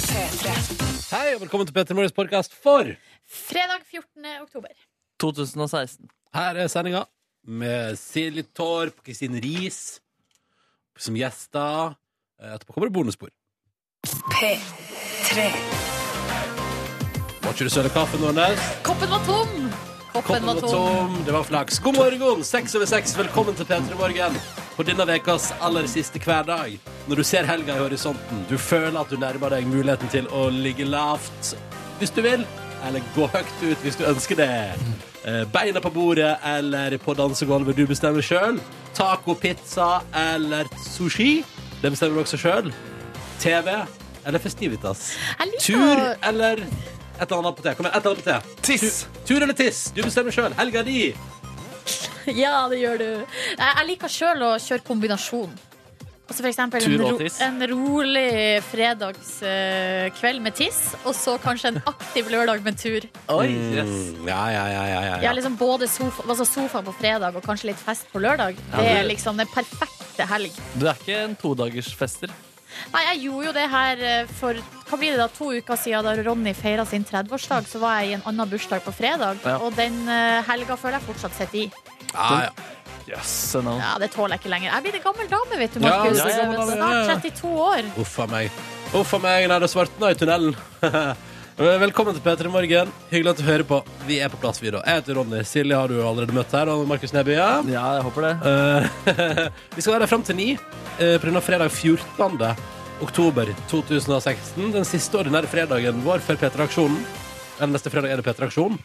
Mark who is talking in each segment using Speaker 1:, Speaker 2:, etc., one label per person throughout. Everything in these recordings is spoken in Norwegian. Speaker 1: Hei, og velkommen til Petter Morgens podcast for
Speaker 2: Fredag 14. oktober.
Speaker 3: 2016.
Speaker 1: Her er sendinga med Silje Torp og Kristin Riis som gjester. Eh, Etterpå kommer det bonusspor. Må ikke du søle kaffen, Nordnes?
Speaker 2: Koppen var tom! Koppen var tom.
Speaker 1: tom. Det var flaks. God morgen, seks over seks. Velkommen til P3 Morgen. På denne ukas aller siste hverdag. Når du ser helga i horisonten, du føler at du nærmer deg muligheten til å ligge lavt hvis du vil, eller gå høyt ut hvis du ønsker det. Eh, Beina på bordet eller på dansegulvet, du bestemmer sjøl. Taco, pizza eller sushi, det bestemmer du også sjøl. TV eller festivitas.
Speaker 2: Jeg liker
Speaker 1: Tur
Speaker 2: å-
Speaker 1: eller et eller annet på T. Kom igjen, et eller annet på T.
Speaker 3: Tiss.
Speaker 1: Tu- Tur eller tiss? Du bestemmer sjøl. Helga di.
Speaker 2: Ja, det gjør du. Jeg jeg liker sjøl å kjøre kombinasjon. Altså for eksempel en,
Speaker 3: Tur og
Speaker 2: ro
Speaker 3: tiss.
Speaker 2: en rolig fredagskveld med tiss, og så kanskje en aktiv lørdag med tur.
Speaker 3: Oi, yes.
Speaker 1: Mm, Ja, ja, ja, ja, ja,
Speaker 2: Ja, liksom både sofa, altså sofaen på fredag og kanskje litt fest på lørdag. Det er liksom den perfekte helg.
Speaker 3: Du er ikke en todagersfester.
Speaker 2: Nei, jeg gjorde jo det her eh, for hva blir det da, to uker siden da Ronny feira sin 30-årsdag. Så var jeg i en annen bursdag på fredag,
Speaker 3: Ja.
Speaker 2: og den eh, helga føler jeg fortsatt sitter i.
Speaker 1: Ah, ja.
Speaker 3: Yes, no.
Speaker 2: Ja, Det tåler jeg ikke lenger. Jeg blir en gammel dame, vet du,
Speaker 1: Ja,
Speaker 2: Markus.
Speaker 1: ja, ja, ja, ja.
Speaker 2: Snart 32 år.
Speaker 1: Uff a meg. Uff a meg, nei, det svartna i tunnelen. Velkommen til P3 Morgen. Hyggelig at du hører på. Vi er på plass, vi, da. Jeg heter Ronny. Silje har du allerede møtt her. Og Markus Neby. Ja.
Speaker 3: Ja, jeg håper det.
Speaker 1: Eh, vi skal være her fram til ni eh, på denne fredag 14. oktober 2016. Den siste ordinære fredagen vår før P3-aksjonen. Eller neste fredag er det P3-aksjon.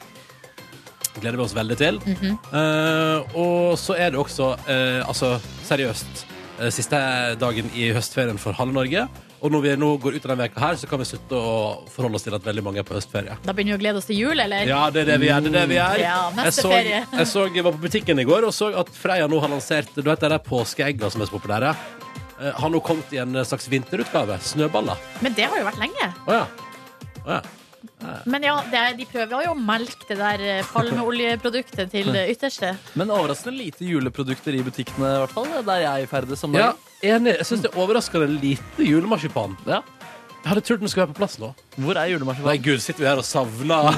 Speaker 1: Gleder vi oss veldig til. Eh, og så er det også, eh, altså seriøst, eh, siste dagen i høstferien for halve Norge. Og når vi nå går ut av denne veka her, så kan vi slutte å forholde oss til at veldig mange er på høstferie.
Speaker 2: Da begynner vi å glede oss til jul, eller?
Speaker 1: Ja, det er det vi er. Det er det vi er.
Speaker 2: Ja, neste
Speaker 1: jeg, så,
Speaker 2: ferie.
Speaker 1: jeg, så, jeg var på butikken i går og så at Freia nå har lansert Du vet de der påskeegga som er så populære? Eh, Har nå kommet i en slags vinterutgave. Snøballer.
Speaker 2: Men det har jo vært lenge.
Speaker 1: Å ja. Å ja.
Speaker 2: Men ja, det er, de prøver jo å melke det der eh, palmeoljeproduktet til det ytterste.
Speaker 3: Men overraskende lite juleprodukter i butikkene, i hvert fall. Der jeg ferdes om
Speaker 1: ja
Speaker 3: dagen.
Speaker 1: enig. Jeg syns det er overraskende lite julemarsipan.
Speaker 3: Ja.
Speaker 1: Jeg hadde trodd den skulle være på plass nå.
Speaker 3: Hvor er
Speaker 1: Nei,
Speaker 3: julemarsipan?
Speaker 1: gud, sitter vi her og savner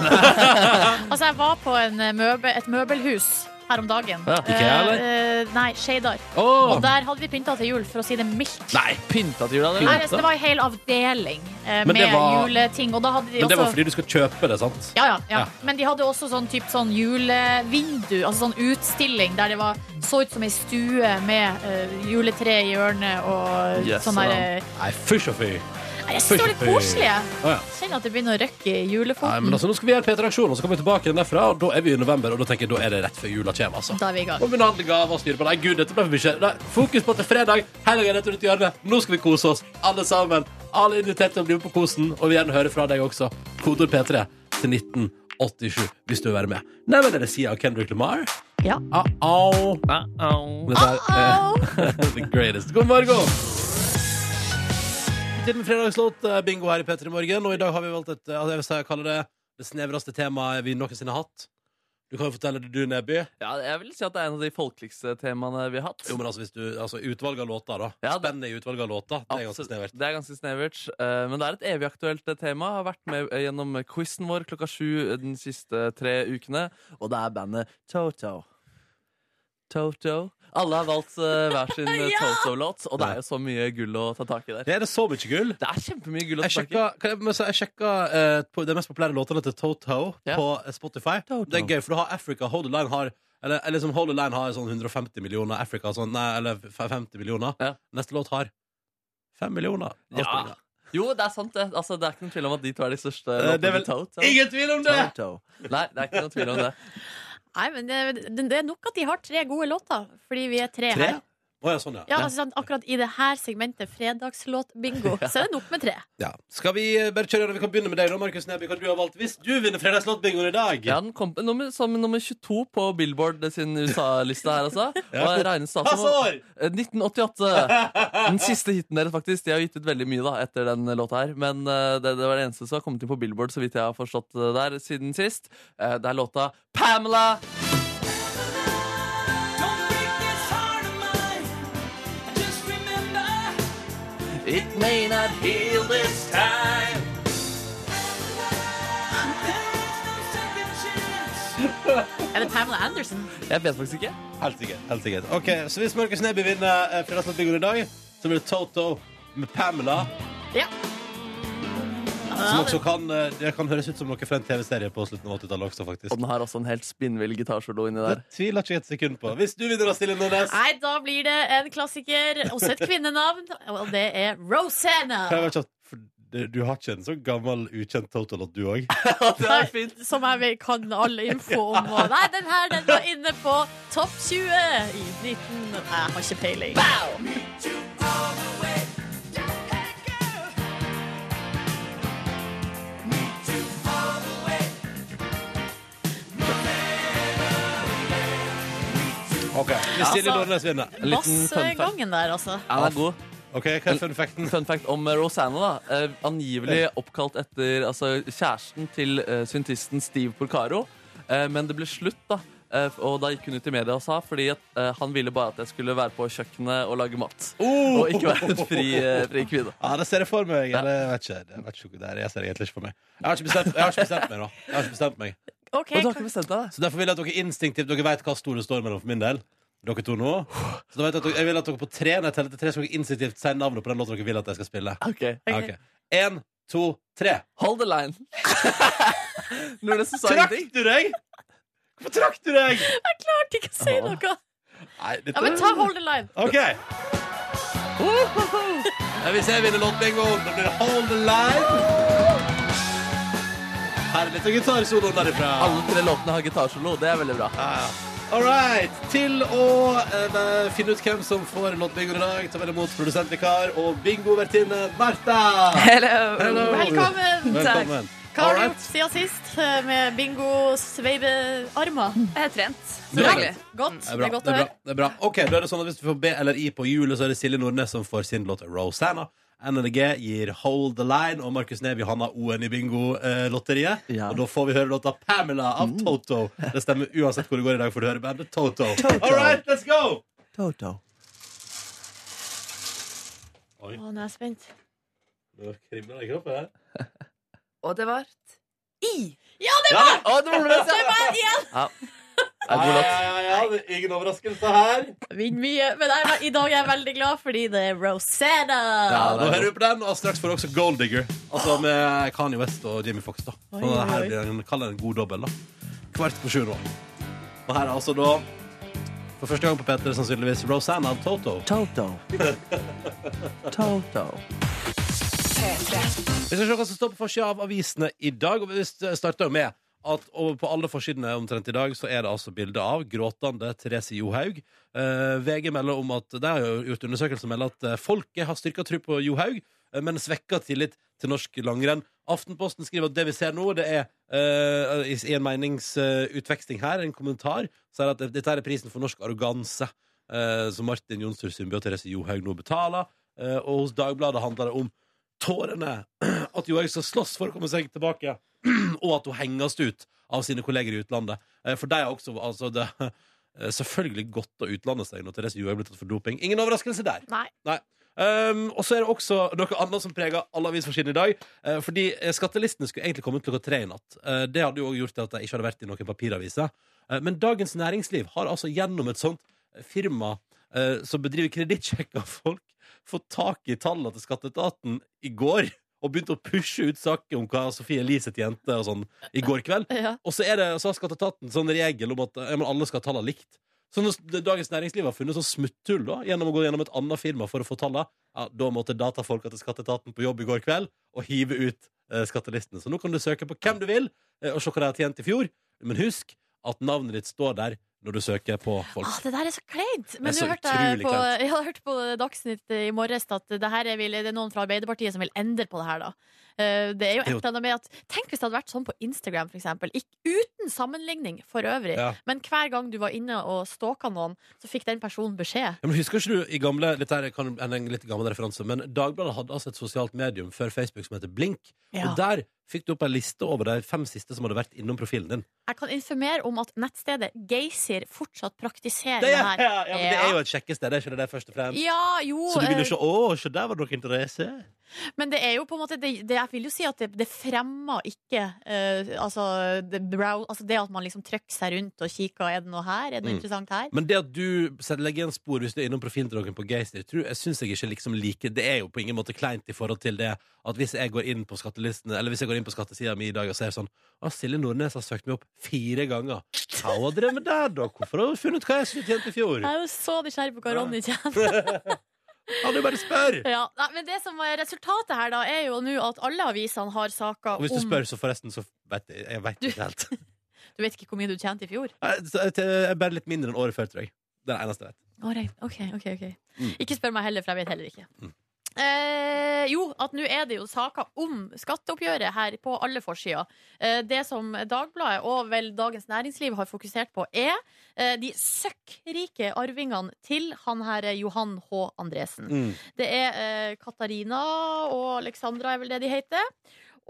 Speaker 2: Altså, jeg var på en eh, møbe, et møbelhus her om dagen.
Speaker 3: Ja,
Speaker 1: Ikea, eller?
Speaker 2: Eh, eh, nei, Shadar.
Speaker 1: Åh.
Speaker 2: Og der hadde vi pynta til jul, for å si det mildt.
Speaker 3: Nei, pynta til jula. dere.
Speaker 2: Nei, altså, det var en hel avdeling eh,
Speaker 1: Men
Speaker 2: med
Speaker 1: det var-
Speaker 2: juleting. Og da hadde de
Speaker 1: Men det
Speaker 2: også
Speaker 1: var fordi du skal kjøpe det, sant?
Speaker 2: ja, ja, ja.
Speaker 1: Ja.
Speaker 2: Men de hadde også sånn, typ, sånn julevindu, altså sånn utstilling der det var, så ut som ei stue med eh, juletre i hjørnet og
Speaker 3: Yes,
Speaker 2: sånn der uh,
Speaker 1: Nei, fysj og fy.
Speaker 2: Jeg syns det var litt koselig. jeg.
Speaker 1: Å ja.
Speaker 2: Kjenner at det begynner å røkke i
Speaker 1: Nei, men
Speaker 2: julefoten.
Speaker 1: altså, nå skal vi gjøre P3-aksjon, og så kommer vi tilbake igjen derfra. Og da er vi i november, og da tenker jeg, da er det rett før jula kommer. altså.
Speaker 2: Da er vi i gang.
Speaker 1: Og begynne å handle gaver og styre på. Nei, gud, dette ble for mye. Nei, fokus på at det er fredag. Helga er rett rundt hjørnet. Nå skal vi kose oss, alle sammen. Alle er invitert til å bli med på kosen, og vi vil gjerne høre fra deg også. Kodord P3 til 1987 hvis du vil være med. Nei, men er det Sia og Kendrick Lamar?
Speaker 2: Ja.
Speaker 1: Ah, au.
Speaker 3: Ah, au.
Speaker 1: Dette er
Speaker 2: Au!
Speaker 1: eh, the greatest. God morgen! Til med fredagslåt eh, bingo her i P3 Morgen, og i dag har vi valgt et eh, altså, jeg vil si, jeg kaller det det snevreste temaet vi noensinne har hatt. Du kan jo fortelle det du, Neby.
Speaker 3: Ja, jeg vil si at det er en av de folkeligste temaene vi har hatt.
Speaker 1: Jo, men altså, hvis du, altså utvalget av låter, da.
Speaker 3: Ja, det-
Speaker 1: Spennet i utvalget av låter. Det er ganske
Speaker 3: Absolutt.
Speaker 1: snevert.
Speaker 3: Det er ganske snevert. eh, Men det er et evig aktuelt eh, tema. Har vært med eh, gjennom quizen vår klokka sju eh, den siste tre ukene. Og det er bandet Toto. Toto. Alle har valgt eh, hver sin eh, Toto-låt, og det er jo så mye gull å ta tak i der.
Speaker 1: Det er det så mye gull.
Speaker 3: Det er kjempemye gull å
Speaker 1: Jeg
Speaker 3: ta tak
Speaker 1: sjekka,
Speaker 3: i.
Speaker 1: kan jeg, men så jeg sjekka eh, på de mest populære låtene til Toto
Speaker 3: Ja.
Speaker 1: på eh, Spotify.
Speaker 3: Toto.
Speaker 1: Det er gøy, for du har Africa. Hold the Line har eller, eller som Hold the Line har sånn 150 millioner. Africa sånn, nei, eller f- 50 millioner.
Speaker 3: Ja.
Speaker 1: Neste låt har 5 millioner.
Speaker 3: Ja. Jo, det er sant, det. Altså, det er ikke noen tvil om at de to er de største.
Speaker 1: Eh, det er
Speaker 3: låtene
Speaker 1: vel
Speaker 3: til Toto.
Speaker 1: Ingen tvil om det!
Speaker 3: Toto. Nei, det er ikke noen tvil om det.
Speaker 2: Nei, men det, det det er nok at de har tre gode låter, fordi vi er tre,
Speaker 1: Tre?
Speaker 2: her.
Speaker 1: Å ja, sånn, ja.
Speaker 2: Ja, altså, sånn, akkurat i det her segmentet, fredagslåt-bingo, så er det nok med tre.
Speaker 1: ja. Skal vi eh, bare kjøre gjennom? Vi kan begynne med deg, da, Markus Neby. Hva du har valgt hvis du vinner fredagslåtbingoen i dag?
Speaker 3: Ja, den kom på nummer, som nummer 22 på Billboard sin USA-liste her, altså.
Speaker 1: Ja.
Speaker 3: Og regnes da som
Speaker 1: Passord!
Speaker 3: Eh, 1988. Den siste hiten deres, faktisk. De har gitt ut veldig mye da, etter den låta her. Men eh, det, det var det eneste som har kommet inn på Billboard, så vidt jeg har forstått det der, siden sist. Eh, det er låta Pamela! It may not heal this time.
Speaker 2: Er det Pamela Anderson?
Speaker 3: Jeg vet faktisk ikke.
Speaker 1: Helt sikkert. helt sikkert Ok, Så hvis Markus Neby vinner eh, Fredagslåtbingoen i dag, så blir det Toto med Pamela.
Speaker 2: Ja.
Speaker 1: Som også kan, eh, det kan høres ut som noe fra en TV-serie på slutten av 80-tallet også, faktisk.
Speaker 3: Og den har også en helt spinnvill gitarsolo inni
Speaker 1: Det
Speaker 3: der.
Speaker 1: tviler ikke jeg et sekund på. Hvis du vinner, da, Silje Nordnes.
Speaker 2: Nei, da blir det en klassiker, også et kvinnenavn, og det er Rosanna.
Speaker 1: Kan jeg være kjapt? For det- Du har ikke en så gammel, ukjent Toto-låt, du òg?
Speaker 3: Det
Speaker 2: Nei,
Speaker 3: er fint.
Speaker 2: Som jeg vet kan all info om. Og nei, den her den var inne på topp 20 i 19 Jeg har ikke peiling.
Speaker 1: Okay. Hvis Silje
Speaker 2: Altså-
Speaker 1: Nordnes vinner.
Speaker 3: En liten fun fact.
Speaker 2: Massegangen der, altså.
Speaker 3: Ja, den er god.
Speaker 1: Ok, Hva er fun facten?
Speaker 3: Fun fact om eh, Rosanna, da. Eh, angivelig oppkalt etter altså, kjæresten til eh, syntisten Steve Porcaro. Eh, men det ble slutt, da. Eh, og da gikk hun ut i media og sa fordi at eh, han ville bare at jeg skulle være på kjøkkenet og lage mat.
Speaker 1: Oh!
Speaker 3: Og ikke være en fri, eh, fri kvinne.
Speaker 1: Ja, Det ser jeg for meg. Eller, jeg vet ikke, jeg vet ikke, det er- jeg ser det egentlig ikke for meg. Jeg har ikke bestemt, jeg har ikke bestemt meg, da. Jeg har ikke bestemt meg.
Speaker 2: OK,
Speaker 3: Og du har
Speaker 2: kan-
Speaker 3: ikke bestemt deg?
Speaker 1: Så derfor vil jeg at dere instinktivt Dere vet hva store står mellom for min del. Dere to nå. Så da vet jeg, at dere, jeg vil at dere på tre når jeg teller til tre, skal dere instinktivt si navnet på den låten dere vil at jeg skal spille.
Speaker 3: da? Ok.
Speaker 1: Ja, ok. En, to, tre.
Speaker 3: Hold the line. Nordnes sa
Speaker 1: Trakk
Speaker 3: ingenting.
Speaker 1: du deg?! Hvorfor trakk du deg?!
Speaker 2: jeg klarte ikke å si noe.
Speaker 1: Nei, dette-
Speaker 2: Ja, Men ta Hold the Line.
Speaker 1: OK. Ja, Hvis jeg vinner låtbingoen, da blir det Hold the Line. Herlig til gitarsoloen derifra.
Speaker 3: Alle tre låtene har gitarsolo. Det er veldig bra.
Speaker 1: All right. Til å eh, finne ut hvem som får låtbingoen i dag, ta vel imot produsentvikar og bingovertinne Martha.
Speaker 4: Hello.
Speaker 1: Hello.
Speaker 2: Velkommen.
Speaker 1: Velkommen.
Speaker 2: Hva har du
Speaker 1: Alright.
Speaker 2: gjort siden sist eh, med bingo-sveibearmer?
Speaker 4: Jeg har trent.
Speaker 1: Du har
Speaker 4: Selvfølgelig.
Speaker 2: Godt.
Speaker 1: Det er
Speaker 2: Det
Speaker 1: bra.
Speaker 2: er godt
Speaker 1: det er bra,
Speaker 2: å høre.
Speaker 1: det er bra. Ok, da er det sånn at Hvis du får B eller I på hjulet, så er det Silje Nordnes som får sin låt 'Rosanna'. NLG gir 'Hold the Line', og Markus Neby han har O-en i bingolotteriet.
Speaker 3: Ja.
Speaker 1: Og da får vi høre låta 'Pamela' av Toto. Det stemmer uansett hvor det går i dag, får du høre bandet Toto. All right, let's go!
Speaker 3: Toto.
Speaker 2: Å, nå er jeg spent.
Speaker 1: Nå kribler det i kroppen her.
Speaker 4: Og det var i.
Speaker 2: Ja, det
Speaker 1: Ja,
Speaker 3: Å, det var Nordnes, ja!
Speaker 2: var meg igjen!
Speaker 3: Det er god låt.
Speaker 1: ja, ja, det er ingen overraskelse her.
Speaker 2: Vinner mye. Men jeg, er- i dag er jeg veldig glad fordi det er Rosanna.
Speaker 1: Ja,
Speaker 3: Ja, det er
Speaker 1: Nå
Speaker 3: godt.
Speaker 1: hører vi på den, og straks får du også Gold Digger. Altså med Kanye West og Jimmy Fox. da Så
Speaker 2: Oi, oi,
Speaker 1: her
Speaker 2: oi.
Speaker 1: blir det en, kall det en god dobbel. da Kvart på sju nå. Og her er altså da for første gang på P3 sannsynligvis Rosanna av Toto.
Speaker 3: Toto. Toto.
Speaker 1: Vi skal se hva som står på forsida av avisene i dag. Og vi starter jo med at over på alle forsidene omtrent i dag så er det altså bilde av gråtende Therese Johaug. Eh, VG melder om at de har jo gjort undersøkelser som melder at eh, folket har styrka tro på Johaug, eh, men svekka tillit til norsk langrenn. Aftenposten skriver at det vi ser nå, det er eh, i i en meningsutveksling her, en kommentar, sier at dette her er prisen for norsk arroganse, eh, som Martin Jonsrud Sundby og Therese Johaug nå betaler. Eh, og hos Dagbladet handler det om tårene at Johaug skal slåss for å komme seg tilbake, og at hun henges ut av sine kolleger i utlandet. Eh, For de er også altså, det, eh, selvfølgelig godt å utlande seg når Therese Johaug blir tatt for doping. Ingen overraskelse der.
Speaker 2: Nei.
Speaker 1: Um, og så er det også noe annet som preger alle avisforsidene i dag. eh, fordi eh, skattelistene skulle egentlig komme ut klokka tre i natt. Eh, det hadde jo også gjort at de ikke hadde vært i noen papiraviser. Eh, men Dagens Næringsliv har altså gjennom et sånt firma eh, som bedriver kredittsjekk av folk, fått tak i tallene til skatteetaten i går. Og begynt å pushe ut saker om hva Sofie Elise tjente og sånn i går kveld.
Speaker 2: Ja.
Speaker 1: Og så, er det, så har skatteetaten sånn regel om at eh, men alle skal ha tallene likt. Så når s- Dagens Næringsliv har funnet sånn smutthull da, gjennom å gå gjennom et annet firma for å få tallene, ja, da måtte datafolka til skatteetaten på jobb i går kveld og hive ut eh, skattelistene. Så nå kan du søke på hvem du vil, eh, og se hva de har tjent i fjor. Men husk at navnet ditt står der når du søker på folk.
Speaker 2: Ah, det der er så kleint!
Speaker 1: Det
Speaker 2: Men nå
Speaker 1: er så
Speaker 2: hørte jeg
Speaker 1: utrolig
Speaker 2: på,
Speaker 1: kleint.
Speaker 2: jeg hørte på Dagsnytt i morges at det, her er, vil- det er noen fra Arbeiderpartiet som vil endre på det her, da. Eh, Det er jo et
Speaker 1: Det er jo-
Speaker 2: eller annet med at Tenk hvis det hadde vært sånn på Instagram, for eksempel. Ikk- uten sammenligning for øvrig.
Speaker 1: Ja.
Speaker 2: Men hver gang du var inne og stalka noen, så fikk den personen beskjed.
Speaker 1: Ja, men husker ikke du i gamle dette her kan en en litt gammel referanse, men Dagbladet hadde altså et sosialt medium før Facebook som heter Blink.
Speaker 2: Ja.
Speaker 1: Og der fikk du opp ei liste over de fem siste som hadde vært innom profilen din.
Speaker 2: Jeg kan informere om at nettstedet Geysir fortsatt praktiserer
Speaker 1: Det
Speaker 2: det,
Speaker 1: er, ja,
Speaker 2: her.
Speaker 1: men det er jo et sjekkested, er ikke det det først og fremst?
Speaker 2: Ja, jo
Speaker 1: Så du
Speaker 2: eh,
Speaker 1: begynner å se Å, se der var det noe interesse.
Speaker 2: Men det er jo på en måte det, det, jeg vil jo si at det, det fremmer ikke eh, altså, det brow, altså det at man liksom trykker seg rundt og kikker Er det noe her? Er det noe
Speaker 1: Mm.
Speaker 2: interessant her?
Speaker 1: Men det at du setter- legger igjen spor hvis du er innom profilen til noen på Gayster, tror jeg syns jeg ikke liksom liker. Det er jo på ingen måte kleint i forhold til det at hvis jeg går inn på skattelisten Eller hvis jeg går inn på skattesida mi i dag og ser sånn Å, Silje Nordnes har søkt meg opp fire ganger. Hva har dere med der, da? Hvorfor har hun funnet ut hva jeg skulle tjent i fjor?
Speaker 2: Jeg er jo så nysgjerrig på hva
Speaker 1: Ja.
Speaker 2: Ronny tjener.
Speaker 1: Ja, du bare spør!
Speaker 2: Ja, nei, men det som er resultatet her da, er jo nå at alle avisene har saker
Speaker 1: Og hvis du
Speaker 2: om
Speaker 1: spør, så forresten, så vet jeg, jeg vet
Speaker 2: Du-
Speaker 1: ikke helt.
Speaker 2: Du vet ikke hvor mye du tjente i fjor?
Speaker 1: Nei, så Jeg jeg er bare litt mindre enn året før, tror jeg. Det er det eneste jeg vet.
Speaker 2: Alright, ok, ok, ok.
Speaker 1: Mm.
Speaker 2: Ikke spør meg heller, for jeg vet heller ikke.
Speaker 1: Mm.
Speaker 2: Eh, jo, at nå er det jo saker om skatteoppgjøret her på alle forsider. Eh, det som Dagbladet og vel Dagens Næringsliv har fokusert på, er eh, de søkkrike arvingene til han her eh, Johan H. Andresen.
Speaker 1: Mm.
Speaker 2: Det er eh, Katarina og Alexandra er vel det de heter.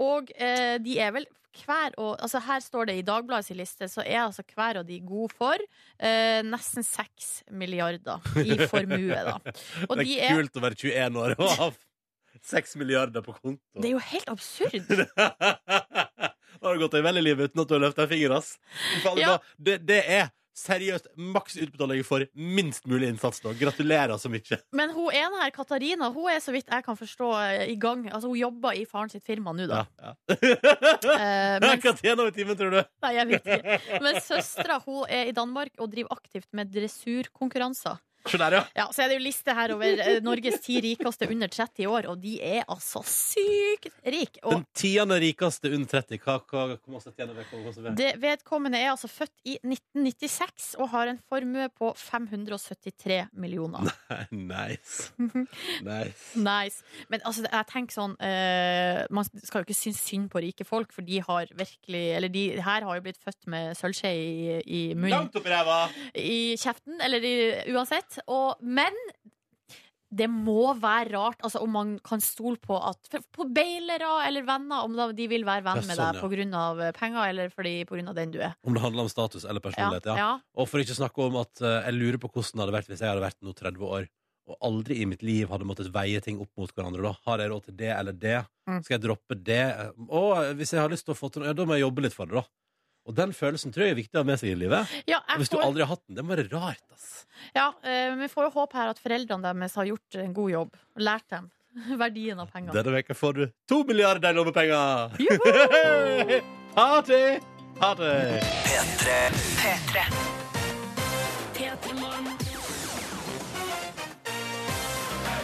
Speaker 2: Og eh, de er vel hver og Altså her står det i Dagbladets liste, så er altså hver av de god for eh, nesten seks milliarder i formue, da. Og
Speaker 1: det
Speaker 2: de
Speaker 1: er
Speaker 2: er
Speaker 1: kult å være 21 år og ha seks milliarder på konto.
Speaker 2: Det er jo helt absurd!
Speaker 1: Da har du gått deg vel i livet uten at du har løfta en finger, ass. Faen,
Speaker 2: Ja.
Speaker 1: da- Det, det er seriøst maks utbetaling for minst mulig innsats nå. Gratulerer så mye.
Speaker 2: Men hun ene her, Katarina, hun er så vidt jeg kan forstå eh, i gang Altså hun jobber i faren sitt firma nå, da.
Speaker 1: Ja, ja.
Speaker 2: Eh,
Speaker 1: Hva
Speaker 2: mens-
Speaker 1: tjener hun i timen, tror du?
Speaker 2: Nei, jeg vet ikke. Men søstera hun er i Danmark og driver aktivt med dressurkonkurranser.
Speaker 1: Se der, ja.
Speaker 2: Ja, så er det jo liste her over eh, Norges ti rikeste under 30 år, og de er altså sykt rike. Og
Speaker 1: Den tiende rikeste under 30. Hva, hva, hvor masse tjener vi? Hvor masse vi?
Speaker 2: det vedkommende er altså født i 1996 og har en formue på 573 millioner.
Speaker 1: Nice. nice.
Speaker 2: Nice. Men altså, det- jeg tenker sånn eh, Man skal jo ikke synes synd på rike folk, for de har virkelig Eller de her har jo blitt født med sølvskje i, i munnen.
Speaker 1: Langt opp i ræva!
Speaker 2: i kjeften, eller i, uansett. Og, men det må være rart altså, om man kan stole på at for, På bailere eller venner, om da de vil være
Speaker 1: Ja,
Speaker 2: venn med
Speaker 1: sånn,
Speaker 2: deg
Speaker 1: ja.
Speaker 2: pga. eh, penger eller fordi, på grunn av den du er.
Speaker 1: Om det handler om status eller
Speaker 2: Ja,
Speaker 1: personlighet, ja.
Speaker 2: ja.
Speaker 1: Og for ikke å snakke om at eh, jeg lurer på hvordan det hadde vært hvis jeg hadde vært nå 30 år og aldri i mitt liv hadde måttet veie ting opp mot hverandre. Da. Har jeg råd til det eller det?
Speaker 2: Mm.
Speaker 1: Skal jeg droppe det? Eh, Og hvis jeg har lyst til å få til noe, ja, da må jeg jobbe litt for det, da. Og den følelsen tror jeg er viktig å ha med seg i livet.
Speaker 2: Ja,
Speaker 1: Og
Speaker 2: jeg
Speaker 1: hvis du
Speaker 2: får-
Speaker 1: aldri har hatt den, det må være rart, ass.
Speaker 2: ja, eh, vi får jo håpe her at foreldrene deres har gjort en god jobb. Lært dem verdien av penger.
Speaker 1: Denne veka får du to milliarder i lommepenger!
Speaker 2: Juhu!
Speaker 1: Party! Party!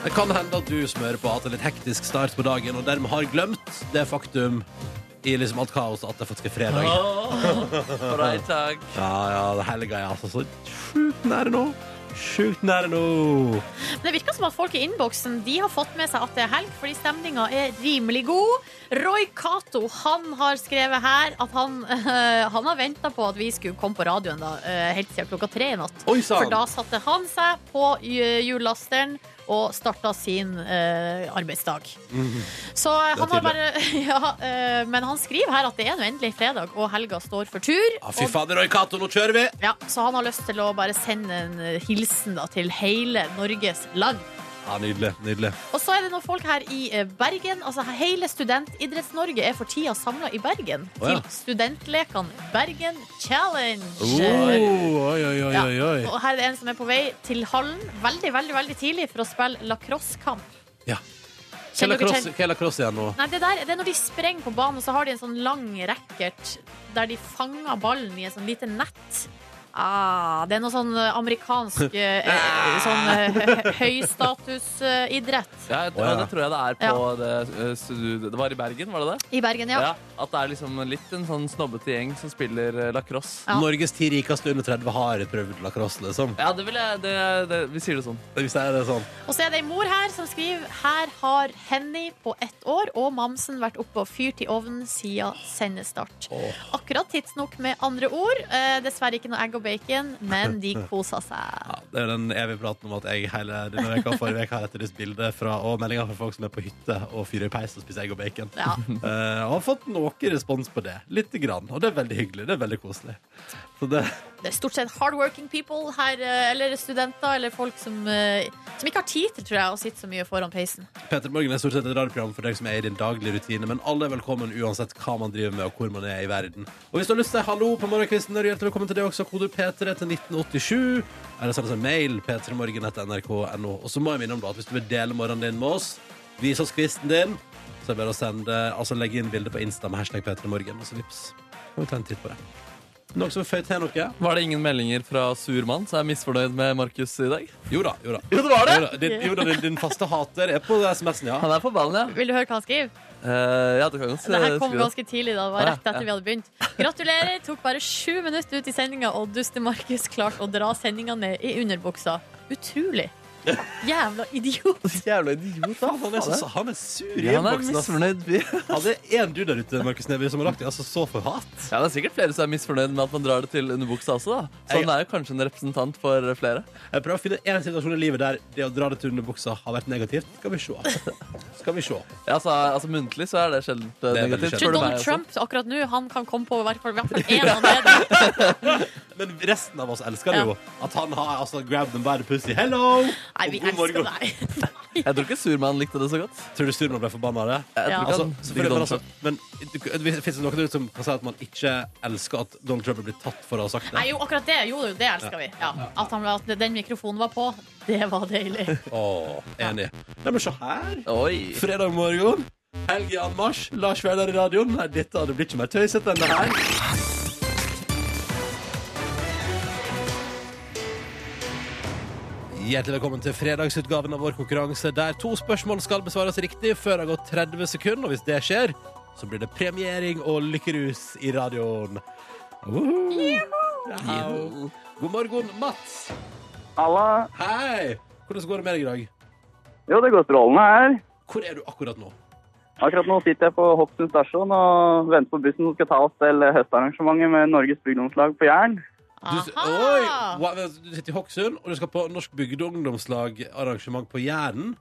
Speaker 1: Det kan hende at du smører på at det er litt hektisk start på dagen, og dermed har glemt det faktum i liksom alt kaoset at det faktisk er fredag.
Speaker 3: Right, takk.
Speaker 1: Ja, ja, det helga er altså så sjukt nære nå. Sjukt nære nå.
Speaker 2: Men Det virker som at folk i innboksen De har fått med seg at det er helg, fordi stemninga er rimelig god. Roy Cato han har skrevet her at han, eh, han har venta på at vi skulle komme på radioen da, eh, helt siden klokka tre i natt.
Speaker 1: Oi
Speaker 2: For
Speaker 1: sann!
Speaker 2: da satte han seg på ju- hjullasteren og starta sin eh, arbeidsdag. Så eh,
Speaker 1: Mhm. Det er
Speaker 2: han har bare ja, eh, Men han skriver her at det er nå endelig fredag, og helga står for tur.
Speaker 1: Ja, Ah, fy
Speaker 2: Og
Speaker 1: fader, Roy Cato, nå kjører vi!
Speaker 2: ja, så han har lyst til å bare sende en eh, hilsen da, til hele Norges land.
Speaker 1: Ja, Nydelig. nydelig
Speaker 2: Og så er det noen folk her i eh, Bergen. Altså Hele Studentidretts-Norge er for tida samla i Bergen
Speaker 1: Å, ja.
Speaker 2: til Studentlekene Bergen Challenge.
Speaker 1: oi, oi, oi,
Speaker 2: Ja.
Speaker 1: oi, oi.
Speaker 2: Og her er det en som er på vei til hallen veldig veldig, veldig tidlig for å spille lacrossekamp.
Speaker 1: Ja. Hva
Speaker 2: Kjenner
Speaker 1: er
Speaker 2: dere
Speaker 1: lacrosse-
Speaker 2: til-
Speaker 1: hva er lacrosse igjen nå?
Speaker 2: Nei, det, der, det er når de sprenger på banen, og så har de en sånn lang racket der de fanger ballen i et sånn lite nett. Ah, det er noe sånn eh, amerikansk eh, eh, sånn eh, høystatusidrett
Speaker 3: Ja, jeg-
Speaker 1: Å, ja.
Speaker 3: Det tror jeg det er på det eh, stud- Det var i Bergen, var det det?
Speaker 2: i Bergen, ja.
Speaker 3: At det er liksom litt en sånn snobbete gjeng som spiller eh, lacrosse.
Speaker 2: Ja.
Speaker 1: Norges ti rikeste under 30 har prøvd lacrosse, liksom.
Speaker 3: Ja, det vil jeg det, det, Vi sier det sånn.
Speaker 1: Hvis jeg er det sånn.
Speaker 2: Og så er det ei mor her som skriver Her har Henny på ett år og mamsen vært oppe og fyrt i ovnen siden sendestart.
Speaker 1: Åh.
Speaker 2: Akkurat tidsnok med andre ord. Eh, dessverre ikke noe egg og og bacon, men de kosa seg.
Speaker 1: Ja, det er den evige praten om at jeg hele denne veka forrige veka har etterlyst bilder fra, og meldinger fra folk som er på hytte og fyrer i peis og spiser egg og bacon.
Speaker 2: Ja.
Speaker 1: Eh, og har fått noe respons på det. Lite grann. Og det er veldig hyggelig. Det er veldig koselig. Så det,
Speaker 2: Det er stort sett hardworking people her, eh, eller studenter, eller folk som, eh, som ikke har tid til, tror jeg, å sitte så mye foran peisen.
Speaker 1: Peter Morgen er stort sett et radioprogram for deg som er i din daglige rutine, men alle er velkommen uansett hva man driver med og hvor man er i verden. Og hvis du har lyst til å si hallo på morgenkvisten, er du hjertelig velkommen til det også. Kode P3 til 1987. Eller send oss en mail, p3morgen.nrk.no. Og så må jeg minne om da, at hvis du vil dele morgenen din med oss, vis oss kvisten din, så er det bare å sende, altså legge inn bilde på Insta med hashtag P3morgen, og så vips. Kan vi ta en titt på det. Noen som vil føye til noe?
Speaker 3: Var det ingen meldinger fra Surmann som er misfornøyd med Markus i dag?
Speaker 1: Jo da, jo da.
Speaker 3: Jo, det var
Speaker 1: Jo da, din, jo da, din, din faste hater er på SMS-en, ja.
Speaker 3: Han er på ballen, ja.
Speaker 2: Vil du høre hva han skriver?
Speaker 3: Eh, ja, du kan godt
Speaker 2: Det her kom
Speaker 3: skrive det.
Speaker 2: ganske tidlig, da. Det var
Speaker 3: Ja,
Speaker 2: rett etter vi hadde begynt. Gratulerer. Tok bare sju minutter ut i sendinga, og Duste-Markus klarte å dra sendinga ned i underbuksa. Utrolig. Jævla idiot.
Speaker 3: Jævla idiot, da.
Speaker 1: Faen, han, er så, han er sur i
Speaker 3: Ja, han er
Speaker 1: innboksen, ass.
Speaker 3: misfornøyd.
Speaker 1: Ja, Altså, det er én du der ute, Markus Neby, som har lagt deg altså så for hat.
Speaker 3: Ja, Det er sikkert flere som er misfornøyd med at man drar det til underbuksa også. da Så
Speaker 1: Jeg-
Speaker 3: han er jo kanskje en representant for flere.
Speaker 1: Jeg prøver å finne én situasjon i livet der det å dra det til underbuksa har vært negativt. Skal vi se. Skal vi se.
Speaker 3: Ja, altså, altså Muntlig så er det sjelden eh,
Speaker 1: Det er veldig
Speaker 3: negativt.
Speaker 1: sjeldent.
Speaker 2: Tror
Speaker 3: spør du meg,
Speaker 2: Donald
Speaker 3: altså.
Speaker 2: Trump akkurat nå han kan komme på i hvert fall i hvert fall én anledning.
Speaker 1: Men resten av oss elsker det jo. At han har altså grab them by the pussy. Hello!
Speaker 2: Nei, vi
Speaker 1: Og god
Speaker 2: elsker
Speaker 1: morgen.
Speaker 2: deg.
Speaker 3: Jeg tror ikke Surmann likte det så godt.
Speaker 1: Tror du Sturman ble forbanna av det?
Speaker 3: Jeg
Speaker 2: Ja.
Speaker 3: tror ikke
Speaker 1: Altså,
Speaker 3: han
Speaker 1: selvfølgelig,
Speaker 3: likte
Speaker 1: men,
Speaker 3: Donald
Speaker 1: altså,
Speaker 3: Trump.
Speaker 1: men fins det noen der ute som kan si at man ikke elsker at Donald Trump er blitt tatt for å ha sagt
Speaker 2: Nei,
Speaker 1: det?
Speaker 2: jo, akkurat det. Jo, jo, det elsker vi. Ja. At, han, at den mikrofonen var på, det var deilig.
Speaker 1: Åh, enig. Nei, men se her.
Speaker 3: Oi.
Speaker 1: Fredag morgen. Helg i anmarsj. Lars Vaular i radioen. Nei, dette hadde blitt ikke mer tøysete enn det her. Hjertelig velkommen til fredagsutgaven av vår konkurranse, der to spørsmål skal besvares riktig før det har gått 30 sekunder. Og hvis det skjer, så blir det premiering og lykkerus i radioen. Woohoo! Yoho! God morgen, Mats.
Speaker 5: Halla.
Speaker 1: Hei! Hvordan går det med deg i dag?
Speaker 5: Jo, det går strålende her.
Speaker 1: Hvor er du akkurat nå?
Speaker 5: Akkurat nå sitter jeg på Hokksund stasjon og venter på bussen som skal ta oss til høstarrangementet med Norges bygdeungdomslag på Jæren.
Speaker 1: Du, s- oi,
Speaker 2: Aha!
Speaker 1: Hva- vent, du sitter i Hokksund, og du skal på Norsk bygdeungdomslag-arrangement på Jæren.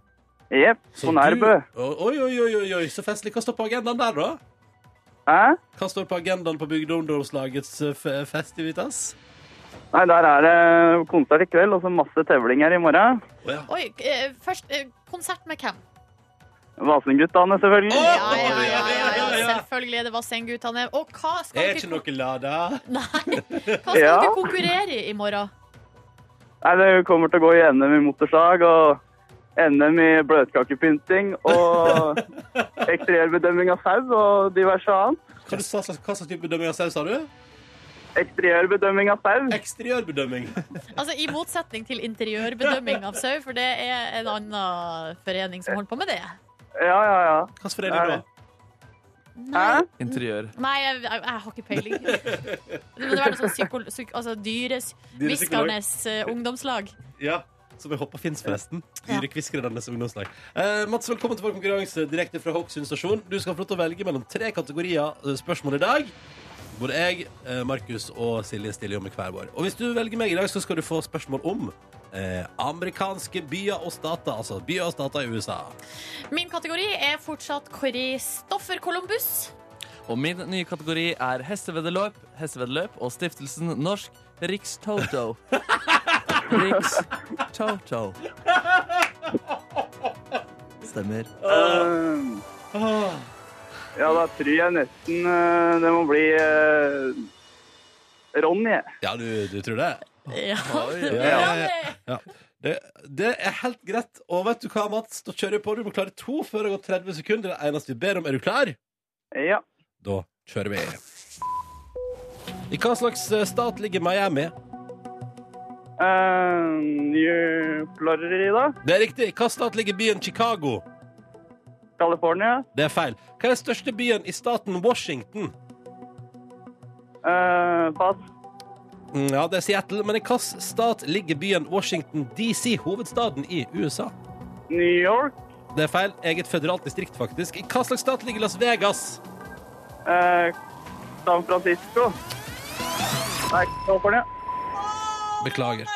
Speaker 5: Jepp,
Speaker 1: Så
Speaker 5: på
Speaker 1: du-
Speaker 5: Nærbø.
Speaker 1: Oi, oi, oi, oi, oi, så festlig. Hva står på agendaen der, da?
Speaker 5: Hæ?
Speaker 1: Hva står på agendaen på bygdeungdomslagets eh, fe- festivitas?
Speaker 5: Nei, der er det konsert i kveld og så masse tevlinger i morgen.
Speaker 1: Å ja.
Speaker 2: Oi, eh, først eh, konsert med hvem?
Speaker 5: Vasenguttene, selvfølgelig.
Speaker 2: Ja, ja, ja, ja, ja, selvfølgelig er det Vassendgutane. Og hva skal
Speaker 1: Er
Speaker 2: dere
Speaker 1: ikke noe lada?
Speaker 2: Nei, hva skal
Speaker 5: Ja.
Speaker 2: dere konkurrere i i morgen?
Speaker 5: Nei, det kommer til å gå i NM i motorsag og NM i bløtkakepynting og eksteriørbedømming av sau og diverse annet.
Speaker 1: Hva, du, sa- hva slags type bedømming av sau, sa du?
Speaker 5: Eksteriørbedømming av sau.
Speaker 1: Eksteriørbedømming.
Speaker 2: Altså I motsetning til interiørbedømming av sau, for det er en annen forening som holder på med det.
Speaker 5: Ja, ja, ja.
Speaker 1: Hvilken forening da?
Speaker 5: Hæ?
Speaker 2: Nei,
Speaker 3: Interiør.
Speaker 2: nei jeg, jeg, jeg har ikke peiling. Det må være noe sånn psyko, psyk, altså dyres,
Speaker 1: Dyrepsykolog?
Speaker 2: Viskernes eh, ungdomslag.
Speaker 1: Ja. Som jeg håper fins, forresten.
Speaker 2: Ja.
Speaker 1: Dyrekviskrenes ungdomslag. Eh, Mats, velkommen til vår konkurranse direkte fra Hokksund stasjon. Du skal få lov til å velge mellom tre kategorier eh, spørsmål i dag. Både jeg, eh, Markus og Silje stiller jo med hver vår. Og hvis du velger meg i dag, så skal du få spørsmål om eh, amerikanske byer og stater. Altså byer og stater i USA.
Speaker 2: Min kategori er fortsatt Kristoffer Columbus.
Speaker 3: Og min nye kategori er hesteveddeløp, hesteveddeløp og stiftelsen Norsk Rikstoto. Rikstoto. Stemmer.
Speaker 5: Ehm, Ja, da tror jeg nesten eh, det må bli eh, Ronny.
Speaker 1: Ja, du, du tror det? ja, ja.
Speaker 2: Ja. Ronny.
Speaker 1: Ja. Det, det er helt greit. Og vet du hva, Mats? Da kjører jeg på. Du må klare to før det går 30 sekunder. Det er det eneste vi ber om. Er du klar?
Speaker 5: Ja.
Speaker 1: Da kjører vi. I hva slags eh, stat ligger Miami?
Speaker 5: Ehm, New Florida,
Speaker 1: Det er riktig. I hva stat ligger byen Chicago?
Speaker 5: California,
Speaker 1: Det er feil. Hva er største byen i staten Washington?
Speaker 5: eh, pass.
Speaker 1: Mm, Ja, det er Seattle, men i hvilken stat ligger byen Washington DC, hovedstaden i USA?
Speaker 5: New York,
Speaker 1: Det er feil. Eget føderalt distrikt, faktisk. I hva slags stat ligger Las Vegas?
Speaker 5: eh, San Francisco. Nei, California.
Speaker 1: Beklager.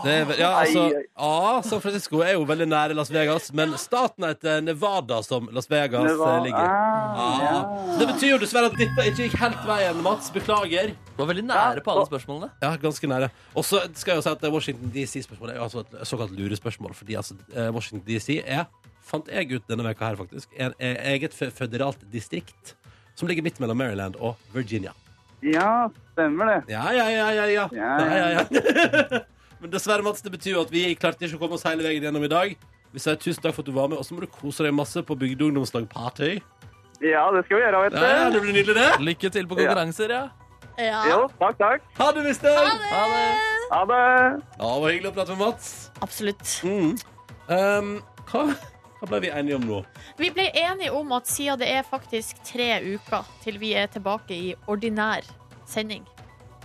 Speaker 1: Det er, ve- ja, altså,
Speaker 5: Ai, ai.
Speaker 1: ja, San Francisco er jo veldig nære Las Vegas, men staten heter Nevada, som Las Vegas eh,
Speaker 5: Neva-
Speaker 1: ligger.
Speaker 5: Ah,
Speaker 1: Ja.
Speaker 5: ja.
Speaker 1: Så Det betyr jo dessverre at dette ikke gikk helt veien, Mats. Beklager.
Speaker 3: Du var veldig nære på alle spørsmålene.
Speaker 1: Ja, ganske nære. Og så skal jeg jo si at Washington DC-spørsmålet er jo altså et såkalt lurespørsmål, fordi altså, eh, Washington DC er, fant jeg ut denne veka her faktisk, en e- eget fe- føderalt distrikt som ligger midt mellom Maryland og Virginia.
Speaker 5: ja, stemmer det.
Speaker 1: Ja, ja, ja, ja, ja.
Speaker 5: Ja,
Speaker 1: ja, ja, ja. Men dessverre, Mats, det betyr jo at vi klarte ikke å komme oss hele veien gjennom i dag. Vi sier tusen takk for at du var med, og så må du kose deg masse på bygdeungdomslag party.
Speaker 5: Ja, det skal vi gjøre, vet
Speaker 1: Ja, ja,
Speaker 5: du.
Speaker 1: det blir nydelig det.
Speaker 3: Lykke til på konkurranser, ja.
Speaker 2: Ja,
Speaker 5: Jo, takk, takk.
Speaker 1: Ha det, mister! Ja,
Speaker 3: Ha det.
Speaker 5: Ha det.
Speaker 1: det var hyggelig å prate med Mats.
Speaker 2: absolutt.
Speaker 1: Mm. Um, hva, hva ble vi enige om nå?
Speaker 2: Vi ble enige om at siden det er faktisk tre uker til vi er tilbake i ordinær sending uh,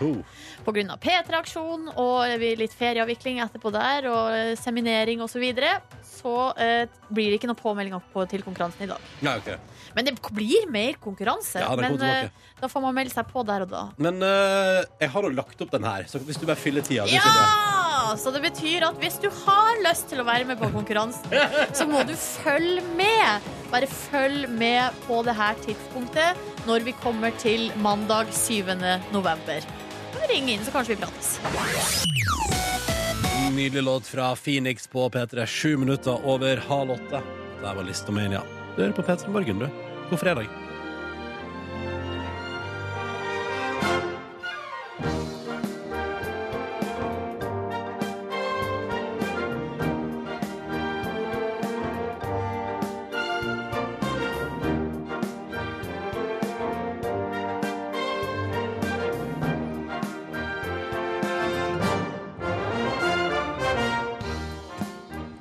Speaker 1: Oh.
Speaker 2: På grunn av P3-aksjon og vi- litt ferieavvikling etterpå der og eh, seminering osv. Så, videre, så eh, blir det ikke noen påmeldinger på, til konkurransen i dag.
Speaker 1: Nei, ok.
Speaker 2: Men det blir mer konkurranse.
Speaker 1: Ja, den kommer
Speaker 2: men
Speaker 1: tilbake.
Speaker 2: eh, da får man melde seg på der og da.
Speaker 1: Men eh, jeg har jo lagt opp den her, så hvis du bare fyller tida du fyller.
Speaker 2: Ja! Så det betyr at hvis du har lyst til å være med på konkurransen, så må du følge med. Bare følg med på det her tidspunktet når vi kommer til mandag 7. november. Ring inn, så kanskje vi prates.
Speaker 1: Nydelig låt fra Phoenix på P3. Sju minutter over halv åtte. Der var Listomania. Du hører på P3 Morgen, du. God fredag.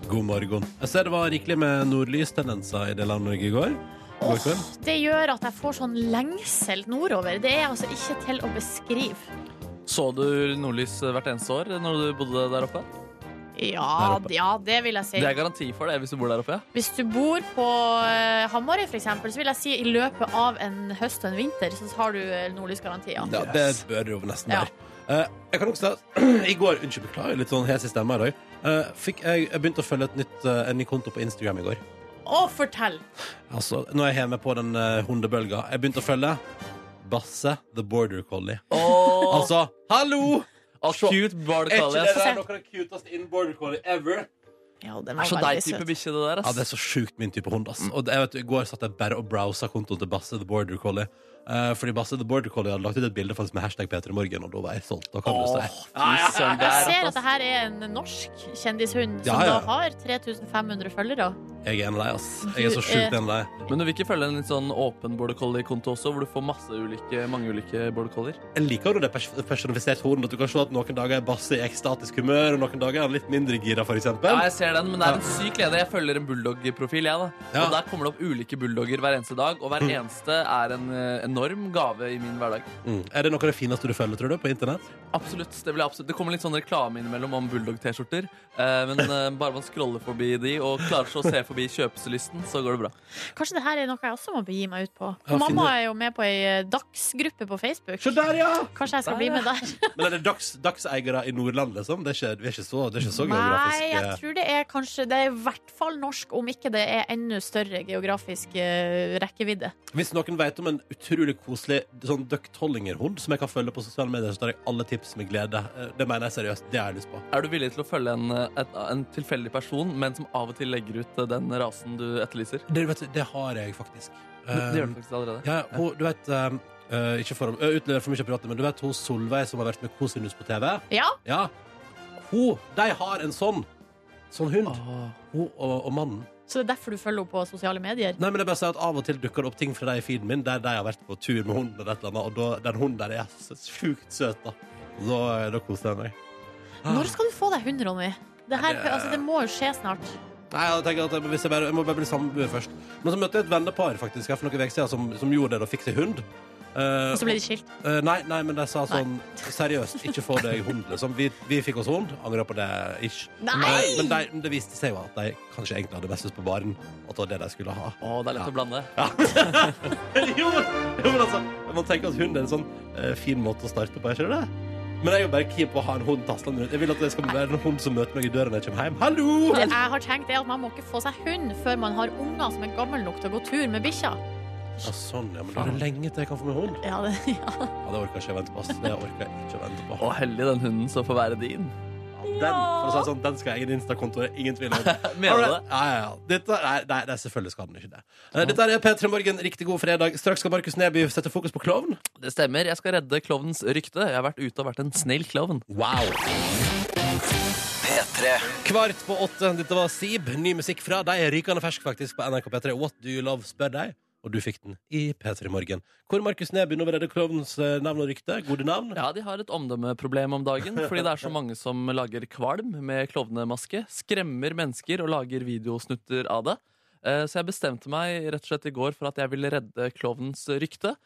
Speaker 1: God morgen. Jeg ser det var rikelig med nordlystendenser i deler av Norge i går. God kveld.
Speaker 2: Det gjør at jeg får sånn lengsel nordover. Det er altså ikke til å beskrive.
Speaker 3: Så du nordlys hvert eneste år når du bodde der oppe?
Speaker 2: Ja,
Speaker 1: Der oppe.
Speaker 2: ja det vil jeg si.
Speaker 3: Det er garanti for det hvis du bor der oppe, ja.
Speaker 2: Hvis du bor på eh, Hamarøy, for eksempel, så vil jeg si i løpet av en høst og en vinter, så har du eh, nordlysgaranti. Ja.
Speaker 1: Ja, det bør det jo nesten
Speaker 2: Ja.
Speaker 1: være. Eh, jeg kan også si at i går Unnskyld, beklager, litt sånn hes i stemma i dag. Eh, fikk jeg, jeg begynte å følge et nytt, eh, en ny konto på Instagram i går.
Speaker 2: Å, fortell!
Speaker 1: Altså, Nå er jeg hjemme på den eh, hundebølga. Jeg begynte å følge Basse the Border Collie.
Speaker 3: Åh,
Speaker 1: Altså, hallo!
Speaker 3: altså, cute
Speaker 1: Er
Speaker 3: barn
Speaker 1: ikke det
Speaker 3: kaller jeg.
Speaker 2: se.
Speaker 1: der noe av det cuteste in border collie ever?
Speaker 2: Ja, den
Speaker 3: Det er
Speaker 2: var
Speaker 3: så
Speaker 2: veldig
Speaker 3: deg type
Speaker 2: søt.
Speaker 3: bikkje det der,
Speaker 1: Ja, det
Speaker 3: ass.
Speaker 1: er så sjukt min type hund, ass. Og det, jeg vet, I går satt jeg bare og browsa kontoen til Basse the Border Collie. Eh, fordi Basse the Border Collie hadde lagt ut et bilde faktisk med hashtag Peter i morgen, og da var jeg solgt. Da kan du
Speaker 3: Åh,
Speaker 1: si.
Speaker 3: fy søren, det
Speaker 2: Jeg
Speaker 3: er
Speaker 2: ser at
Speaker 3: rått,
Speaker 2: det her er en norsk kjendishund
Speaker 1: Ja,
Speaker 2: som
Speaker 1: ja.
Speaker 2: da har 3500 følgere.
Speaker 1: Jeg er en av deg, ass. Jeg er så
Speaker 2: Du
Speaker 1: sjukt
Speaker 2: er-
Speaker 1: en av deg.
Speaker 3: ass. Men du vil ikke følge en litt sånn åpen border collie-konto også, hvor du får masse ulike, mange ulike border collier?
Speaker 1: Jeg liker jo det pers personifiserte hornet. At du kan se at noen dager er Basse i ekstatisk humør, og noen dager er han litt mindre gira, for
Speaker 3: Ja,
Speaker 1: eksempel.
Speaker 3: jeg ser den, men det er en syk leder. Jeg følger en bulldog-profil, jeg, da.
Speaker 1: Ja.
Speaker 3: Og der kommer det opp ulike bulldogger hver eneste dag, og hver eneste er en eh, enorm gave i min hverdag.
Speaker 1: Mm. Er det noe av det fineste du følger, tror du, på internett?
Speaker 3: Absolutt. Det, blir absolutt. det kommer litt sånn reklame innimellom om bulldog-T-skjorter. Eh, men eh, bare man scroller forbi de og klarer ikke å se forbi kjøpslysten, så går det bra.
Speaker 2: Kanskje det her er noe jeg også må begi meg ut på.
Speaker 1: Ja,
Speaker 2: Mamma
Speaker 1: finne-
Speaker 2: er jo med på ei eh, dagsgruppe på Facebook.
Speaker 1: Se der, ja!
Speaker 2: Kanskje jeg skal
Speaker 3: Der,
Speaker 2: bli
Speaker 3: ja.
Speaker 2: med der.
Speaker 1: Men er det dags, dagseiere i Nordland, liksom? Det er ikke, vi er ikke så, det er ikke så geografisk. Eh,
Speaker 2: Nei, jeg tror det er kanskje Det er i hvert fall norsk, om ikke det er enda større geografisk eh, rekkevidde.
Speaker 1: Hvis noen vet om en utrolig koselig sånn døkthollingerhund som jeg kan følge på sosiale medier, så tar jeg alle tips med glede. Eh, Det mener jeg seriøst. Det har jeg lyst på.
Speaker 3: Er du villig til å følge en, eh, et, en tilfeldig person, men som av og til legger ut eh, den rasen du etterlyser?
Speaker 1: Det, vet du, det har jeg faktisk.
Speaker 3: Det gjør
Speaker 1: Um,
Speaker 3: du faktisk allerede.
Speaker 1: ja, hun, du vet um, eh, Ikke for å eh, utlevere for mye av pratet, men du vet hun Solveig som har vært med Kosinus på TV?
Speaker 2: Ja,
Speaker 1: Ja. Hun De har en sånn. Sånn hund.
Speaker 3: Åh.
Speaker 1: Hun og, og mannen.
Speaker 2: Så det er derfor du følger henne på sosiale medier?
Speaker 1: Nei, men det er bare å si at Av og til dukker det opp ting fra deg i feeden min der de har vært på tur med hunden. eller et eller annet, Og da, den hunden der er så sjukt søt, da. Da, da koser jeg meg.
Speaker 2: Når skal du få deg hund, Ronny? Det, her, altså, det må jo skje snart.
Speaker 1: Nei, jeg tenker at jeg, hvis jeg, bare, jeg må bare bli samboer først. Men så møtte jeg et vennepar faktisk her for noen uker siden som, som gjorde det og fikk seg hund. Eh,
Speaker 2: Og så ble de skilt.
Speaker 1: eh, nei, nei, men de sa sånn seriøst, ikke få deg hund. Liksom. Vi, vi fikk oss hund, angrer på det ish.
Speaker 2: Nei!
Speaker 1: Men, men de, det viste seg jo at de kanskje egentlig hadde mest lyst på baren. At det var det de skulle ha.
Speaker 3: Åh, det er lett å blande.
Speaker 1: jo, men- jo, men altså, man tenker at hund er en sånn eh, fin måte å starte på, er ikke det? Men jeg er jo bare keen på å ha en hund taslende rundt. Jeg vil at det skal være en hund som møter meg i døra når jeg kommer hjem. Hallo!
Speaker 2: Det jeg har tenkt er at Man må ikke få seg hund før man har unger som er gammel nok til å gå tur med bikkja.
Speaker 1: Ja, sånn, ja. Men da er det lenge til jeg kan få meg hund.
Speaker 2: Ja, det, ja.
Speaker 1: Ja, det orker ikke jeg vente på. ass. Det orker jeg ikke å vente på.
Speaker 3: Og heldig den hunden som får være din.
Speaker 1: Den, for å si det sånn, den skal jeg i din Insta-konto. det er Ingen tvil om.
Speaker 3: Mener du det?
Speaker 1: Ja, ja, ja. Dette, nei, nei, nei, selvfølgelig skal den ikke det. Eh, Dette er P3 Morgen, riktig god fredag. Straks skal Markus Neby sette fokus på klovn.
Speaker 3: Det stemmer. Jeg skal redde klovnens rykte. Jeg har vært ute og vært en snill klovn.
Speaker 1: Wow. Kvart på åtte. Dette var Sib. Ny musikk fra deg. Rykende fersk, faktisk, på NRK P3. What Do You Love spør deg. Og du fikk den i P3 Morgen. Hvor Markus Neby nå vil redde klovnens eh, navn og rykte. Gode navn.
Speaker 3: Ja, De har et omdømmeproblem om dagen. Fordi det er så mange som lager kvalm med klovnemaske. Skremmer mennesker og lager videosnutter av det. Eh, Så jeg bestemte meg rett og slett i går for at jeg ville redde klovnens rykte.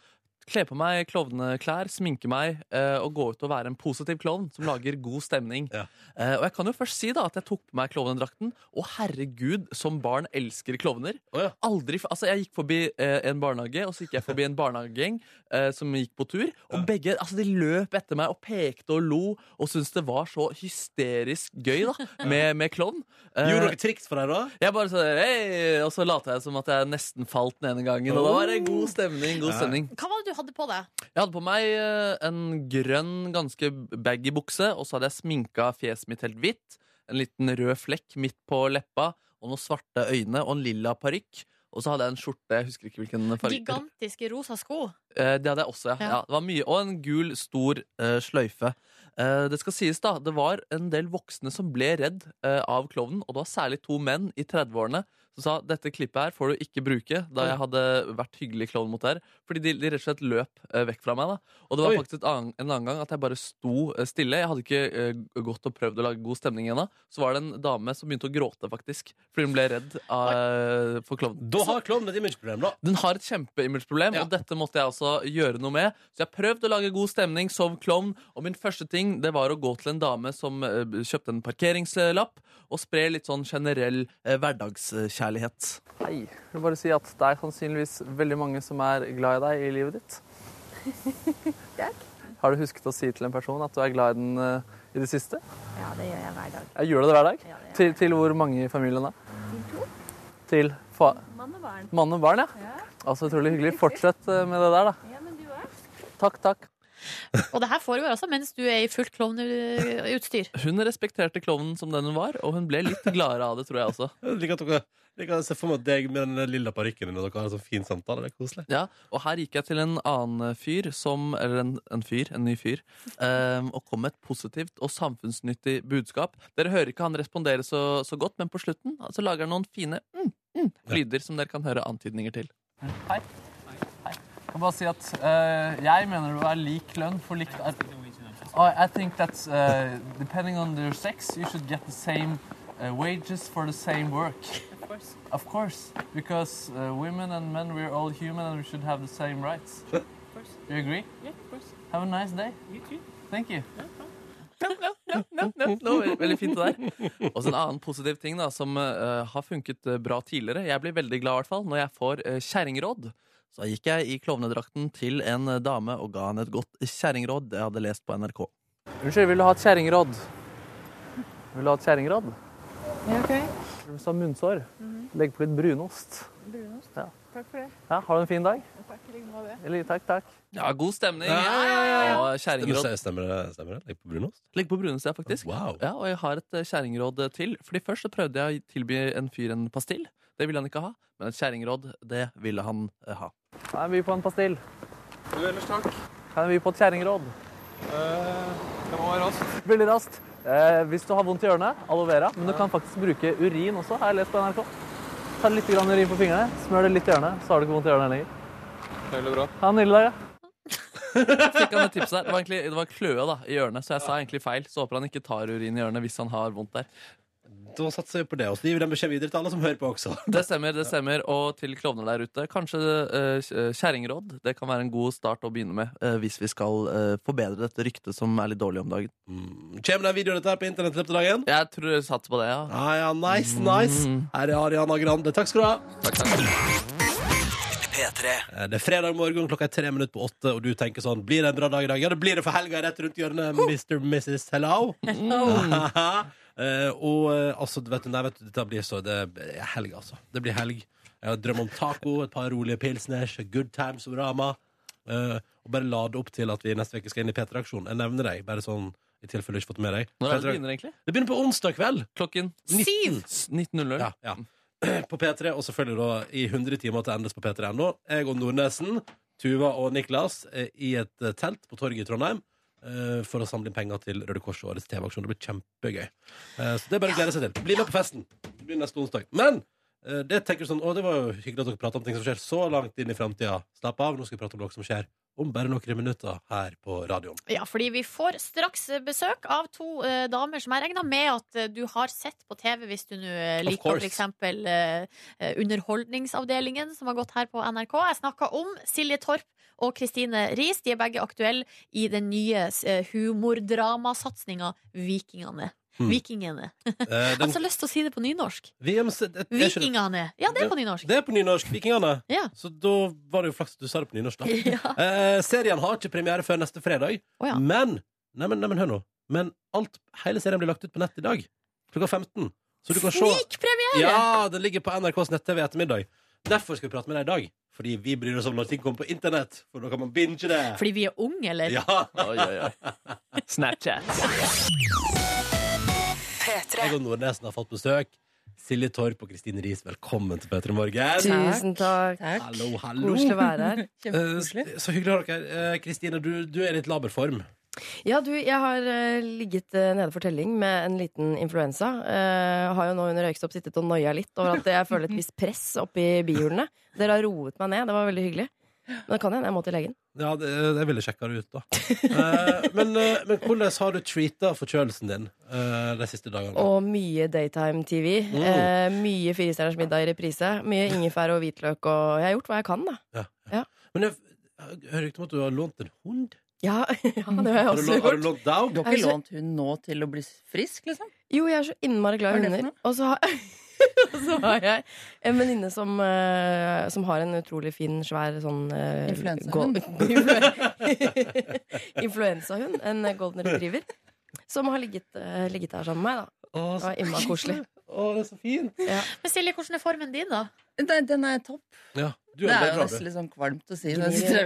Speaker 3: Kle på meg klovneklær, sminke meg eh, og gå ut og være en positiv klovn som lager god stemning.
Speaker 1: Ja.
Speaker 3: Eh, Og jeg kan jo først si da at jeg tok på meg klovnedrakten. Og herregud, som barn elsker klovner
Speaker 1: Å, ja.
Speaker 3: aldri f- Altså, jeg gikk forbi eh, en barnehage, og så gikk jeg forbi en barnehagegjeng eh, som gikk på tur. Og begge altså, de løp etter meg og pekte og lo og syntes det var så hysterisk gøy da med, med klovn. Eh,
Speaker 1: Gjorde dere triks for deg, da?
Speaker 3: jeg bare sånn, «Hei!» Og så lot jeg som at jeg nesten falt den ene gangen. Og da var det god stemning. god
Speaker 1: Ja.
Speaker 3: stemning
Speaker 2: Hva var det du hadde på deg?
Speaker 3: Jeg hadde på meg eh, en grønn, ganske baggy bukse, og så hadde jeg sminka fjeset mitt helt hvitt. En liten rød flekk midt på leppa, og noen svarte øyne og en lilla parykk. Og så hadde jeg en skjorte. jeg husker ikke hvilken farge.
Speaker 2: Gigantiske rosa sko.
Speaker 3: Eh, Det hadde jeg også, ja.
Speaker 2: Ja.
Speaker 3: ja. det var mye, og en gul, stor eh, sløyfe. Eh, det skal sies da, det var en del voksne som ble redd eh, av klovnen, og det var særlig to menn i 30-årene som sa dette klippet her får du ikke bruke, da jeg hadde vært hyggelig klovn mot deg. Fordi de, de rett og slett løp eh, vekk fra meg. da. Og det var
Speaker 1: Oi.
Speaker 3: faktisk et annen, en annen gang at jeg bare sto eh, stille. Jeg hadde ikke eh, gått og prøvd å lage god stemning ennå. Så var det en dame som begynte å gråte, faktisk, fordi hun ble redd av, for klovnen.
Speaker 1: Da har klovnen et imageproblem, da.
Speaker 3: Den har et kjempeimage-problem,
Speaker 1: Ja.
Speaker 3: og dette måtte jeg altså gjøre noe med. Så jeg prøvde å lage god stemning som klovn, og min første ting det var å gå til en dame som eh, kjøpte en parkeringslapp, og spre litt sånn generell eh, hverdagskjærlighet. Hei. Jeg vil bare si at det er sannsynligvis veldig mange som er glad i deg i livet ditt. Har du husket å si til en person at du er glad i den eh, i det siste? Eh,
Speaker 6: Ja, det gjør jeg hver dag.
Speaker 3: gjør du det hver dag?
Speaker 6: Ja, det
Speaker 3: Til, hvor mange i familien da?
Speaker 6: to.
Speaker 3: Til fa...
Speaker 6: Mann og barn.
Speaker 3: Mann og barn, ja. Altså, Utrolig hyggelig. Fortsett eh, med det der, da.
Speaker 6: Ja, men du òg.
Speaker 3: Takk, takk.
Speaker 2: Og det her foregår altså mens du er i fullt klovneutstyr.
Speaker 3: Hun respekterte klovnen som den hun var, og hun ble litt gladere av det, tror jeg også.
Speaker 1: Jeg liker at dere- jeg liker å se for meg deg med den lilla parykken din, og dere har en sånn fin samtale. Det er koselig.
Speaker 3: Ja, Og her gikk jeg til en annen fyr, som, eller en, en fyr, en ny fyr, eh, og kom med et positivt og samfunnsnyttig budskap. Dere hører ikke han respondere så, så godt, men på slutten altså, lager han noen fine mm, mm, lyder som dere kan høre antydninger til. Hei. Jeg kan bare si at eh, jeg mener du er lik lønn for likt arbeid. I think that depending on your sex, you should get the same eh, wages for the same work. Of course, because uh, women and men, we're all human and we should have the same rights. Of course. You agree? Yeah, of course. Have a nice day. You too. Thank you. Veldig fint det der. Og så en annen positiv ting da, som eh, har funket eh, bra tidligere. Jeg blir veldig glad i hvert fall når jeg får uh, kjerringråd. Så da gikk jeg i klovnedrakten til en eh, dame og ga henne et godt kjerringråd jeg hadde lest på NRK. Unnskyld, vil du ha et kjerringråd? Vil du ha et kjerringråd? Hvis du har munnsår, legg på litt brunost.
Speaker 6: Mhm. Takk for det.
Speaker 3: Ja, ha en fin dag.
Speaker 6: Takk i like måte.
Speaker 3: takk, takk. Ja, god stemning. Og
Speaker 1: Stemmer
Speaker 3: kjerringråd.
Speaker 1: det? Stemmer det? Stemmer det? Legg på brunost?
Speaker 3: Ligg på brunost, ja, faktisk.
Speaker 1: Wow.
Speaker 3: Ja, og jeg har et eh, kjerringråd til. Fordi først så prøvde jeg å tilby en fyr en pastill. Det ville han ikke ha. Men et kjerringråd, det ville han eh, ha. Kan jeg by på en pastill?
Speaker 7: Ellers takk. Eh,
Speaker 3: Kan jeg by på et kjerringråd?
Speaker 7: det må være raskt.
Speaker 3: Veldig raskt. Eh, hvis du har vondt i ørene, aloe vera. Men du kan faktisk bruke urin også, har jeg lest på NRK. Ta litt grann urin på fingrene, smør det litt i ørene, så har du ikke vondt i ørene lenger.
Speaker 7: Veldig bra.
Speaker 3: Ha en nydelig dag, ja. Fikk han et tips der. Det var, egentlig, det var kløe da, i ørene, så jeg sa egentlig feil. Så håper han ikke tar urin i ørene hvis han har vondt der.
Speaker 1: Da satser vi på det. Og så gir vi den beskjeden videre til alle som hører på også.
Speaker 3: Det stemmer, det stemmer. Og til klovner der ute, kanskje eh, kjerringråd. Det kan være en god start å begynne med eh, hvis vi skal eh, forbedre dette ryktet som er litt dårlig om dagen.
Speaker 1: Kjem den videoen dette her på internett i løpet av dagen?
Speaker 3: Jeg tror jeg satser på det, ja.
Speaker 1: Ah,
Speaker 3: Mm.
Speaker 1: Ja, ja, nice, nice. Her er Ariana Grande. Takk skal du ha.
Speaker 3: Takk, takk.
Speaker 1: Eh, Det er fredag morgen, klokka er tre minutter på åtte, og du tenker sånn Blir det en bra dag i dag? Ja, det blir det, for helga er rett rundt hjørnet. Mr. Mrs. Hello.
Speaker 2: Mm.
Speaker 1: Eh, og eh, altså, vet du, nei, vet du, dette blir så Det er helg, altså. Det blir helg. Jeg har drøm om taco, et par rolige pilsners, good times og rama. Eh, og bare lade opp til at vi neste uke skal inn i P3-aksjonen. Jeg nevner deg, bare sånn i tilfelle du ikke har fått med deg.
Speaker 3: Når er det det
Speaker 1: P3
Speaker 3: begynner, egentlig?
Speaker 1: det begynner på onsdag kveld.
Speaker 3: Klokken
Speaker 2: Syv!
Speaker 3: 19.00.
Speaker 1: Ja, ja. På P3, og selvfølgelig da i 100 timer til endes på p3.no. Jeg og Nordnesen, Tuva og Niklas eh, i et eh, telt på torget i Trondheim eh, for å samle inn penger til Røde Kors og årets TV-aksjon. Det blir kjempegøy. Eh, Så det er bare å glede seg til. Bli med på festen. Det blir neste onsdag. Men eh, det tenker du sånn, å, det var jo hyggelig at dere pratet om ting som skjer så langt inn i framtida. Slapp av, nå skal vi prate om noe som skjer om bare noen minutter her på radioen.
Speaker 2: Ja, fordi vi får straks besøk av to eh, damer som jeg regner med at eh, du har sett på TV hvis du nå eh,
Speaker 1: Of
Speaker 2: liker
Speaker 1: course.
Speaker 2: f.eks. Uh, underholdningsavdelingen som har gått her på NRK. Jeg snakka om Silje Torp og Kristine Riis. De er begge aktuelle i den nye eh, humordramasatsinga Vikingene.
Speaker 1: Hmm.
Speaker 2: Vikingene.
Speaker 1: Eh,
Speaker 2: Jeg
Speaker 1: Den,
Speaker 2: har så lyst til å si det på nynorsk.
Speaker 1: VM, det, det, er ikke,
Speaker 2: Vikingene. Ja, det er på nynorsk.
Speaker 1: det er på nynorsk. Vikingene.
Speaker 2: Ja.
Speaker 1: Så da var det jo flaks at du sa det på nynorsk, da.
Speaker 2: Ja.
Speaker 1: Eh, serien har ikke premiere før neste fredag,
Speaker 2: Å ja.
Speaker 1: men, nei, men, nei, men hør nå. Men alt, hele serien blir lagt ut på nett i dag, klokka 15. Så du kan se
Speaker 2: Snikpremiere!
Speaker 1: Ja, den ligger på NRKs nett-TV i ettermiddag. Derfor skal vi prate med deg i dag. Fordi vi bryr oss om når ting kommer på internett, for da kan man binge det.
Speaker 2: Fordi vi er unge, eller?
Speaker 1: Ja,
Speaker 3: Oi, oi, oi. Snapchat.
Speaker 1: jeg og Nordnesen har fått besøk. Silje Torp og Kristine Riis, velkommen til Petra Morgen.
Speaker 8: Tusen takk.
Speaker 1: Hallo, hallo.
Speaker 8: Koselig å være her.
Speaker 1: Eh, så hyggelig å ha dere her. Eh, Kristine, du, du er i litt laber form.
Speaker 8: Ja, du, jeg har eh, ligget eh, nede for telling med en liten influensa. Eh, har jo nå under røykstopp sittet og noia litt over at jeg føler et visst press oppi bihulene. Dere har roet meg ned. Det var veldig hyggelig. Men det kan hende jeg må til legen.
Speaker 1: Ja, det, jeg ville sjekka det ut, da. Eh, men, eh, men hvordan har du treata forkjølelsen din eh, de siste dagene?
Speaker 8: Og mye daytime-TV.
Speaker 1: Mm.
Speaker 8: Eh, mye Firestjerners middag i reprise. Mye ingefær og hvitløk og Jeg har gjort hva jeg kan, da.
Speaker 1: Men jeg, jeg hører rykte om at du har lånt en hund.
Speaker 8: Ja, ja det har jeg
Speaker 1: Har du,
Speaker 8: også
Speaker 1: lå- har
Speaker 8: gjort.
Speaker 1: du lånt deg?
Speaker 9: Du har ikke lånt hun nå til å bli frisk, liksom?
Speaker 8: Jo, jeg er så innmari glad i
Speaker 9: Hva er det
Speaker 8: hunder. Og så har, og så har jeg en venninne som, eh, som har en utrolig fin, svær sånn eh,
Speaker 9: Influensahund.
Speaker 8: gol- Influ- Influensahund. En golden retriever. Som har ligget, eh, ligget her sammen med meg. da
Speaker 1: Å,
Speaker 8: Det
Speaker 1: så-
Speaker 8: var innmari koselig.
Speaker 1: å, det er så fint!
Speaker 2: Men Silje, hvordan er formen din, da?
Speaker 9: Nei, den er topp.
Speaker 1: Ja, du
Speaker 9: Det
Speaker 1: er veldig
Speaker 9: er jo
Speaker 1: bra,
Speaker 9: nesten
Speaker 1: du.
Speaker 9: litt sånn kvalmt å si.
Speaker 8: Gnir.
Speaker 9: Den sitter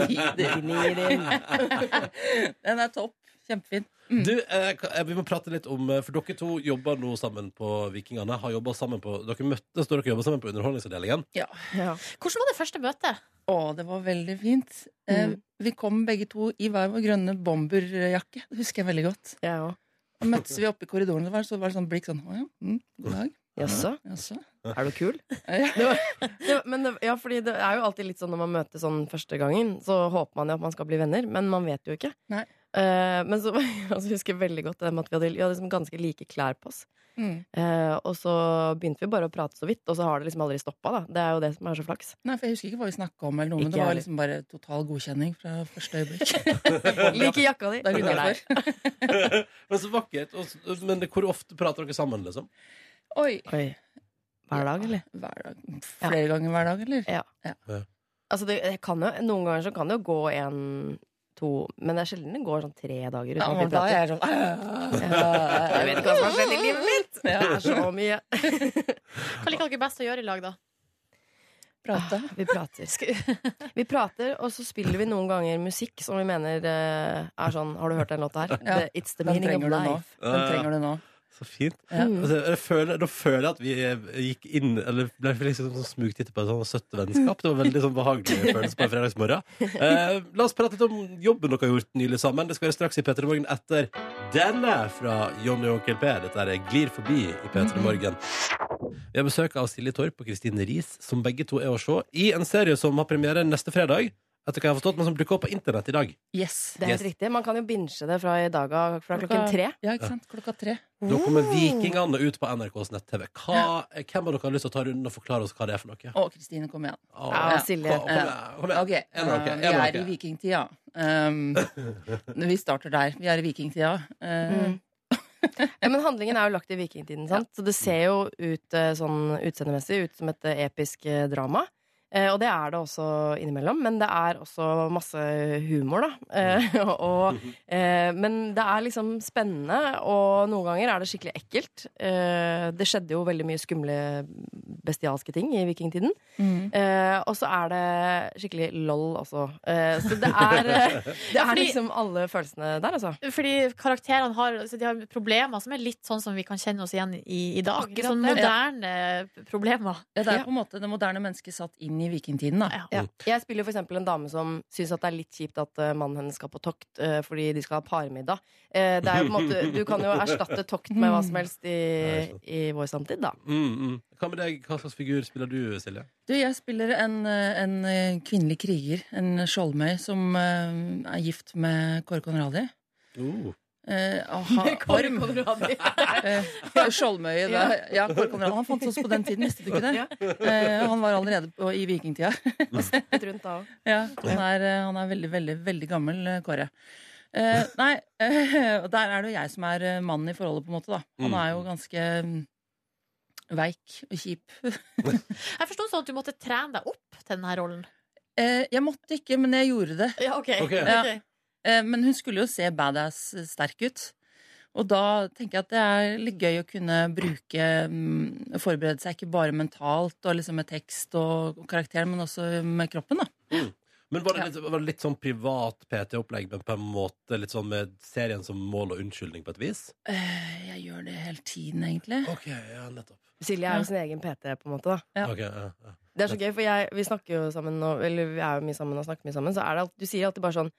Speaker 9: og gnir.
Speaker 8: Gnir inn.
Speaker 9: Den er topp. Kjempefin.
Speaker 1: du eh, ka- eh, vi må prate litt om eh, For dere to jobber nå sammen på Vikingene. Har jobbet sammen på, dere møttes da dere jobba sammen på Underholdningsavdelingen.
Speaker 8: Ja.
Speaker 2: Hvordan var det første møtet?
Speaker 9: Å, det var veldig fint. Eh,
Speaker 8: Mm.
Speaker 9: Vi kom begge to i hver vår grønne bomberjakke. Det husker jeg veldig godt.
Speaker 8: Jeg òg.
Speaker 9: Og møttes vi oppe i korridoren, det var, så var det sånn blikk sånn Å ja, mm, god dag.
Speaker 8: Jaså,
Speaker 9: Jaså.
Speaker 8: er du kul?
Speaker 9: Ja.
Speaker 8: Det, men det, ja, fordi det er jo alltid litt sånn når man møtes sånn første gangen, så håper man jo at man skal bli venner, men man vet jo ikke.
Speaker 9: Nei.
Speaker 8: Eh, men så altså, jeg husker jeg veldig godt det med at vi hadde, vi hadde liksom ganske like klær på oss.
Speaker 9: Mm.
Speaker 8: Eh, og så begynte vi bare å prate så vidt, og så har det liksom aldri stoppa. da. Det er jo det som er så flaks.
Speaker 9: Nei, for jeg husker ikke hva vi snakka om, eller noe, men
Speaker 8: Ikke
Speaker 9: det var
Speaker 8: heller.
Speaker 9: liksom bare total godkjenning fra første øyeblikk.
Speaker 8: Like jakka di!
Speaker 9: Det er vi glad for.
Speaker 1: Men så vakkert. Og, s- men hvor ofte prater dere sammen, liksom?
Speaker 9: Oi.
Speaker 8: Oi. Hver dag, eller?
Speaker 9: Hver dag. Flere ganger hver dag, eller?
Speaker 8: Altså, det, det kan jo, noen ganger så kan det jo gå en, to Men det er sjelden det går sånn tre dager uten
Speaker 9: Ja,
Speaker 8: at
Speaker 9: men
Speaker 8: vi
Speaker 9: da
Speaker 8: prater.
Speaker 9: er jeg sånn Jeg
Speaker 8: Jeg vet ikke hva som har skjedd i livet mitt! Det er så mye.
Speaker 2: Hva liker dere best å gjøre i lag, da?
Speaker 9: Prate.
Speaker 8: Vi prater.
Speaker 2: Skal-
Speaker 8: Vi prater, og så spiller vi noen ganger musikk som vi mener eh, er sånn Har du hørt den låta her?
Speaker 9: Ja.
Speaker 8: The- It's the
Speaker 9: Den
Speaker 8: meaning of
Speaker 9: trenger du nå. Ah.
Speaker 8: life.
Speaker 9: Den trenger du nå.
Speaker 1: Så fint.
Speaker 9: Ja.
Speaker 1: Altså, jeg føler, da føler jeg at vi eh, gikk inn Eller ble liksom sånn smugt etter på et sånt søtt vennskap. Det var veldig sånn behagelig følelse på en fredagsmorgen. Eh, la oss prate litt om jobben dere har gjort nylig sammen. Det skal være straks i P3 Morgen etter denne fra Johnny og Onkel P. Dette er Glir forbi i P3 Morgen. Vi har besøk av Silje Torp og Kristine Riis, som begge to er å se i en serie som har premiere neste fredag, etter hva jeg har forstått, men som dukker opp på internett i dag.
Speaker 9: Yes.
Speaker 8: Det er helt riktig. Man kan jo binche det fra i dag av, fra klokken tre.
Speaker 9: Ja, ikke sant? Klokka tre.
Speaker 1: Da kommer Vikingene ut på NRKs nett-TV. Hva- Hvem av dere har lyst til å ta runden og forklare oss hva det er for noe?
Speaker 9: Å, Kristine, kom igjen.
Speaker 1: Åh,
Speaker 8: Ja, Silje.
Speaker 1: Kom, kom igjen, kom igjen.
Speaker 9: Ok,
Speaker 1: En av dere,
Speaker 9: eh,
Speaker 1: en av
Speaker 9: Vi er
Speaker 1: dere.
Speaker 9: i vikingtida. Um, vi starter der. Vi er i vikingtida. Eh,
Speaker 8: Mm. Ja, men handlingen er jo lagt i vikingtiden, sant? så det ser jo ut eh, sånn utseendemessig ut som et eh, episk eh, drama. Eh, og det er det også innimellom, men det er også masse humor, da. Eh, og, eh, men det er liksom spennende, og noen ganger er det skikkelig ekkelt. Eh, det skjedde jo veldig mye skumle, bestialske ting i vikingtiden. Eh, og så er det skikkelig lol også. Eh, så det er, eh, det er
Speaker 2: fordi-
Speaker 8: liksom alle følelsene der, altså.
Speaker 2: Fordi karakterene har, altså, de har problemer som er litt sånn som vi kan kjenne oss igjen i i dag.
Speaker 9: Akkurat
Speaker 2: sånn
Speaker 9: det.
Speaker 2: moderne eh, problemer.
Speaker 9: Ja, det er på en måte det moderne mennesket satt inn i vikingtiden. da.
Speaker 2: Ja.
Speaker 8: Ja.
Speaker 1: Mm.
Speaker 8: Jeg spiller jo for eksempel en dame som syns det er litt kjipt at eh, mannen hennes skal på tokt eh, fordi de skal ha parmiddag. Eh, det er jo på en måte, du kan jo erstatte tokt med hva som helst i, i vår samtid, da.
Speaker 1: Mm, mm. Hva med deg? Hva slags figur spiller du, Silje?
Speaker 9: Du, jeg spiller en, eh, en eh, kvinnelig kriger, en skjoldmøy, som eh, er gift med Kåre Conradi.
Speaker 1: Oh.
Speaker 9: Eh, og ha- orm. Eh, Skjoldmøye. Da. Ja, Kåre Conradi. Han fantes også på den tiden, visste du ikke det? Eh, han var allerede på, i vikingtida.
Speaker 8: Litt rundt da også.
Speaker 9: Ja, han er, eh, han er veldig, veldig, veldig gammel, eh, Kåre. Eh, nei, eh, og der er det jo jeg som er eh, mannen i forholdet, på en måte, da. Han er jo ganske mm, veik og kjip.
Speaker 2: Jeg forsto sånn at du måtte trene deg opp til denne rollen.
Speaker 9: Eh, jeg måtte ikke, men jeg gjorde det.
Speaker 2: Ja, ok.
Speaker 1: Ok.
Speaker 9: Ja. Eh, men hun skulle jo se badass eh, sterk ut. Og da tenker jeg at det er litt gøy å kunne bruke mm, Forberede seg ikke bare mentalt og liksom med tekst og karakter, men også med kroppen, da.
Speaker 1: Men var det, litt, var det litt sånn privat PT-opplegg, men på en måte litt sånn med serien som mål og unnskyldning på et vis?
Speaker 9: Eh, jeg gjør det hele tiden, egentlig.
Speaker 1: Ok, ja, nettopp.
Speaker 8: Silje er jo sin egen PT, på en måte. da
Speaker 9: Ja.
Speaker 1: Ok, ja, ja.
Speaker 8: Det er så gøy, for jeg, vi snakker jo sammen og, Eller vi er jo mye sammen og snakker mye sammen. Så er det alt, du sier alltid bare sånn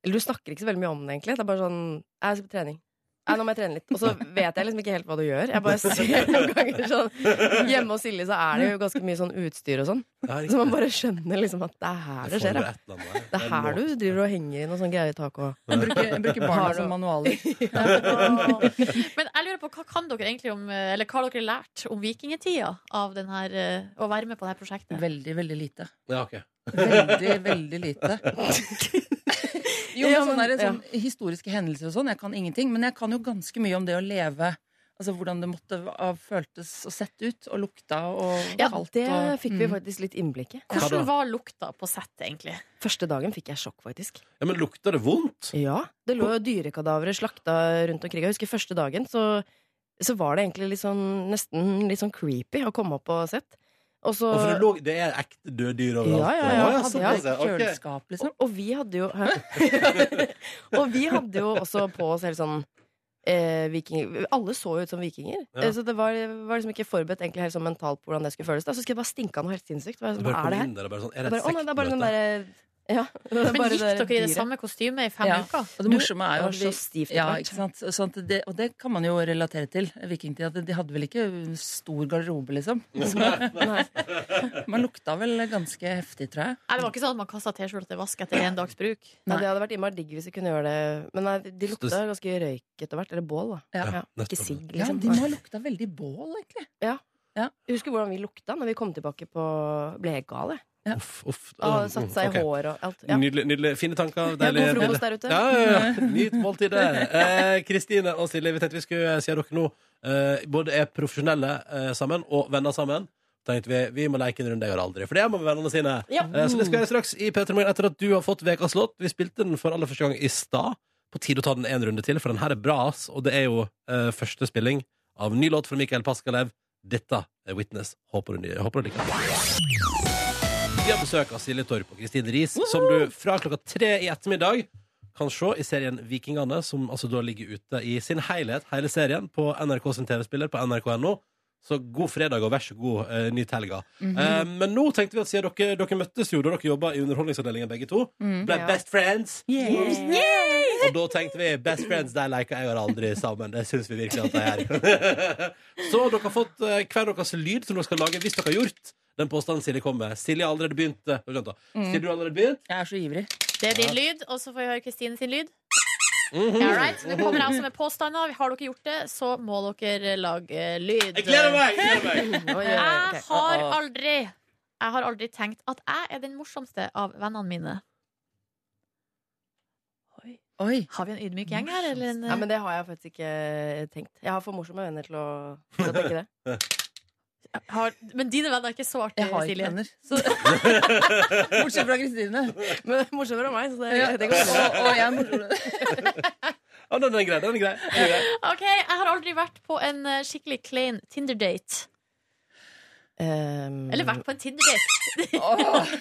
Speaker 8: Eller du snakker ikke så veldig mye om det, egentlig. Det er bare sånn Jeg skal på trening. Nei, nå må jeg trene litt. Og så vet jeg liksom ikke helt hva du gjør. Jeg bare ser noen ganger sånn Hjemme hos Silje så er det jo ganske mye sånn utstyr og sånn.
Speaker 1: Ja,
Speaker 8: Så man
Speaker 1: riktig.
Speaker 8: bare skjønner liksom at det er her det skjer.
Speaker 1: foregår et eller
Speaker 8: Ja.
Speaker 1: annet der.
Speaker 8: Det er her du driver og henger i noe sånn greier i taket og
Speaker 9: Jeg bruker, jeg bruker
Speaker 8: Har
Speaker 9: barna
Speaker 8: du-
Speaker 9: som manualer.
Speaker 2: Men jeg lurer på, hva kan dere egentlig om, eh, eller hva har dere lært om vikingetida av den her, eh, å være med på dette prosjektet?
Speaker 9: Veldig, veldig lite.
Speaker 1: Ja, ok.
Speaker 9: Veldig, veldig lite. Jo,
Speaker 8: Ja,
Speaker 9: men sånn
Speaker 8: men-
Speaker 9: er det sånn historiske hendelser og sånn. Jeg kan ingenting, men jeg kan jo ganske mye om det å leve. Altså hvordan det måtte ha føltes og sett ut og lukta og
Speaker 8: Ja,
Speaker 9: alt.
Speaker 8: det eh,
Speaker 9: og,
Speaker 8: fikk vi
Speaker 9: Mm.
Speaker 8: faktisk litt innblikk i.
Speaker 1: Hva da?
Speaker 2: Hvordan var lukta på settet, egentlig?
Speaker 8: Første dagen fikk jeg sjokk, faktisk.
Speaker 1: Ja, men lukter det vondt?
Speaker 8: Ja, Det lå jo dyrekadavere slakta rundt omkring. Jeg husker første dagen, så, så var det egentlig litt sånn, nesten litt sånn creepy å komme opp og sett. Og, så,
Speaker 1: Og for det, lå, det er ekte døde dyr overalt?
Speaker 8: Ja, ja, ja.
Speaker 1: Å,
Speaker 8: Ja,
Speaker 1: sånn,
Speaker 8: ja.
Speaker 1: altså. Ok.
Speaker 9: Kjøleskap, liksom.
Speaker 8: og, og vi hadde jo hæ? Og vi hadde jo også på oss helt sånn eh, vikinger Alle så jo ut som vikinger.
Speaker 1: Ja.
Speaker 8: Eh, Så det var, var liksom ikke forberedt egentlig helt sånn mentalt på hvordan det skulle føles. Da. Så skulle jeg bare stinke av noe helt sinnssykt. Hva er
Speaker 1: Du
Speaker 8: det
Speaker 1: bare kommer
Speaker 8: her?
Speaker 1: inn der og bare sånn Er
Speaker 8: Jeg
Speaker 1: det et
Speaker 8: Bare, å nei, det er bare den
Speaker 1: sektmøte?
Speaker 8: derre ja, det er
Speaker 2: Men
Speaker 8: bare
Speaker 2: Gikk
Speaker 8: det der
Speaker 2: dere i det
Speaker 8: dyret.
Speaker 2: samme kostymet i fem
Speaker 9: Ja.
Speaker 2: uker?
Speaker 9: Og det morsomme er
Speaker 8: Det var
Speaker 9: jo at
Speaker 8: så
Speaker 9: vi
Speaker 8: stivt
Speaker 9: ja,
Speaker 8: etter hvert.
Speaker 9: ikke sant? Sånn at det, Og det kan man jo relatere til. Vikingtida. at De hadde vel ikke stor garderobe, liksom. Så, man lukta vel ganske heftig, tror jeg.
Speaker 2: Nei, det var ikke sånn at man kasta T-skjorta til vask etter en dags bruk.
Speaker 8: Ja,
Speaker 9: Nei.
Speaker 8: det hadde vært innmari digg hvis vi kunne gjøre det. Men nei, de lukta
Speaker 1: Så-
Speaker 8: ganske røyk etter hvert. Eller bål, da.
Speaker 9: Ja,
Speaker 8: Ikke
Speaker 1: nettopp.
Speaker 8: sigg,
Speaker 9: Ja,
Speaker 8: liksom.
Speaker 9: de må ha lukta veldig bål, egentlig.
Speaker 8: Jeg husker hvordan vi lukta når vi kom tilbake på Ble helt gal, jeg.
Speaker 1: Uff, uff.
Speaker 8: Ah, satt seg
Speaker 1: Ok.
Speaker 8: i hår og alt. Ja.
Speaker 1: Nydelig, nydelig. Fine tanker.
Speaker 8: Ja,
Speaker 1: Deilig.
Speaker 8: god
Speaker 1: deilig.
Speaker 8: frokost der ute.
Speaker 1: Ja, ja, ja. Nyt måltidet. Eh, Kristine og Silje, vi tenkte vi skulle si at dere nå eh, både er profesjonelle eh, sammen og venner sammen. Tenkte Vi vi må leke en runde jeg gjør aldri, for det må vennene sine. Eh, så det skal vi gjøre straks i Peter Morgen etter at du har fått Vekas låt. Vi spilte den for aller første gang i stad. På tide å ta den en runde til, for den her er bra, ass. Og det er jo eh, første spilling av ny låt fra Mikael Paskalev. Dette er Witness. Håper du, håper du liker den. Vi har besøk av Silje Torp og Kristine Riis, som du fra klokka tre i ettermiddag kan se i serien Vikingane, som altså da ligger ute i sin helhet, hele serien, på NRK sin TV-spiller på nrk.no. Så god fredag, og vær så god, eh, nyt helga. Eh, men nå tenkte vi at siden dere, dere møttes jo da dere jobba i Underholdningsavdelingen begge to, ble
Speaker 8: Ja.
Speaker 1: best friends,
Speaker 9: Yeah.
Speaker 1: og da tenkte vi best friends, de leker jeg og aldri sammen. Det syns vi virkelig at de gjør. Så dere har fått eh, hver deres lyd som dere skal lage hvis dere har gjort den påstanden Silje kom med. Silje har allerede begynt. eh, du skjønte. Silje, du har allerede begynt?
Speaker 9: Jeg er så ivrig.
Speaker 2: Det er din lyd, og så får vi høre Kristine sin lyd. Mm-hmm. Ja, right. Nå kommer jeg også med påstander. Har dere gjort det, så må dere lage lyd.
Speaker 1: Jeg gleder meg! Jeg gleder meg.
Speaker 8: Oi, oi, oi,
Speaker 2: Jeg
Speaker 9: Ah!
Speaker 8: ok.
Speaker 2: har aldri Jeg har aldri tenkt at jeg er den morsomste av vennene mine.
Speaker 9: Oi.
Speaker 2: Har vi en ydmyk gjeng her, eller en
Speaker 8: Nei, eh, men det har jeg faktisk ikke tenkt. Jeg har for morsomme venner til å, til å tenke det.
Speaker 2: eh, Har, men dine venner er ikke så artige,
Speaker 9: Jeg har ikke
Speaker 2: Silje.
Speaker 9: venner. Så, bortsett fra Kristine.
Speaker 8: Men morsommere enn meg, så det,
Speaker 9: Ja,
Speaker 8: det
Speaker 9: og,
Speaker 8: går bra.
Speaker 9: og jeg er morsom.
Speaker 1: Ja, den er grei. Den er grei. Den er grei.
Speaker 2: Ok, Jeg har aldri vært på en eh, skikkelig klein Tinder-date.
Speaker 8: Ehm,
Speaker 2: Eller vært på en Tinder-date.
Speaker 9: Åh.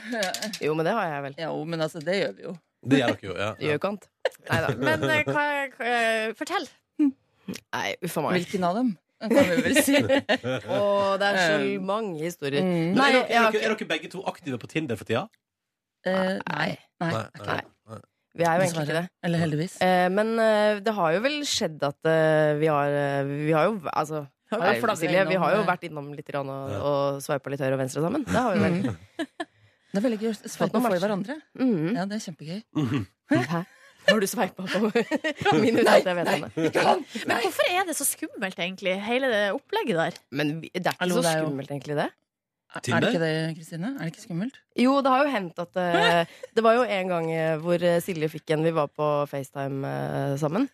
Speaker 8: Jo, men det har jeg vel.
Speaker 9: Jo, men altså, det gjør vi jo.
Speaker 1: Det gjør dere jo. Ja.
Speaker 8: Gjør ikke annet. Nei da.
Speaker 2: Men eh, hva, hva- fortell.
Speaker 8: Nei, uff a meg.
Speaker 9: Hvilken av dem? Kan vi vel si.
Speaker 8: Å, det er så mange historier.
Speaker 9: Mm.
Speaker 1: Men
Speaker 8: Nei,
Speaker 1: er, dere,
Speaker 8: jeg
Speaker 1: er, dere,
Speaker 8: har ikke
Speaker 1: er dere begge to aktive på Tinder for tida?
Speaker 9: Eh, nei. Nei.
Speaker 1: nei. nei.
Speaker 8: Vi er jo egentlig ikke det.
Speaker 9: Eller heldigvis.
Speaker 8: Eh, men eh, det har jo vel skjedd at eh, vi har eh, Vi har jo altså
Speaker 9: Har
Speaker 8: Nei,
Speaker 9: vært flagget
Speaker 8: Silje, vi
Speaker 9: innom,
Speaker 8: har jo
Speaker 9: eh,
Speaker 8: vært innom litt grann og,
Speaker 1: Ja.
Speaker 8: og sveipa litt høyre og venstre sammen. Det har vi vel.
Speaker 9: Mm. Det er veldig gøy. Sveipe for hverandre.
Speaker 8: Mhm.
Speaker 9: Ja, det er kjempegøy.
Speaker 8: Hæ? Har du sveipa på min uten at jeg vet om det?
Speaker 2: Men hvorfor er det så skummelt, egentlig, hele det opplegget der?
Speaker 8: Men vi- det er ikke
Speaker 9: Hallo,
Speaker 8: så
Speaker 9: det er jo-
Speaker 8: skummelt, egentlig, det.
Speaker 9: Er- Er
Speaker 1: Tinder?
Speaker 9: det ikke det, Kristine? Er det ikke skummelt?
Speaker 8: Jo, det har jo hendt at eh, Det var jo en gang eh, hvor eh, Silje fikk en Vi var på FaceTime eh, sammen.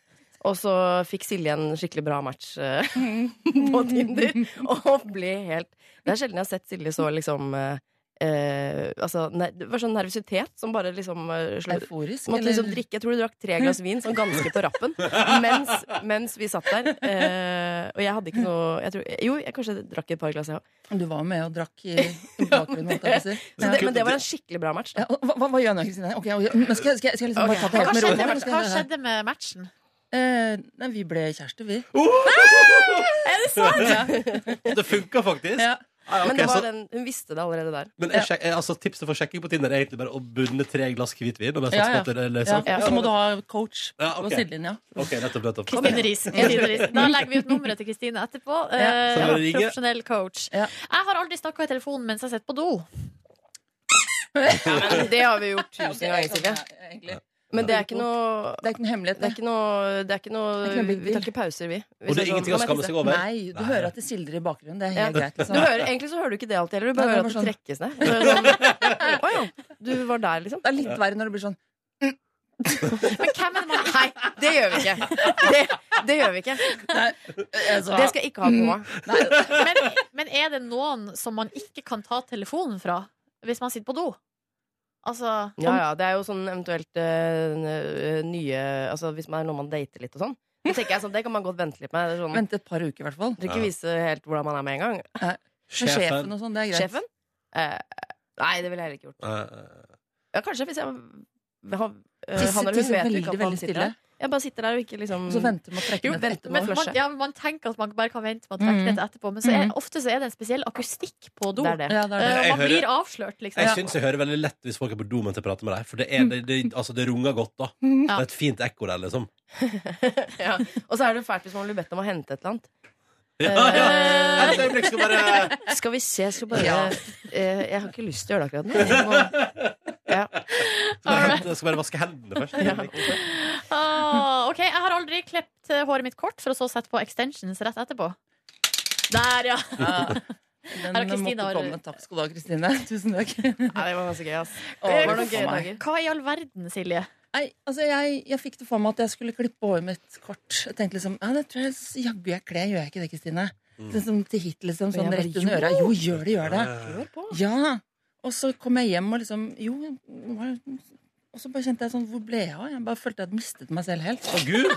Speaker 8: Og så fikk Silje en skikkelig bra match eh, på Tinder. Og ble helt Det er sjelden jeg har sett Silje så liksom eh, eh, altså, nei, Det var sånn nervøsitet som bare liksom eh, slo
Speaker 9: Euforisk?
Speaker 8: Måtte
Speaker 9: eller-
Speaker 8: liksom drikke, Jeg tror du drakk tre glass vin sånn ganske på rappen mens, mens vi satt der. Eh, og jeg hadde ikke noe jeg tror, Jo, jeg kanskje drakk et par glass, jeg òg.
Speaker 9: Du var med og drakk i i bakgrunnen. holdt jeg på å si.
Speaker 8: Så det- Men det var en skikkelig bra match.
Speaker 9: Ja, og hva, hva gjør jeg nå, Kristine? Ok, ok, men skal, jeg- skal, jeg- skal jeg liksom bare ta det
Speaker 2: Hva
Speaker 9: helt med ro?
Speaker 2: skjedde,
Speaker 9: Hva skal
Speaker 2: hva
Speaker 9: jeg gjøre?
Speaker 2: skjedde med matchen?
Speaker 9: Eh, nei, vi ble kjærester, vi.
Speaker 2: Er det sant?
Speaker 1: Uh! Det funka faktisk.
Speaker 9: Ja.
Speaker 1: Ah, ja,
Speaker 8: Men
Speaker 1: ok,
Speaker 8: det var
Speaker 1: så-
Speaker 8: den, hun visste det allerede der.
Speaker 1: Men jeg sjek- jeg- altså, tipset for sjekking på Tinder er egentlig bare å bunne tre glass hvitvin. Og bare
Speaker 9: Ja,
Speaker 1: satse på
Speaker 9: ja.
Speaker 1: at det løser
Speaker 9: Ja.
Speaker 1: seg.
Speaker 9: Og så må du ha coach
Speaker 1: Ja,
Speaker 9: på
Speaker 1: ok.
Speaker 9: sidelinja.
Speaker 1: Ok, nettopp, nettopp.
Speaker 2: Kristine Riis. Kristine Riis. Da legger vi ut nummeret til Kristine etterpå. Eh,
Speaker 1: Så må du ringe.
Speaker 2: profesjonell coach.
Speaker 9: Ja.
Speaker 2: Jeg har aldri snakka i telefonen mens jeg sitter på do.
Speaker 8: Det har vi gjort tusen ganger,
Speaker 9: sånn,
Speaker 8: Silje. Men det er ikke noe
Speaker 9: Det er ikke noe hemmelighet.
Speaker 8: det er ikke noe, det er ikke noe,
Speaker 9: Det er ikke noe big
Speaker 8: Vi tar
Speaker 9: deal.
Speaker 8: ikke pauser, vi. Vi
Speaker 1: Og det
Speaker 8: sier
Speaker 1: er
Speaker 8: sånn,
Speaker 1: ingenting å
Speaker 8: «Nå må
Speaker 1: skamme
Speaker 8: jeg
Speaker 1: seg
Speaker 8: tisse».
Speaker 1: over?
Speaker 9: Nei, du
Speaker 1: Nei.
Speaker 9: hører at det sildrer i bakgrunnen. Det er helt greit.
Speaker 8: du
Speaker 9: Liksom.
Speaker 8: hører, egentlig så hører du ikke det alltid heller. Du
Speaker 9: Nei,
Speaker 8: bare
Speaker 9: det
Speaker 8: hører at
Speaker 9: var
Speaker 8: det trekkes ned. Det er Sånn, Å ja, du var der, liksom.
Speaker 9: Det er litt verre når det blir sånn
Speaker 2: Men hvem er det man
Speaker 8: Nei, det gjør vi ikke. altså- Det, det gjør vi ikke. Det skal jeg ikke ha på
Speaker 9: Mm.
Speaker 8: meg.
Speaker 2: men, men er det noen som man ikke kan ta telefonen fra hvis man sitter på do? Altså
Speaker 8: Ja, ja, det er jo sånn eventuelt eh, nye Altså hvis man er noen man dater litt og sånn. Det tenker jeg sånn, det kan man godt vente litt med. Det er sånn,
Speaker 9: Vente et par uker, i hvert fall.
Speaker 8: du ikke vise helt hvordan man er med en gang.
Speaker 9: Med sjefen og sånn, det er greit.
Speaker 8: Sjefen? Eh, nei, det ville jeg heller ikke gjort.
Speaker 1: Eh,
Speaker 8: Ja, kanskje hvis jeg har, eh,
Speaker 9: Tisse-
Speaker 8: han eller hun
Speaker 9: tisse
Speaker 8: vet
Speaker 9: veldig,
Speaker 8: ikke at
Speaker 9: veldig
Speaker 8: han sitter
Speaker 9: stille.
Speaker 8: der. Jeg bare sitter der og ikke liksom
Speaker 9: Og så venter man å trekke
Speaker 8: Jo,
Speaker 9: ned
Speaker 8: vent-
Speaker 9: etterpå.
Speaker 2: men
Speaker 8: må
Speaker 2: man,
Speaker 8: flushe.
Speaker 2: ja, men man tenker at man bare kan vente med å trekke
Speaker 9: Mm.
Speaker 2: dette etterpå, men så er,
Speaker 9: Mm.
Speaker 2: ofte så er det en spesiell akustikk på do.
Speaker 8: Det er det.
Speaker 9: Ja, det er
Speaker 2: Eh,
Speaker 9: det.
Speaker 2: og
Speaker 1: Jeg
Speaker 2: man
Speaker 1: hører-
Speaker 2: blir avslørt, liksom.
Speaker 1: Jeg syns jeg hører veldig lett hvis folk er på do mens jeg prater med deg. For det, er, det, det, altså, det runger godt, da. Det er et fint ekko der, liksom.
Speaker 8: ja. Og så er det fælt hvis man blir bedt om å hente et eller annet.
Speaker 1: Ja, ja. Et øyeblikk skal bare
Speaker 8: Skal vi se, jeg skal bare
Speaker 9: Eh. Ja.
Speaker 8: eh, Jeg har ikke lyst til å gjøre det akkurat nå. Jeg må- Ja.
Speaker 1: skal bare, hente, skal bare vaske hendene først.
Speaker 2: Ah, OK, jeg har aldri klept eh, håret mitt kort for å så sette på extensions rett etterpå. Der, ja!
Speaker 9: Den
Speaker 2: Her har Kristine
Speaker 9: måtte
Speaker 2: har-
Speaker 9: komme. Takk skal du ha, Kristine. Tusen takk.
Speaker 8: Nei, det var ganske gøy, ass.
Speaker 9: Å,
Speaker 8: Det var noen
Speaker 9: for
Speaker 8: gøye
Speaker 9: meg.
Speaker 8: dager.
Speaker 2: Hva i all verden, Silje?
Speaker 9: Nei, altså jeg, jeg fikk det for meg at jeg skulle klippe håret mitt kort. Jeg tenkte liksom, ja, det tror jeg s- jaggu jeg kler. Gjør jeg ikke det, Kristine? Sånn som til hit, liksom. Sånn
Speaker 8: Og jeg bare,
Speaker 9: rett under øra. Jo, gjør det, gjør det.
Speaker 1: Eh,
Speaker 9: Ja. Og så kom jeg hjem og liksom Jo. det var- Og så bare kjente jeg sånn Hvor ble jeg av? Jeg bare følte jeg hadde mistet meg selv helt.
Speaker 1: Å, Gud!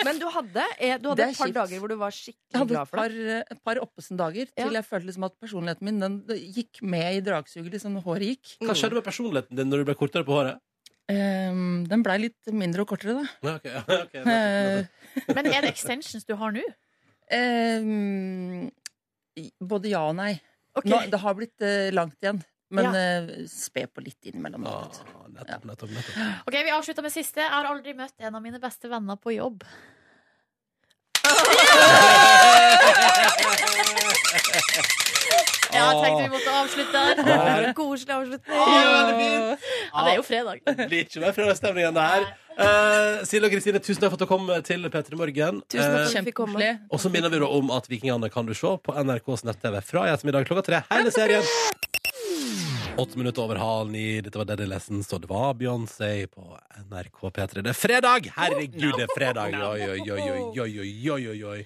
Speaker 8: Men du hadde, eh, du hadde
Speaker 9: Det er
Speaker 8: et par
Speaker 9: kjipt.
Speaker 8: dager hvor du var
Speaker 9: Jeg
Speaker 8: skikkelig
Speaker 9: hadde
Speaker 8: glad
Speaker 9: et
Speaker 8: for det.
Speaker 9: par, eh, et par oppesen-dager til jeg følte liksom at personligheten min den det gikk med i dragsuget. Liksom håret gikk.
Speaker 1: Hva skjedde med personligheten din når du ble kortere på håret?
Speaker 9: Ehm, den blei litt mindre og kortere, da.
Speaker 1: Ja, ok, ja, ok, nettopp,
Speaker 9: Eh,
Speaker 1: nettopp.
Speaker 2: Men er det extensions du har nå?
Speaker 9: ehm, i- både ja og nei.
Speaker 2: Ok.
Speaker 9: Nå, det har blitt eh, langt igjen. Men
Speaker 2: Ja.
Speaker 9: eh, spe på litt innimellom. da,
Speaker 1: Ah,
Speaker 9: vet du.
Speaker 1: nettopp, nettopp, nettopp.
Speaker 2: OK, vi avslutter med siste. Jeg har aldri møtt en av mine beste venner på jobb. Ja, jeg tenkte vi måtte avslutte der. Det var en Koselig avslutning.
Speaker 1: Ja, veldig fint.
Speaker 2: Ja, det er jo fredag.
Speaker 1: Det blir ikke mer fredagsstemning enn det her. Eh, Silje og Kristine, tusen takk for at dere kom til P3 Morgen.
Speaker 8: Tusen
Speaker 1: Eh,
Speaker 8: takk for at du fikk komme.
Speaker 9: Kjempekoselig.
Speaker 1: og så minner vi da om at Vikingene kan du se på NRKs nett-TV fra i ettermiddag klokka tre. Hele serien. Åtte minutter over halv ni. Dette var Deadly Lessons, og det var Beyoncé på NRK P3. Det er fredag! Herregud, det er fredag! Oi, oi, oi, oi, oi, oi, oi, oi.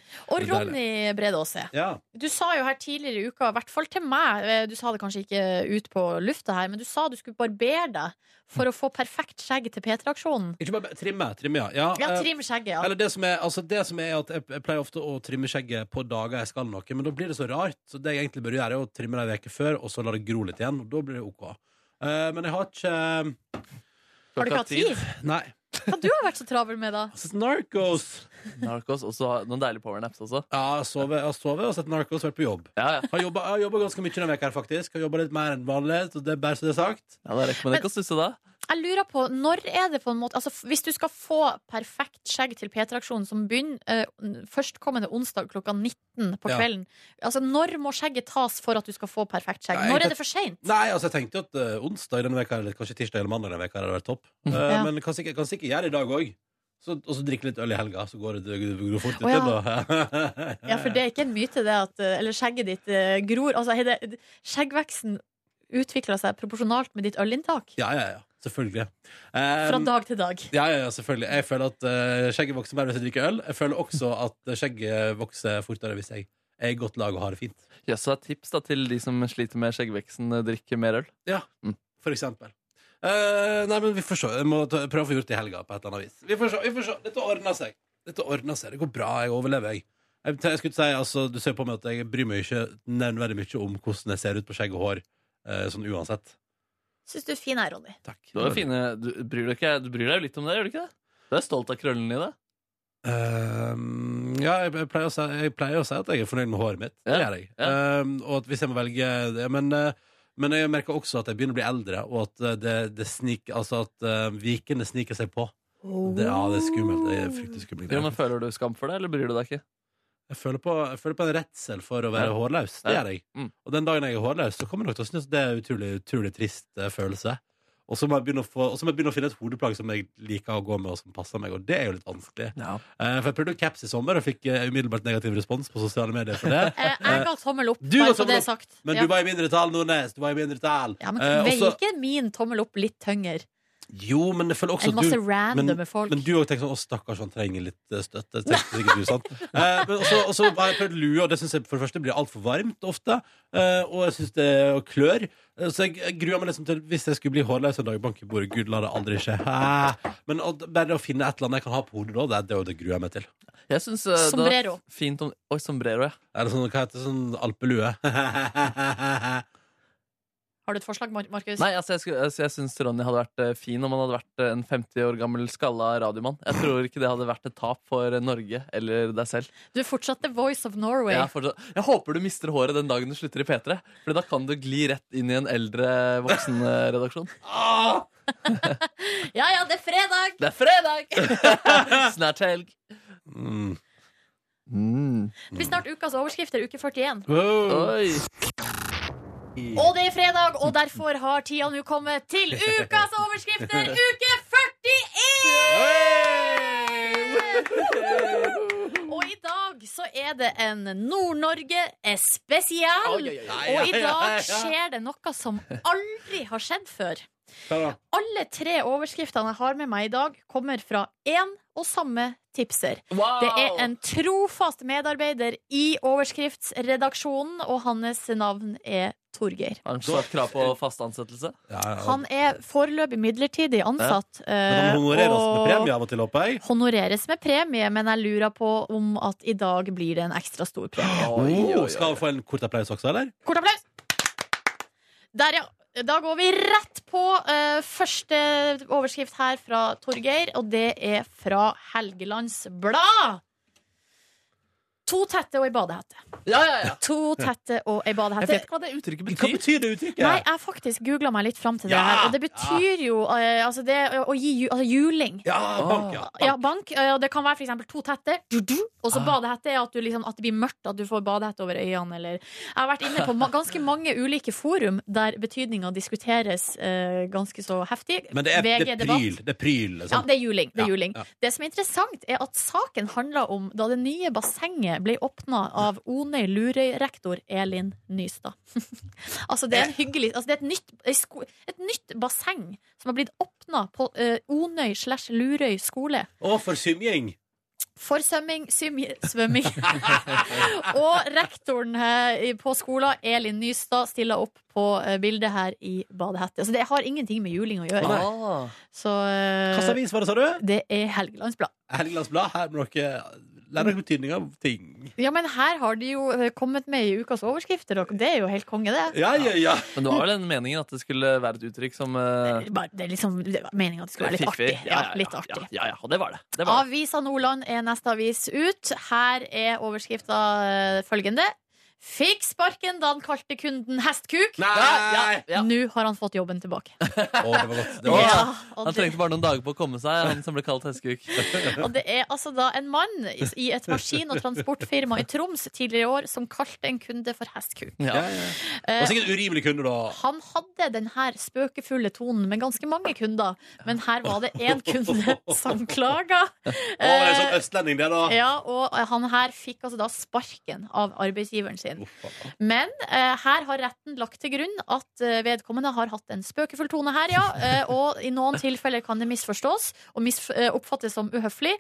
Speaker 1: Det
Speaker 2: Og
Speaker 1: er deilig.
Speaker 2: Ronny Brede Aase,
Speaker 1: Ja.
Speaker 2: du sa jo her tidligere i uka, i hvert fall til meg eh, Du sa det kanskje ikke ut på lufta her, men du sa du skulle barbere deg for å få perfekt skjegg til P3-aksjonen.
Speaker 1: Ikke bare trimme, trimme, ja. ja.
Speaker 2: Ja,
Speaker 1: eh,
Speaker 2: trim skjegget, ja.
Speaker 1: Eller det som, er, altså det som er at jeg, jeg pleier ofte å trimme skjegget på dager jeg skal noe, men da blir det så rart. Så det jeg egentlig bør gjøre, er å trimme det en uke før, og så la det gro litt igjen. Og da blir det OK. Eh, men jeg har ikke eh,
Speaker 2: Har du ikke hatt tid?
Speaker 1: Nei.
Speaker 2: Hva du har vært så travel med, da?
Speaker 1: Altså, Narcos!
Speaker 3: Narcos, og så har- noen deilige powernaps også.
Speaker 1: Ja, jeg har sovet- jeg har sovet og sett Narcos, vært på jobb.
Speaker 3: Ja, ja.
Speaker 1: Har jobba, jeg har jobba ganske mye denne uka, her, faktisk. Har jobba litt mer enn vanlig. Så det er bare så det er sagt.
Speaker 3: ja Da rekker man ikke å stusse da.
Speaker 2: Jeg lurer på, når er det på en måte Altså, f- Hvis du skal få perfekt skjegg til P3-aksjonen, som begynner eh, n- førstkommende onsdag klokka 19 på
Speaker 1: Ja.
Speaker 2: kvelden Altså, Når må skjegget tas for at du skal få perfekt skjegg?
Speaker 1: Nei,
Speaker 2: Når
Speaker 1: jeg-
Speaker 2: er det for seint?
Speaker 1: Nei, altså jeg tenkte jo at eh, onsdag denne veka, eller kanskje tirsdag eller mandag denne veka hadde vært topp. Eh,
Speaker 2: Mhm. Ja.
Speaker 1: Men kan sikkert, kan sikkert gjøre det i dag òg. Og så drikke litt øl i helga, så går det, det, går fort ut
Speaker 2: Å,
Speaker 1: igjen.
Speaker 2: ja.
Speaker 1: da.
Speaker 2: Ja, for det er ikke en myte, det at eh, Eller skjegget ditt eh, gror Altså, er det, skjeggveksten utvikler seg proporsjonalt med ditt ølinntak
Speaker 1: Ja, ja, ja. Selvfølgelig.
Speaker 2: fra
Speaker 1: Um,
Speaker 2: dag til dag.
Speaker 1: ja, ja, ja, selvfølgelig. Jeg føler at eh, skjegget vokser mer hvis jeg drikker øl. Jeg føler også at eh, skjegget vokser fortere hvis jeg er i godt lag og har det fint.
Speaker 3: Jøss, så det er tips da til de som sliter med skjeggveksten, eh, drikke mer øl.
Speaker 1: For eksempel. Eh, nei, men vi får se. Jeg må ta, prøve å få gjort det i helga på et eller annet vis. Vi får se. vi får se. Dette ordner seg. Dette ordner seg. Det går bra. Jeg overlever, jeg. Jeg, jeg skulle si, altså, Du ser på meg at jeg bryr meg ikke nevneverdig mye om hvordan jeg ser ut på skjegg og hår. eh, sånn uansett.
Speaker 2: Syns du er fin her, Ronny.
Speaker 1: Takk.
Speaker 3: Du, har jo fine, du, bryr deg ikke, du bryr deg jo litt om det, gjør du ikke det? Du er stolt av krøllene dine.
Speaker 1: Ehm, ja, jeg, jeg, pleier å si, jeg pleier å si at jeg er fornøyd med håret mitt. Det
Speaker 3: Ja,
Speaker 1: gjør jeg.
Speaker 3: ja.
Speaker 1: Ehm, og at hvis jeg må velge det Men, eh, men jeg merker også at jeg begynner å bli eldre, og at eh, det, det snik, altså at eh, vikene sniker seg på. Det, ja, det er skummelt. Det er fryktelig skummelt.
Speaker 3: Jo, men Føler du skam for det, eller bryr du deg ikke?
Speaker 1: Jeg føler, på, jeg føler på en redsel for å være
Speaker 3: Ja.
Speaker 1: hårløs. Det
Speaker 3: Ja.
Speaker 1: gjør jeg.
Speaker 3: Mm.
Speaker 1: Og den dagen jeg er hårløs, så kommer jeg nok til å synes det er en utrolig, utrolig trist eh, følelse. Og så må, jeg begynne å få, og så må jeg begynne å finne et hodeplagg som jeg liker å gå med, og som passer meg. Og det er jo litt vanskelig.
Speaker 3: Ja.
Speaker 1: Eh, for jeg prøvde jo caps i sommer og fikk eh, umiddelbart negativ respons på sosiale medier for det.
Speaker 2: Eh, jeg ga tommel opp,
Speaker 1: Du ga
Speaker 2: bare så
Speaker 1: tommel
Speaker 2: det
Speaker 1: opp,
Speaker 2: er sagt.
Speaker 1: Men
Speaker 2: ja.
Speaker 1: du var i mindretall, Nordnes. Du var i mindretall.
Speaker 2: ja, men
Speaker 1: Eh, og
Speaker 2: Veier
Speaker 1: så-
Speaker 2: ikke min tommel opp litt tyngre
Speaker 1: jo, men jeg føler også
Speaker 2: enn
Speaker 1: at Altså, du
Speaker 2: masse randome folk?
Speaker 1: Men du òg tenker sånn 'Å, stakkars, han trenger litt eh, støtte'. Tenkte sikkert du, sant? Eh, men også, også har jeg prøvd lue, og det syns jeg for det første blir altfor varmt ofte. Eh, og jeg syns det og klør. Eh, Så jeg, jeg gruer meg liksom til hvis jeg skulle bli hårløs en dag, bank i bordet, gud la det aldri skje. Hæ? Men at- bare det å finne et eller annet jeg kan ha på hodet da, det, er det, det gruer jeg meg til.
Speaker 3: Jeg synes, eh, det var
Speaker 2: Sombrero.
Speaker 3: fint om Oi, sombrero, ja.
Speaker 1: Eller sånn, hva heter det, sånn alpelue?
Speaker 2: Har du et forslag, Mar- Markus?
Speaker 3: Nei, altså, jeg, skulle, altså, jeg syns Ronny hadde vært eh, fin om han hadde vært eh, en 50 år gammel skalla radiomann. Jeg tror ikke det hadde vært et tap for eh, Norge eller deg selv.
Speaker 2: Du er fortsatt The Voice of Norway.
Speaker 3: Jeg, er fortsatt- jeg håper du mister håret den dagen du slutter i P3, for da kan du gli rett inn i en eldre eh, voksenredaksjon.
Speaker 1: ah!
Speaker 2: Ja ja, det er fredag!
Speaker 3: Det er fredag! Snart helg.
Speaker 1: mm.
Speaker 3: Mm.
Speaker 2: Det blir snart ukas overskrifter, uke 41.
Speaker 1: wow.
Speaker 3: Oi.
Speaker 2: Og det er fredag, og derfor har tida nå kommet til ukas overskrifter, uke 41! Og i dag så er det en Nord-Norge spesial. Og i dag skjer det noe som aldri har skjedd før.
Speaker 1: Hva da?
Speaker 2: Alle tre overskriftene jeg har med meg i dag, kommer fra én og samme tipser. Det er en trofast medarbeider i overskriftsredaksjonen, og hans navn er Torgeir.
Speaker 3: Har han snart krav på fast ansettelse?
Speaker 1: Ja, ja.
Speaker 2: Han er foreløpig midlertidig ansatt.
Speaker 1: Men
Speaker 2: eh,
Speaker 1: han honorerer oss med
Speaker 2: og
Speaker 1: premie av og til, håper jeg.
Speaker 2: Honoreres med premie, men jeg lurer på om at i dag blir det en ekstra stor premie.
Speaker 1: Oh, skal han få en kort applaus også, eller?
Speaker 2: Kort applaus! Der, ja. Da går vi rett på eh, første overskrift her fra Torgeir, og det er fra Helgelands Blad. To tette og ei badehette.
Speaker 3: Ja, ja, ja.
Speaker 2: To tette og ei
Speaker 3: Jeg
Speaker 2: badehette.
Speaker 3: vet ikke hva det uttrykket
Speaker 1: Hva
Speaker 3: betyr.
Speaker 1: betyr det uttrykket?
Speaker 2: Nei, jeg har faktisk googla meg litt fram til det
Speaker 1: Ja!
Speaker 2: her, og det betyr jo eh, altså det å gi ju- altså juling.
Speaker 1: Ja, bank, Ah. ja.
Speaker 2: Ja, bank. eh, Og det kan være for eksempel to tetter. Du, du. Og så badehette er at, du liksom, at det blir mørkt, at du får badehette over øynene. Eller. Jeg har vært inne på ma ganske mange ulike forum der betydninga diskuteres eh, ganske så heftig.
Speaker 1: Men det er, det er
Speaker 2: VG-debatt.
Speaker 1: pryl. Det er pryl
Speaker 2: Ja,
Speaker 1: sant?
Speaker 2: det er juling. Det, er
Speaker 1: Ja,
Speaker 2: juling.
Speaker 1: ja.
Speaker 2: det som er interessant, er at saken handler om da det nye bassenget Stortinget ble åpna av Onøy Lurøy-rektor Elin Nystad. altså, det er en hyggelig altså, Det er et nytt, ei sko- et nytt basseng som har blitt åpna på eh, Onøy slash Lurøy skole.
Speaker 1: Å, for symjing!
Speaker 2: Forsømming, symi- svømming. og rektoren her i- på skolen, Elin Nystad, stiller opp på eh, bildet her i badehette. Altså, det har ingenting med juling å gjøre.
Speaker 3: Ah.
Speaker 2: Så eh,
Speaker 1: Hvilken avis var det, sa du?
Speaker 2: det er Helgelands Blad.
Speaker 1: Helgelands Blad. Her må dere lære dere betydning av ting.
Speaker 2: Ja, men her har de jo eh, kommet med i ukas overskrifter, og det er jo helt konge, det.
Speaker 1: Ja, ja, ja.
Speaker 3: Men det var vel den meningen at det skulle være et uttrykk som eh,
Speaker 2: Bare, det er liksom meninga at det skal være litt artig.
Speaker 3: fiffig.
Speaker 2: Ja, litt artig.
Speaker 3: Ja, ja, ja, og det var det. det, var det.
Speaker 2: Avisa Nordland er neste avis ut. Her er overskrifta eh, følgende. Fikk sparken da han kalte kunden hestkuk.
Speaker 1: Nei!
Speaker 3: Ja, ja, ja.
Speaker 2: Nå har han fått jobben tilbake.
Speaker 1: Å, det var godt. Det
Speaker 3: Åh,
Speaker 1: var...
Speaker 2: Ja, og
Speaker 3: Han
Speaker 2: det-
Speaker 3: trengte bare noen dager på å komme seg, han som ble kalt hestekuk.
Speaker 2: Og det er altså da en mann i et maskin- og transportfirma i Troms tidligere i år som kalte en kunde for hestkuk.
Speaker 3: Ja.
Speaker 1: Ja, ja. Det
Speaker 2: Eh,
Speaker 1: var sikkert urimelig kunde, da.
Speaker 2: han hadde den her spøkefulle tonen med ganske mange kunder, men her var det én kunde som klaga.
Speaker 1: Å, det er
Speaker 2: Eh,
Speaker 1: sånn østlending, det, da.
Speaker 2: ja, og han her fikk altså da sparken av arbeidsgiveren sin.
Speaker 1: Uff, faen.
Speaker 2: Men eh, her har retten lagt til grunn at eh, vedkommende har hatt en spøkefull tone her, ja. Eh, og i noen tilfeller kan det misforstås og misf eh, oppfattes som uhøflig.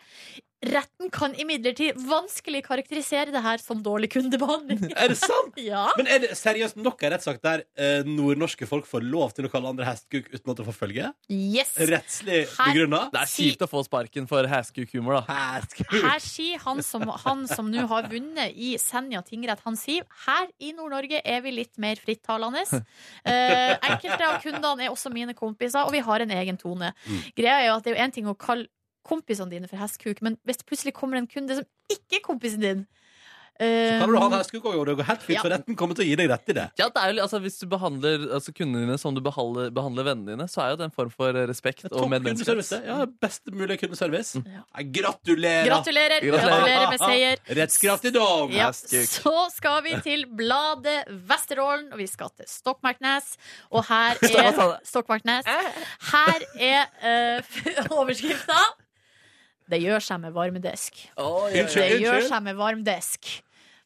Speaker 2: Retten kan imidlertid vanskelig karakterisere det her som dårlig kundebehandling.
Speaker 1: Er det sant?
Speaker 2: ja.
Speaker 1: Men er det seriøst nok en rettssak der eh, nordnorske folk får lov til å kalle andre hestkuk uten at det får følge?
Speaker 2: Yes.
Speaker 1: Rettslig
Speaker 2: Her-
Speaker 1: begrunna?
Speaker 3: Det er kjipt å få sparken for heskukhumor, da.
Speaker 1: Hestkuk.
Speaker 2: Her sier han som han som nå har vunnet i Senja tingrett, han sier her i Nord-Norge er vi litt mer frittalende. Eh, enkelte av kundene er også mine kompiser, og vi har en egen tone.
Speaker 1: Mm.
Speaker 2: Greia er jo at det er jo én ting å kalle kompisene dine for hestkuk, men hvis det plutselig kommer en kunde som ikke er kompisen din eh,
Speaker 1: Kan du ha en hestkuk òg, og det går helt fint,
Speaker 2: Ja.
Speaker 1: for retten kommer til å gi deg rett i det.
Speaker 3: Ja, det er jo, altså, Hvis du behandler altså, kundene dine som du behandler, behandler vennene dine, så er jo det en form for respekt og
Speaker 1: Topp kundeservice.
Speaker 3: medmenneskelighet.
Speaker 1: Ja, Best mulig kundeservice.
Speaker 3: Mm.
Speaker 1: Ja, Gratulerer!
Speaker 2: Gratulerer! Gratulerer med seier.
Speaker 1: Rettskraftig dom!
Speaker 2: Ja,
Speaker 3: Hestkuk.
Speaker 2: så skal vi til bladet Vesterålen, og vi skal til Stokmarknes. Og her
Speaker 3: Hva sa
Speaker 2: er
Speaker 3: du? Eh?
Speaker 2: Stokmarknes. Her er eh, overskrifta. Det gjør seg med varmdesk.
Speaker 3: Å, ja, ja.
Speaker 2: Det
Speaker 1: Unnskyld.
Speaker 2: gjør seg med varmdesk.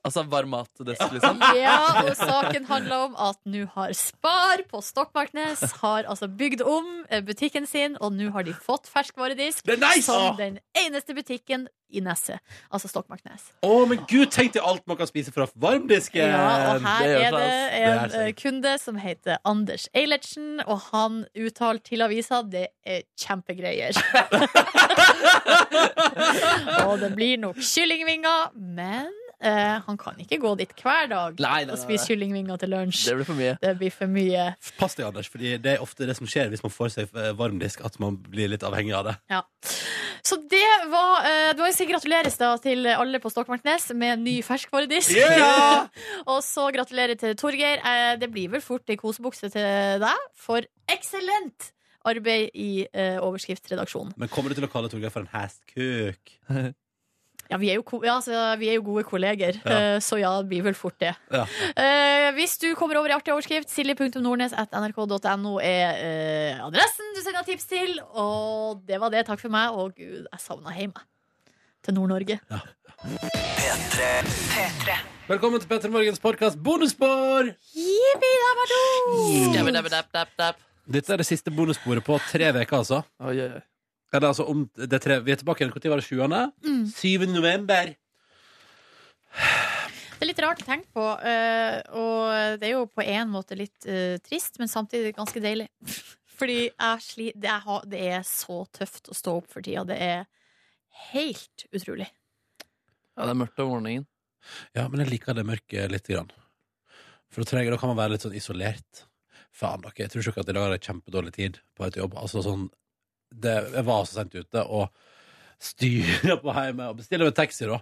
Speaker 3: Altså varm matdesk, liksom.
Speaker 2: Ja, og saken handler om at nå har Spar på Stokmarknes har altså bygd om eh, butikken sin, og nå har de fått ferskvaredisk
Speaker 1: Det er nice!
Speaker 2: som
Speaker 1: Åh.
Speaker 2: den eneste butikken i Nesset, altså Stokmarknes.
Speaker 1: Å, men gud, tenk til alt man kan spise fra varmdisken!
Speaker 2: Ja, og her
Speaker 3: Eh, det sånn. gjør
Speaker 2: er det
Speaker 3: seg,
Speaker 1: ass.
Speaker 2: en
Speaker 1: Det er
Speaker 2: eh, kunde som heter Anders Eilertsen, og han uttaler til avisa det er kjempegreier. og det blir nok kyllingvinger, men eh, han kan ikke gå dit hver dag
Speaker 3: Nei, nei, nei,
Speaker 2: og spise
Speaker 3: nei.
Speaker 2: kyllingvinger til lunsj.
Speaker 3: Det blir for mye.
Speaker 2: Det blir for mye.
Speaker 1: Pass deg, Anders, Fordi det er ofte det som skjer hvis man får seg eh, varmdisk, at man blir litt avhengig av det.
Speaker 2: Ja. Så det var eh, Det var si gratuleres da til alle på Stokmarknes med ny ferskvaredisk.
Speaker 1: Yeah!
Speaker 2: Og så gratulerer til Torgeir. Eh, Det blir vel fort ei kosebukse til deg for eksellent arbeid i eh, overskriftsredaksjonen.
Speaker 1: Men kommer du til å kalle Torgeir for en hestkuk?
Speaker 2: Ja, vi er jo, ko ja, altså, vi er jo gode kolleger,
Speaker 1: Ja.
Speaker 2: eh, så ja, det blir vel fort det.
Speaker 1: Ja.
Speaker 2: Eh, hvis du kommer over i artig overskrift, silje.nordnes.nrk.no er eh, adressen du sender tips til. Og det var det. Takk for meg. Og gud, jeg savna hjem jeg. til Nord-Norge.
Speaker 1: Velkommen til Petter Morgens podkast bonusspor!
Speaker 9: Skabbedabbedabbedabb.
Speaker 1: Dette er det siste bonussporet på tre uker, altså.
Speaker 3: Oi, oi, oi.
Speaker 1: Eller, altså om det er tre, vi er tilbake igjen. Når var det? 7. 7. november.
Speaker 2: Det er litt rart å tenke på, eh, og det er jo på en måte litt eh, trist, men samtidig ganske deilig. Fordi jeg sli, det, er, ha- det er så tøft å stå opp for tida. Det er helt utrolig.
Speaker 3: Ja, det er mørkt om morgenen.
Speaker 1: Ja, men jeg liker det mørket litt. Grann. For da, trenger, da kan man være litt sånn isolert. Faen, dere. Jeg tror ikke at i dag har jeg kjempedårlig tid på et jobb. Altså sånn det, Jeg var så sent ute og styrer på hjemme og bestiller meg taxi, da.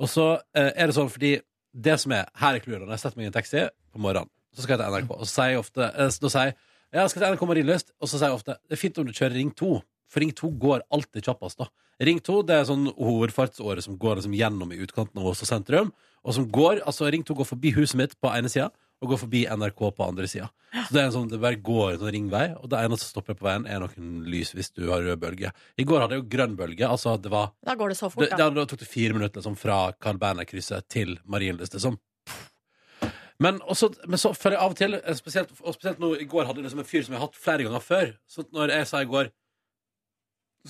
Speaker 1: Og så eh, er det sånn fordi det som er Her er clouet. da. Når jeg setter meg i en taxi på morgenen, så skal jeg til NRK. Og så sier jeg ofte eh, Da sier jeg ja, jeg skal til NRK Marienlyst, og så sier jeg ofte det er fint om du kjører Ring 2. For Ring 2 går alltid kjappest, da. Ring 2 det er sånn hovedfartsåre som går liksom gjennom i utkanten av Ås og sentrum og som går, altså Ring 2 går forbi huset mitt på ene sida, og går forbi NRK på andre sida. Så det er en sånn, det bare går en sånn ringvei, og det eneste som stopper på veien, er noen lys hvis du har rød bølge. I går hadde jeg jo grønn bølge. altså det var
Speaker 2: Da går det så fort,
Speaker 1: det,
Speaker 2: da.
Speaker 1: da, da tok det fire minutter liksom, fra Carl Berner-krysset til Marienlyst. Liksom. Men, også, men så føler jeg av og til eh, spesielt, Og spesielt nå i går hadde jeg liksom en fyr som jeg har hatt flere ganger før. Så når jeg sa i går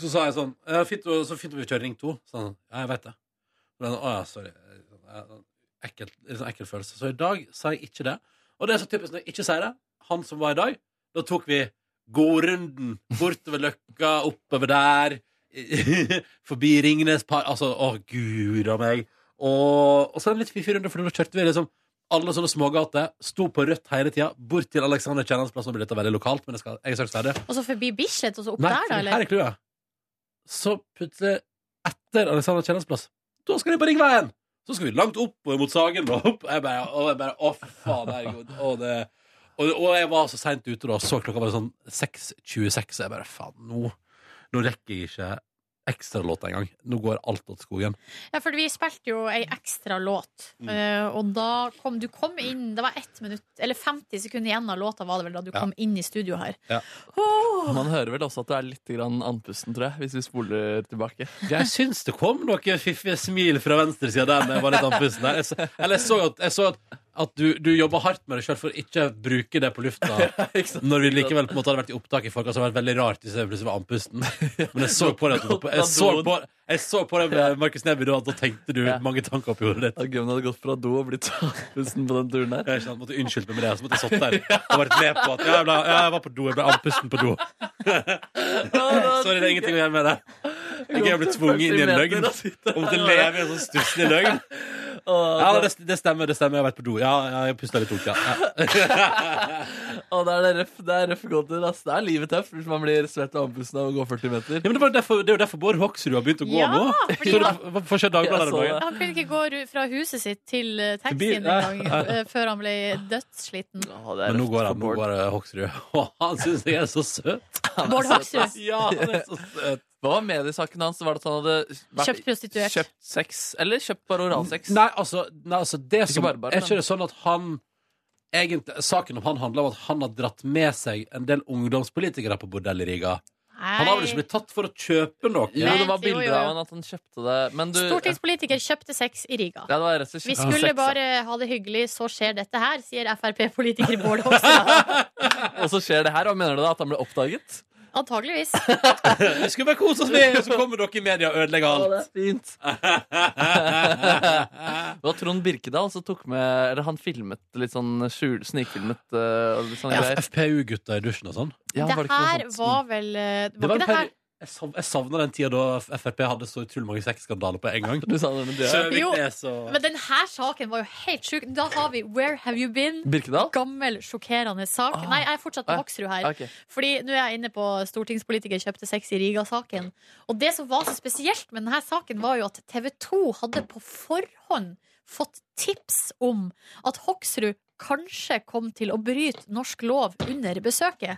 Speaker 1: Så sa jeg sånn «Ja, fint, å- 'Så fint om vi kjører Ring 2.' Så han sånn, ja, jeg vet det. Men, å ja, sorry. Eh, sånn, Ekkel, litt sånn ekkel følelse. Så i dag sa jeg ikke det. Og det er så typisk når jeg ikke sier det. Han som var i dag, da tok vi godrunden bortover Løkka, oppover der. Forbi Ringnes par Altså, å gud a meg. Og, og så en litt fiffig runde, for da kjørte vi liksom alle sånne smågater. Sto på rødt hele tida, bort til Alexander Kiellands plass. Nå blir dette veldig lokalt, men jeg, skal, jeg skal ikke si det.
Speaker 2: Og så forbi Bislett, og så opp
Speaker 1: Nei,
Speaker 2: der, da?
Speaker 1: for
Speaker 2: Eller?
Speaker 1: her er clouet. Så plutselig, etter Alexander Kiellands plass, da skal de på Ringveien! Så skal vi langt opp og mot Sagen. Og opp. Jeg bare, og jeg bare, å, fy faen, herregud. Og, det, og, og jeg var så seint ute, da. Så klokka var sånn 6.26, så jeg bare faen, nå, nå rekker jeg ikke ekstralåta engang. Nå går alt åt skogen.
Speaker 2: Ja, for vi spilte jo ei ekstra låt,
Speaker 1: Mm.
Speaker 2: eh, og da kom du kom inn Det var ett minutt, eller 50 sekunder igjen av låta, var det vel, da du
Speaker 1: Ja.
Speaker 2: kom inn i studio her.
Speaker 1: Ja.
Speaker 2: Åh!
Speaker 3: Man hører vel også at du er litt grann andpusten, tror jeg, hvis vi spoler tilbake.
Speaker 1: Jeg syns det kom noen fiffige smil fra venstresida der. men Jeg var litt andpusten der. Jeg, så- eller jeg så at, jeg så at, at du, du jobba hardt med deg sjøl for å ikke bruke det på lufta. Når vi likevel på en måte hadde vært i opptak i folk, altså, det hadde vært veldig rart hvis jeg plutselig var andpusten. Men jeg så på det at du var på, jeg så på, jeg så på det med Markus Neby da, at da tenkte du mange tanker oppi hodet ditt.
Speaker 3: At Gummen hadde gått fra do og blitt andpusten på den turen her.
Speaker 1: Jeg sånn, måtte unnskylde meg med det, så måtte jeg satt der og vært med på at ja, jeg, ble, ja, jeg var på do, jeg ble andpusten på do. Sorry, det er ingenting å gjøre med det. Jeg er blitt tvunget inn i en løgn. Og måtte leve i en sånn stusslig løgn. Ja, det, det stemmer, det stemmer. Jeg har vært på do. Ja, ja jeg pusta litt tungt, ja. ja.
Speaker 3: Å, det er det røff, det er røff gåtur, ass. Det er livet tøff hvis man blir svett og andpusten av å gå 40 meter.
Speaker 1: ja men det, var derfor, det er jo derfor Bård Hoksrud har begynt å gå
Speaker 2: Ja,
Speaker 1: nå.
Speaker 2: fordi-
Speaker 1: Så du får- får se Dagbladet
Speaker 3: Jeg
Speaker 1: her om
Speaker 3: så det.
Speaker 1: dagen.
Speaker 2: Han kunne ikke gå ru- fra huset sitt til eh,
Speaker 1: bil,
Speaker 2: taxien
Speaker 1: ja.
Speaker 2: engang eh, før han ble dødssliten.
Speaker 3: Å, det er
Speaker 1: Men nå
Speaker 3: røft
Speaker 1: går
Speaker 3: for
Speaker 1: han, nå
Speaker 3: Bård.
Speaker 1: går eh, Hoksrud. Og han syns jeg er så søt.
Speaker 2: Bård Hoksrud.
Speaker 1: Ja, han er så søt.
Speaker 3: Hva var mediesaken hans? Var det at han hadde vært-
Speaker 2: Kjøpt prostituert.
Speaker 3: Kjøpt sex? Eller kjøpt bare oralsex?
Speaker 1: Nei, altså, nei, altså det som,
Speaker 3: bare bare,
Speaker 1: Er ikke
Speaker 3: men-
Speaker 1: det sånn at han egentlig, Saken om han handler om at han har dratt med seg en del ungdomspolitikere på bordell i Riga. Han har vel ikke blitt tatt for å kjøpe noe?
Speaker 3: Jo, det var
Speaker 2: Vent, jo, jo,
Speaker 3: bilder
Speaker 2: jo.
Speaker 3: av han at han kjøpte det. Men du
Speaker 2: Stortingspolitiker kjøpte sex i Riga.
Speaker 3: ja, det var rett og slett
Speaker 2: Vi
Speaker 3: kjøpt sex,
Speaker 2: skulle
Speaker 3: ja.
Speaker 2: bare ha det hyggelig, så skjer dette her, sier Frp-politiker Bård Hoksrud.
Speaker 3: Og så skjer det her, og mener du da at han ble oppdaget?
Speaker 2: Antageligvis.
Speaker 1: Vi skulle bare kose oss med, og så kommer dere i media og ødelegger alt.
Speaker 3: fint Det var Trond Birkedal som tok med Eller han filmet litt sånn skjul, snikfilmet eh, og litt sånne greier.
Speaker 1: FPU-gutta i dusjen og sånn.
Speaker 3: Ja,
Speaker 2: det
Speaker 3: var ikke noe
Speaker 2: her
Speaker 3: sånt?
Speaker 2: var vel eh,
Speaker 1: Det
Speaker 2: Var
Speaker 1: var
Speaker 2: ikke
Speaker 1: en
Speaker 2: det her
Speaker 1: peri- jeg sav- jeg savna den tida da Frp hadde så utrolig mange sexskandaler på en gang.
Speaker 3: Du sa det med det.
Speaker 1: Søvik
Speaker 2: Jo,
Speaker 1: Nes og-
Speaker 2: Men denne saken var jo helt sjuk. Da har vi Where Have You Been?
Speaker 3: Birkedal?
Speaker 2: Gammel, sjokkerende sak.
Speaker 3: Ah.
Speaker 2: Nei, jeg er fortsatt på
Speaker 3: Ah.
Speaker 2: Hoksrud her.
Speaker 3: Ok.
Speaker 2: Fordi nå er jeg inne på stortingspolitiker kjøpte sex i Riga-saken. Og det som var så spesielt med denne saken, var jo at TV 2 hadde på forhånd fått tips om at Hoksrud kanskje kom til å bryte norsk lov under besøket.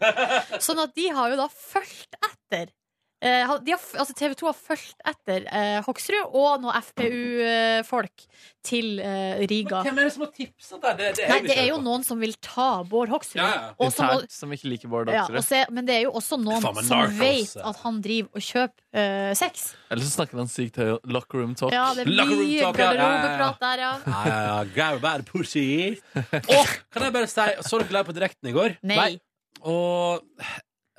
Speaker 2: Sånn at de har jo da fulgt etter. Eh, han- De har, f- altså TV 2 har fulgt etter eh, Hoksrud og noen FPU-folk til eh, Riga.
Speaker 1: Hvem er det som har tipsa der? Det, det
Speaker 2: Nei,
Speaker 1: jeg
Speaker 2: det er
Speaker 1: nysgjerrig
Speaker 2: jo
Speaker 1: på.
Speaker 2: noen som vil ta Bård Hoksrud.
Speaker 1: Ja, ja.
Speaker 2: Og som,
Speaker 3: Internt som ikke liker Bård
Speaker 2: ja,
Speaker 3: Hoksrud.
Speaker 2: og se, men det er jo også noen
Speaker 1: Faen, men
Speaker 2: som
Speaker 1: narkos,
Speaker 2: vet
Speaker 1: eh.
Speaker 2: at han driver og kjøper eh, sex.
Speaker 3: Eller så snakker han sykt høy locker room talk.
Speaker 2: Ja, det er
Speaker 1: Locker room
Speaker 2: mye
Speaker 1: talk, ja, ja, ja, ja.
Speaker 2: garderobeprat der, ja.
Speaker 1: Ja, ja, ja. Grab bad pussy. Og kan jeg bare si, så dere live på direkten i går?
Speaker 2: Nei.
Speaker 1: Og,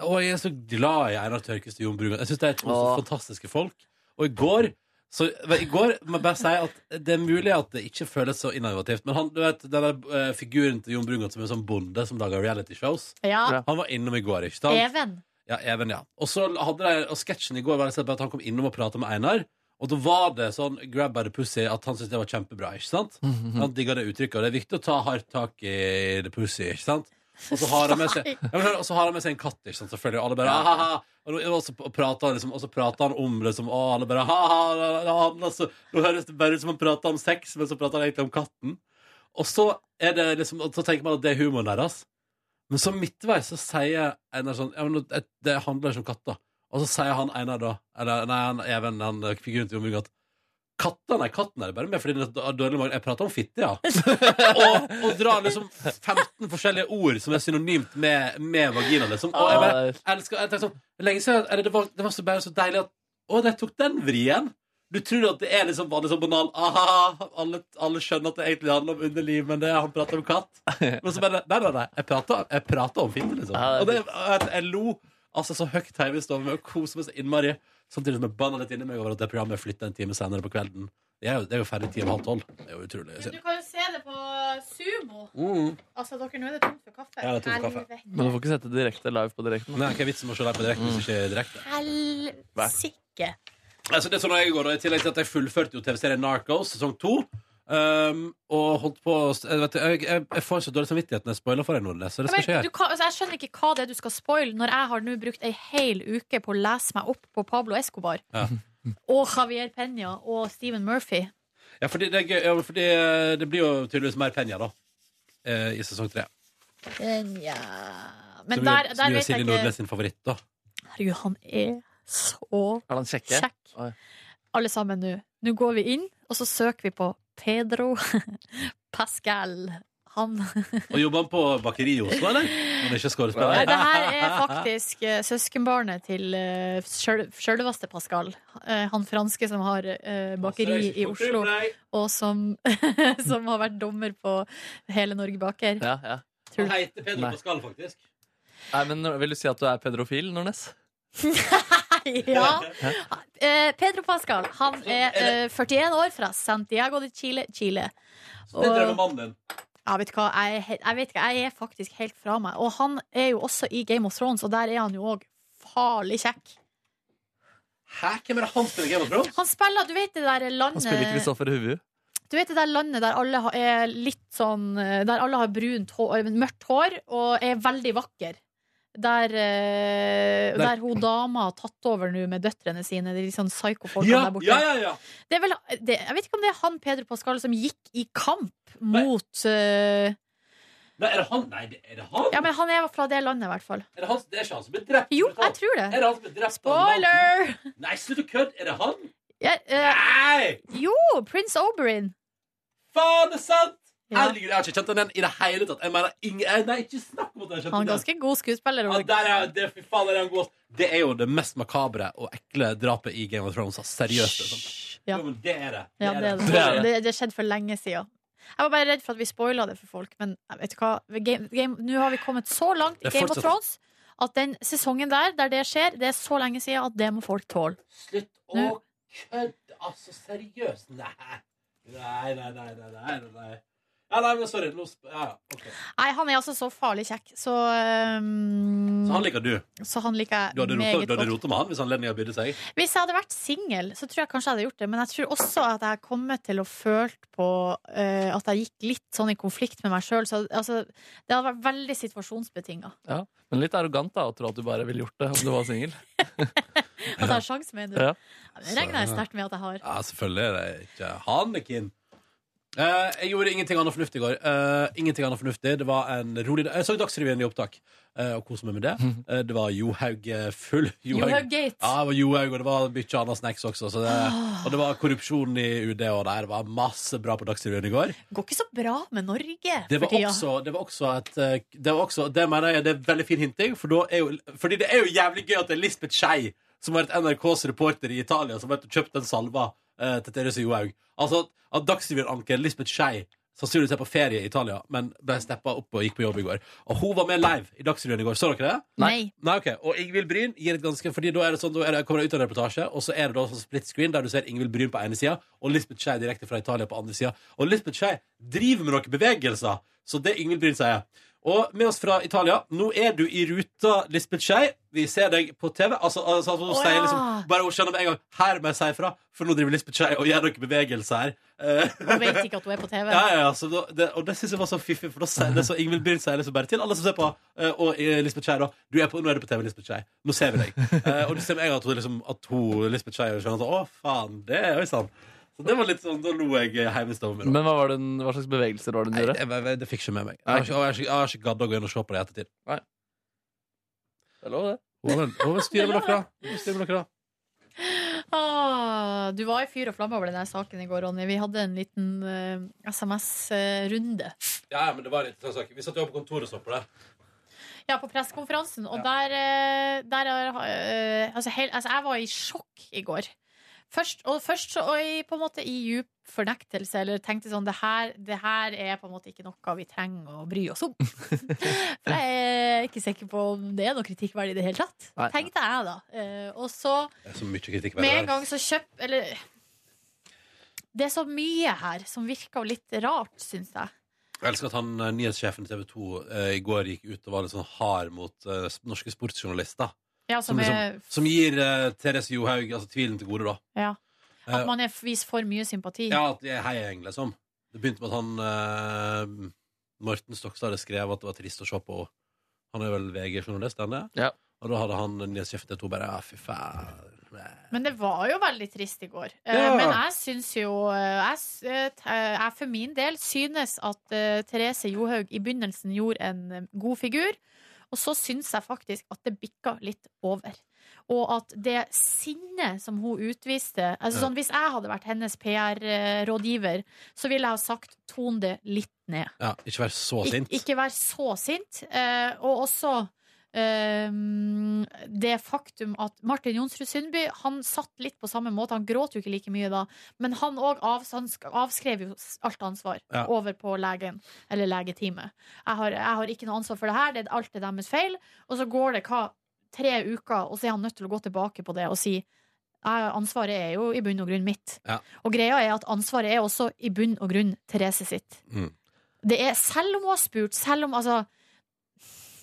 Speaker 1: og jeg er så glad i Einar Tørkest og Jon Brugan. Jeg syns det er to så
Speaker 3: Åh.
Speaker 1: fantastiske folk. Og i går så, I går må jeg bare si at det er mulig at det ikke føles så innovativt. Men han, du vet, den der eh, figuren til Jon Brugan som er sånn bonde som lager realityshows,
Speaker 2: Ja.
Speaker 3: Ja.
Speaker 1: han var innom i går, ikke sant?
Speaker 2: Even.
Speaker 1: Ja, Even, ja. Og så hadde de, og sketsjen i går var rett og slett bare at han kom innom og prata med Einar. Og da var det sånn grab by the pussy at han syntes det var kjempebra. ikke sant? Han digga det uttrykket, og det er viktig å ta hardt tak i the pussy. ikke sant? Og så har han med seg, ja, men, skjønner du, og så har han med seg en katt, ikke sant? selvfølgelig. Og alle bare «Ah, «Ahaha!» Og, nå- og så prater han, liksom, og så prater han om det som å, alle bare «Haha!» la, la, la», altså, Nå høres det bare ut som han prater om sex, men så prater han egentlig om katten. Og så, er det liksom, og så tenker man at det er humoren deres. Men så midtveis så sier Einar sånn ja, men det, det handler ikke om katter. Og så sier han Einar da Eller nei, han, Even, han figuren eh, til Jon Bugge at Katta, nei, katten er det bare med fordi den har dårlig mage. Jeg prater om fitte, ja. og, og drar liksom 15 forskjellige ord som er synonymt med, med vagina, liksom. Og jeg bare elsker jeg tenker sånn, Lenge siden eller det var, det var så bare så deilig at Å, de tok den vrien! Du tror at det er liksom vanlig sånn banal Aha, alle, alle skjønner at det egentlig handler om underliv, men det er han prater om katt. Men så bare Nei, nei, nei. Jeg prater, jeg prater om fitte, liksom.
Speaker 3: Ja,
Speaker 1: Og
Speaker 3: det
Speaker 1: det, jeg, jeg lo altså så høyt hjemme i stua med og koste meg så innmari. Samtidig som jeg banna litt inni meg over at det programmet er flytta en time senere på kvelden. Det er jo, det er jo ferdig ti og halv tolv. Det er jo utrolig
Speaker 2: Men
Speaker 1: synd.
Speaker 2: du kan jo se det på Sumo.
Speaker 1: Mm.
Speaker 2: Altså, dere, nå er det tomt for kaffe.
Speaker 1: Ja, det er tomt for kaffe.
Speaker 3: Men du får ikke sette direkte live på direkten.
Speaker 1: Nei, hva er vitsen med å se deg på direkten hvis ikke er direkte?
Speaker 2: Helsike.
Speaker 1: Altså, det er sånn jeg går, og I tillegg til at jeg fullførte jo TV-serien Narcos sesong to. Um, og holdt på å- jeg, vet, jeg, jeg, jeg får så dårlig samvittighet når jeg spoiler for deg, Nordnes. Så det skal ikke
Speaker 2: Men,
Speaker 1: jeg
Speaker 2: du
Speaker 1: gjøre.
Speaker 2: kan, altså, jeg skjønner ikke hva det er du skal spoile, når jeg har nå brukt ei hel uke på å lese meg opp på Pablo Escobar.
Speaker 1: Ja.
Speaker 2: Og Javier Peña og Stephen Murphy.
Speaker 1: Ja, fordi det, er gøy, ja, fordi eh, det blir jo tydeligvis mer penger, da. eh, I sesong tre.
Speaker 2: Peña. Men
Speaker 1: Som jo- som
Speaker 2: der,
Speaker 1: jo
Speaker 2: der
Speaker 1: er
Speaker 2: vet jeg
Speaker 1: Silje
Speaker 2: ikke
Speaker 1: Nordnes sin favoritt, da.
Speaker 2: Herregud, han er så
Speaker 3: Er han kjekke?
Speaker 2: kjekk.
Speaker 3: Oi.
Speaker 2: Alle sammen nå. Nå går vi inn, og så søker vi på Pedro Pascal. Han
Speaker 1: Og jobber han på bakeri i Oslo, eller? Når han ikke er
Speaker 2: Nei,
Speaker 1: skuespiller?
Speaker 2: det her er faktisk eh, søskenbarnet til eh, sjøl- sjølveste Pascal. Eh, han franske som har eh,
Speaker 1: Altså,
Speaker 2: bakeri i Oslo, og som, som har vært dommer på Hele Norge baker.
Speaker 3: Ja, ja.
Speaker 1: Han heter Pedro
Speaker 3: Nei.
Speaker 1: Pascal, faktisk.
Speaker 3: Nei, men Vil du si at du er pedrofil, Nordnes?
Speaker 2: ja. Eh, Pedro Pascal han er eh, 41 år fra Santiago de Chile, Chile.
Speaker 1: Så det drømmer mannen din.
Speaker 2: Ja, vet du hva? Jeg, er helt- jeg vet ikke, jeg er faktisk helt fra meg. Og han er jo også i Game of Thrones, og der er han jo òg farlig kjekk.
Speaker 1: Hæ, hvem er det han spiller Game of Thrones?
Speaker 2: Han spiller, du vet det der
Speaker 3: Han spiller
Speaker 2: landet
Speaker 3: Kristoffer Huvu.
Speaker 2: Du vet det der landet der alle har- er litt sånn eh, Der alle har brunt hår, eh, mørkt hår og er veldig vakker. Der, eh, der hun dama har tatt over nå med døtrene sine. De litt sånn psyko-folkene
Speaker 1: Ja,
Speaker 2: der borte.
Speaker 1: ja, ja, ja.
Speaker 2: Det er vel, det, jeg vet ikke om det er han Peder Pascal som gikk i kamp mot eh,
Speaker 1: Nei, er det han? Nei, det- er det han?
Speaker 2: Ja, men han er fra det landet, i hvert fall.
Speaker 1: Er det, han? det er ikke han som blir drept?
Speaker 2: Jo,
Speaker 1: brutal?
Speaker 2: jeg
Speaker 1: Er
Speaker 2: tror det.
Speaker 1: det han som blir drept? av en mann?
Speaker 2: Spoiler!
Speaker 1: Nei, slutt å kødde! Er det han?
Speaker 2: Ja, eh,
Speaker 1: Nei!
Speaker 2: jo, Prince Oberyn.
Speaker 1: Faen, det er sant!
Speaker 2: Ja.
Speaker 1: Herregud, jeg har ikke kjent den igjen i det hele tatt. Jeg mener, ingen, eh, nei, ikke snakk om at jeg har kjent den
Speaker 2: Han er
Speaker 1: igjen.
Speaker 2: ganske god skuespiller.
Speaker 1: Ja,
Speaker 2: og-
Speaker 1: der er, det, fy faen, der er han god. ass. Det er jo det mest makabre og ekle drapet i Game of Thrones. ass. Seriøst. Liksom.
Speaker 2: Ja.
Speaker 1: Jo, men det er det.
Speaker 2: Ja, det er det.
Speaker 3: Det er det.
Speaker 2: Det, det skjedde for lenge siden. Jeg var bare redd for at vi spoila det for folk, men jeg vet du hva? Game, game, nå har vi kommet så langt i
Speaker 1: Det er
Speaker 2: Game of
Speaker 1: fortsatt-
Speaker 2: Thrones at den sesongen der, der det skjer, det er så lenge siden at det må folk tåle.
Speaker 1: Slutt å
Speaker 2: Nå-
Speaker 1: kødde! Altså, seriøst. Nei. Nei, nei, nei, nei, nei, nei, nei. Ja, nei, men sorry. Nå sp ja, ja, ok.
Speaker 2: Nei, han er altså så farlig kjekk, så øhm,
Speaker 1: Så han liker du.
Speaker 2: så han liker jeg
Speaker 1: Du hadde rota,
Speaker 2: meget
Speaker 1: du hadde
Speaker 2: godt.
Speaker 1: rota med han hvis anledninga bydde seg.
Speaker 2: Hvis jeg hadde vært singel, så tror jeg kanskje jeg hadde gjort det, men jeg tror også at jeg har kommet til å føle på øh, at jeg gikk litt sånn i konflikt med meg sjøl, så altså, det hadde vært veldig situasjonsbetinga.
Speaker 3: Men litt arrogant da, å tro at du bare ville gjort det om du var singel.
Speaker 2: At jeg har sjans, mener du?
Speaker 3: Ja.
Speaker 2: Det regner jeg sterkt med at jeg har.
Speaker 1: Ja, selvfølgelig er det ikke Hanekin. Eh, jeg gjorde ingenting annet fornuftig i går. Eh, ingenting annet fornuftig Det var en rolig dag. Jeg så Dagsrevyen i opptak eh, og koste meg med det. Eh, det var Johaug eh, full.
Speaker 2: Johaug Gate.
Speaker 1: Ja, det var Johaug, og det var mye annet snacks også. Så det,
Speaker 2: Ah.
Speaker 1: og det var korrupsjon i UD, og der det var masse bra på Dagsrevyen i går.
Speaker 2: Går ikke så bra med Norge
Speaker 1: Det var
Speaker 2: for tida.
Speaker 1: også, det var også et eh, Det, var også, det mener jeg det er et veldig fin hinting, for da er jo, fordi det er jo jævlig gøy at det er Lisbeth Skei, som har vært NRKs reporter i Italia, som har vært og kjøpt den salva eh, til Therese Johaug. Altså at, at Dagsrevyen-anker Lisbeth Skei sannsynligvis er på ferie i Italia, men ble steppa opp og gikk på jobb i går. Og hun var med live i Dagsrevyen i går. Så dere det?
Speaker 2: Nei.
Speaker 1: Nei, ok, Og Ingvild Bryn gir et ganske Fordi da er det sånn, da er det, kommer det ut av en reportasje, og så er det da sånn split screen der du ser Ingvild Bryn på ene sida og Lisbeth Skei direkte fra Italia på andre sida. Og Lisbeth Skei driver med noen bevegelser, så det Ingvild Bryn sier. Og med oss fra Italia, nå er du i ruta, Lisbeth Skei. Vi ser deg på TV. Altså, altså hun
Speaker 2: Å,
Speaker 1: sier
Speaker 2: ja.
Speaker 1: liksom Bare hun skjønner med en gang Her må jeg si ifra, for nå driver Lisbeth Skei og gjør noen bevegelser her. Eh,
Speaker 2: Hun vet ikke at hun er på TV.
Speaker 1: ja, ja, ja, så da, det, og det synes jeg var så fiffig, for da sier det så Ingvild Bryn sier liksom bare til alle som ser på, eh, og eh, Lisbeth Skei da, du er på, nå er du på TV, Lisbeth Skei, nå ser vi deg. Eh, og du ser med en gang at hun, liksom, at hun Lisbeth Skei skjønner sånn, å faen, det er jo sant. Så det var litt sånn, da lo jeg eh, hjemme i stoven min.
Speaker 3: Men hva, var det, den- hva slags bevegelser var det
Speaker 1: Nei,
Speaker 3: den gjorde?
Speaker 1: det, det, det fikk ikke med meg. Jeg har ikke, og jeg har ikke, jeg har ikke gadd å gå inn og se på det i ettertid.
Speaker 3: Det er lov, det.
Speaker 1: Hva styrer med dere da? Hva styrer med dere da?
Speaker 2: Ah, du var i fyr og flamme over denne saken i går, Ronny. Vi hadde en liten eh, SMS-runde.
Speaker 1: Ja, ja, men det var litt sånn sak. Vi satt jo på kontoret og så på det.
Speaker 2: Ja, på pressekonferansen. Og der, eh, der er, eh, altså, hel, altså, jeg var i sjokk i går. Først, og først så og i, på en måte i djup fornektelse, eller tenkte sånn det her, det her er på en måte ikke noe vi trenger å bry oss om. For jeg er ikke sikker på om det er noe kritikkverdig i det hele tatt.
Speaker 1: Nei.
Speaker 2: Tenkte jeg, da. Eh, og så
Speaker 1: Det er så mye kritikk
Speaker 2: Med en gang så kjøp Eller Det er så mye her som virker litt rart, syns jeg.
Speaker 1: Jeg elsker at han, eh, nyhetssjefen i TV 2 eh, i går gikk ut og var litt sånn hard mot eh, s- norske sportsjournalister.
Speaker 2: Ja, som er-
Speaker 1: liksom, som gir eh, Therese Johaug altså, tvilen til gode, da.
Speaker 2: Ja. At
Speaker 1: Eh,
Speaker 2: man er, viser for mye sympati.
Speaker 1: Ja, at de er heiagjeng, liksom. Det begynte med at han eh, Morten Stokstad hadde skrevet at det var trist å se på. Han er vel VG-journalist, han er?
Speaker 3: Ja.
Speaker 1: Og da hadde han eh, nyhetssjefen i TV 2 bare Ja, fy faen.
Speaker 2: Men det var jo veldig trist i går. Eh,
Speaker 1: Ja.
Speaker 2: Men jeg syns jo eh, jeg, s- eh, t- eh, jeg for min del synes at eh, Therese Johaug i begynnelsen gjorde en eh, god figur. Og så syns jeg faktisk at det bikka litt over. Og at det sinnet som hun utviste altså
Speaker 1: Ja.
Speaker 2: sånn, Hvis jeg hadde vært hennes PR-rådgiver, så ville jeg ha sagt ton det litt ned.
Speaker 1: Ja, ikke vær så
Speaker 2: Ik-
Speaker 1: sint.
Speaker 2: Ikke være så sint. Eh, og også eh, det faktum at Martin Jonsrud Sundby Han satt litt på samme måte. Han gråt jo ikke like mye da, men han, også avs han sk- avskrev jo s- alt ansvar
Speaker 10: Ja.
Speaker 2: over på legen eller legeteamet. Jeg har, jeg har ikke noe ansvar for det her, det er alt er deres feil. Og så går det hva, tre uker, og så er han nødt til å gå tilbake på det og si «Ja, Ansvaret er jo i bunn og grunn mitt.
Speaker 1: Ja.
Speaker 2: Og greia er at ansvaret er også i bunn og grunn Therese sitt.
Speaker 1: Mm.
Speaker 2: Det er, selv om hun har spurt, selv om altså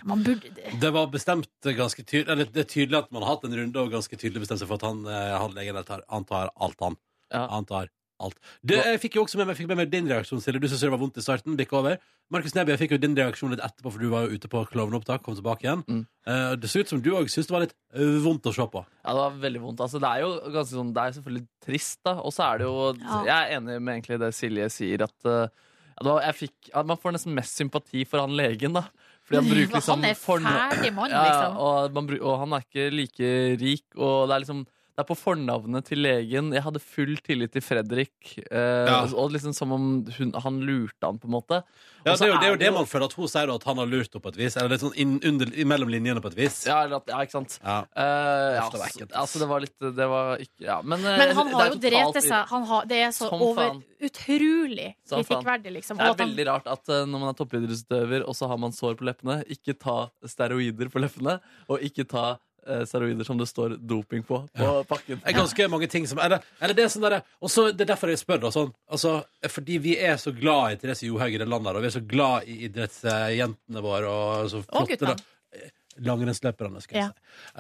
Speaker 2: Man burde
Speaker 1: Det var bestemt ganske tydelig Eller det er tydelig at man har hatt en runde og ganske tydelig bestemt seg for at han, eh, han legen der tar, han tar alt, han. Han tar alt. Det, jeg fikk jo også med meg, fikk med meg din reaksjon, Silje. Du syntes det var vondt i starten. Bikk over. Markus Neby, jeg fikk jo din reaksjon litt etterpå, for du var jo ute på klovneopptak. Kom tilbake igjen. Eh, det så ut som du òg syntes det var litt eh, vondt å se på.
Speaker 3: Ja, det var veldig vondt. Altså, det er jo ganske sånn, det er selvfølgelig trist, da. Og så er det jo
Speaker 1: Ja.
Speaker 3: Jeg er enig med egentlig det Silje sier, at, eh, at det var- jeg fikk, at man får nesten mest sympati for han legen, da. Fordi han bruker
Speaker 2: For han
Speaker 3: liksom
Speaker 2: er
Speaker 3: forna-
Speaker 2: ferdig mann,
Speaker 3: Ja, ja,
Speaker 2: liksom.
Speaker 3: og, man, bru- og han er ikke like rik, og det er liksom det er på fornavnet til legen. Jeg hadde full tillit til Fredrik. eh,
Speaker 1: Ja.
Speaker 3: Og liksom som om hun, han lurte han, på en måte.
Speaker 1: Ja,
Speaker 3: Og så
Speaker 1: det er jo det, er jo det man føler, at hun sier at han har lurt henne på et vis. Eller litt sånn inn, under, mellom linjene på et vis.
Speaker 3: Ja, eller at, ja ikke sant. Eh, ja,
Speaker 1: Uff, det var
Speaker 3: altså, altså, det var litt Det var ikke Ja, men eh,
Speaker 2: Men han
Speaker 3: det
Speaker 2: har
Speaker 3: er
Speaker 2: jo
Speaker 3: totalt
Speaker 2: drept seg. Han har, det er så
Speaker 3: Som
Speaker 2: over
Speaker 3: faen.
Speaker 2: utrolig
Speaker 3: Som faen.
Speaker 2: kritikkverdig, liksom.
Speaker 3: Det
Speaker 2: Og
Speaker 3: er
Speaker 2: at han,
Speaker 3: veldig rart at eh, når man er toppidrettsutøver, og så har man sår på leppene, ikke ta steroider på leppene, og ikke ta eh, steroider som det står doping på på pakken.
Speaker 1: Det er ganske mange ting som Eller, eller det er sånn derre Og så det er derfor jeg spør, da. Sånn, altså, fordi vi er så glad i Therese Johaug i det landet, her, og vi er så glad i idrettsjentene våre. Og, så flotte,
Speaker 2: guttene.
Speaker 1: da. Eh, Langrennsløperne, skal jeg
Speaker 2: Ja.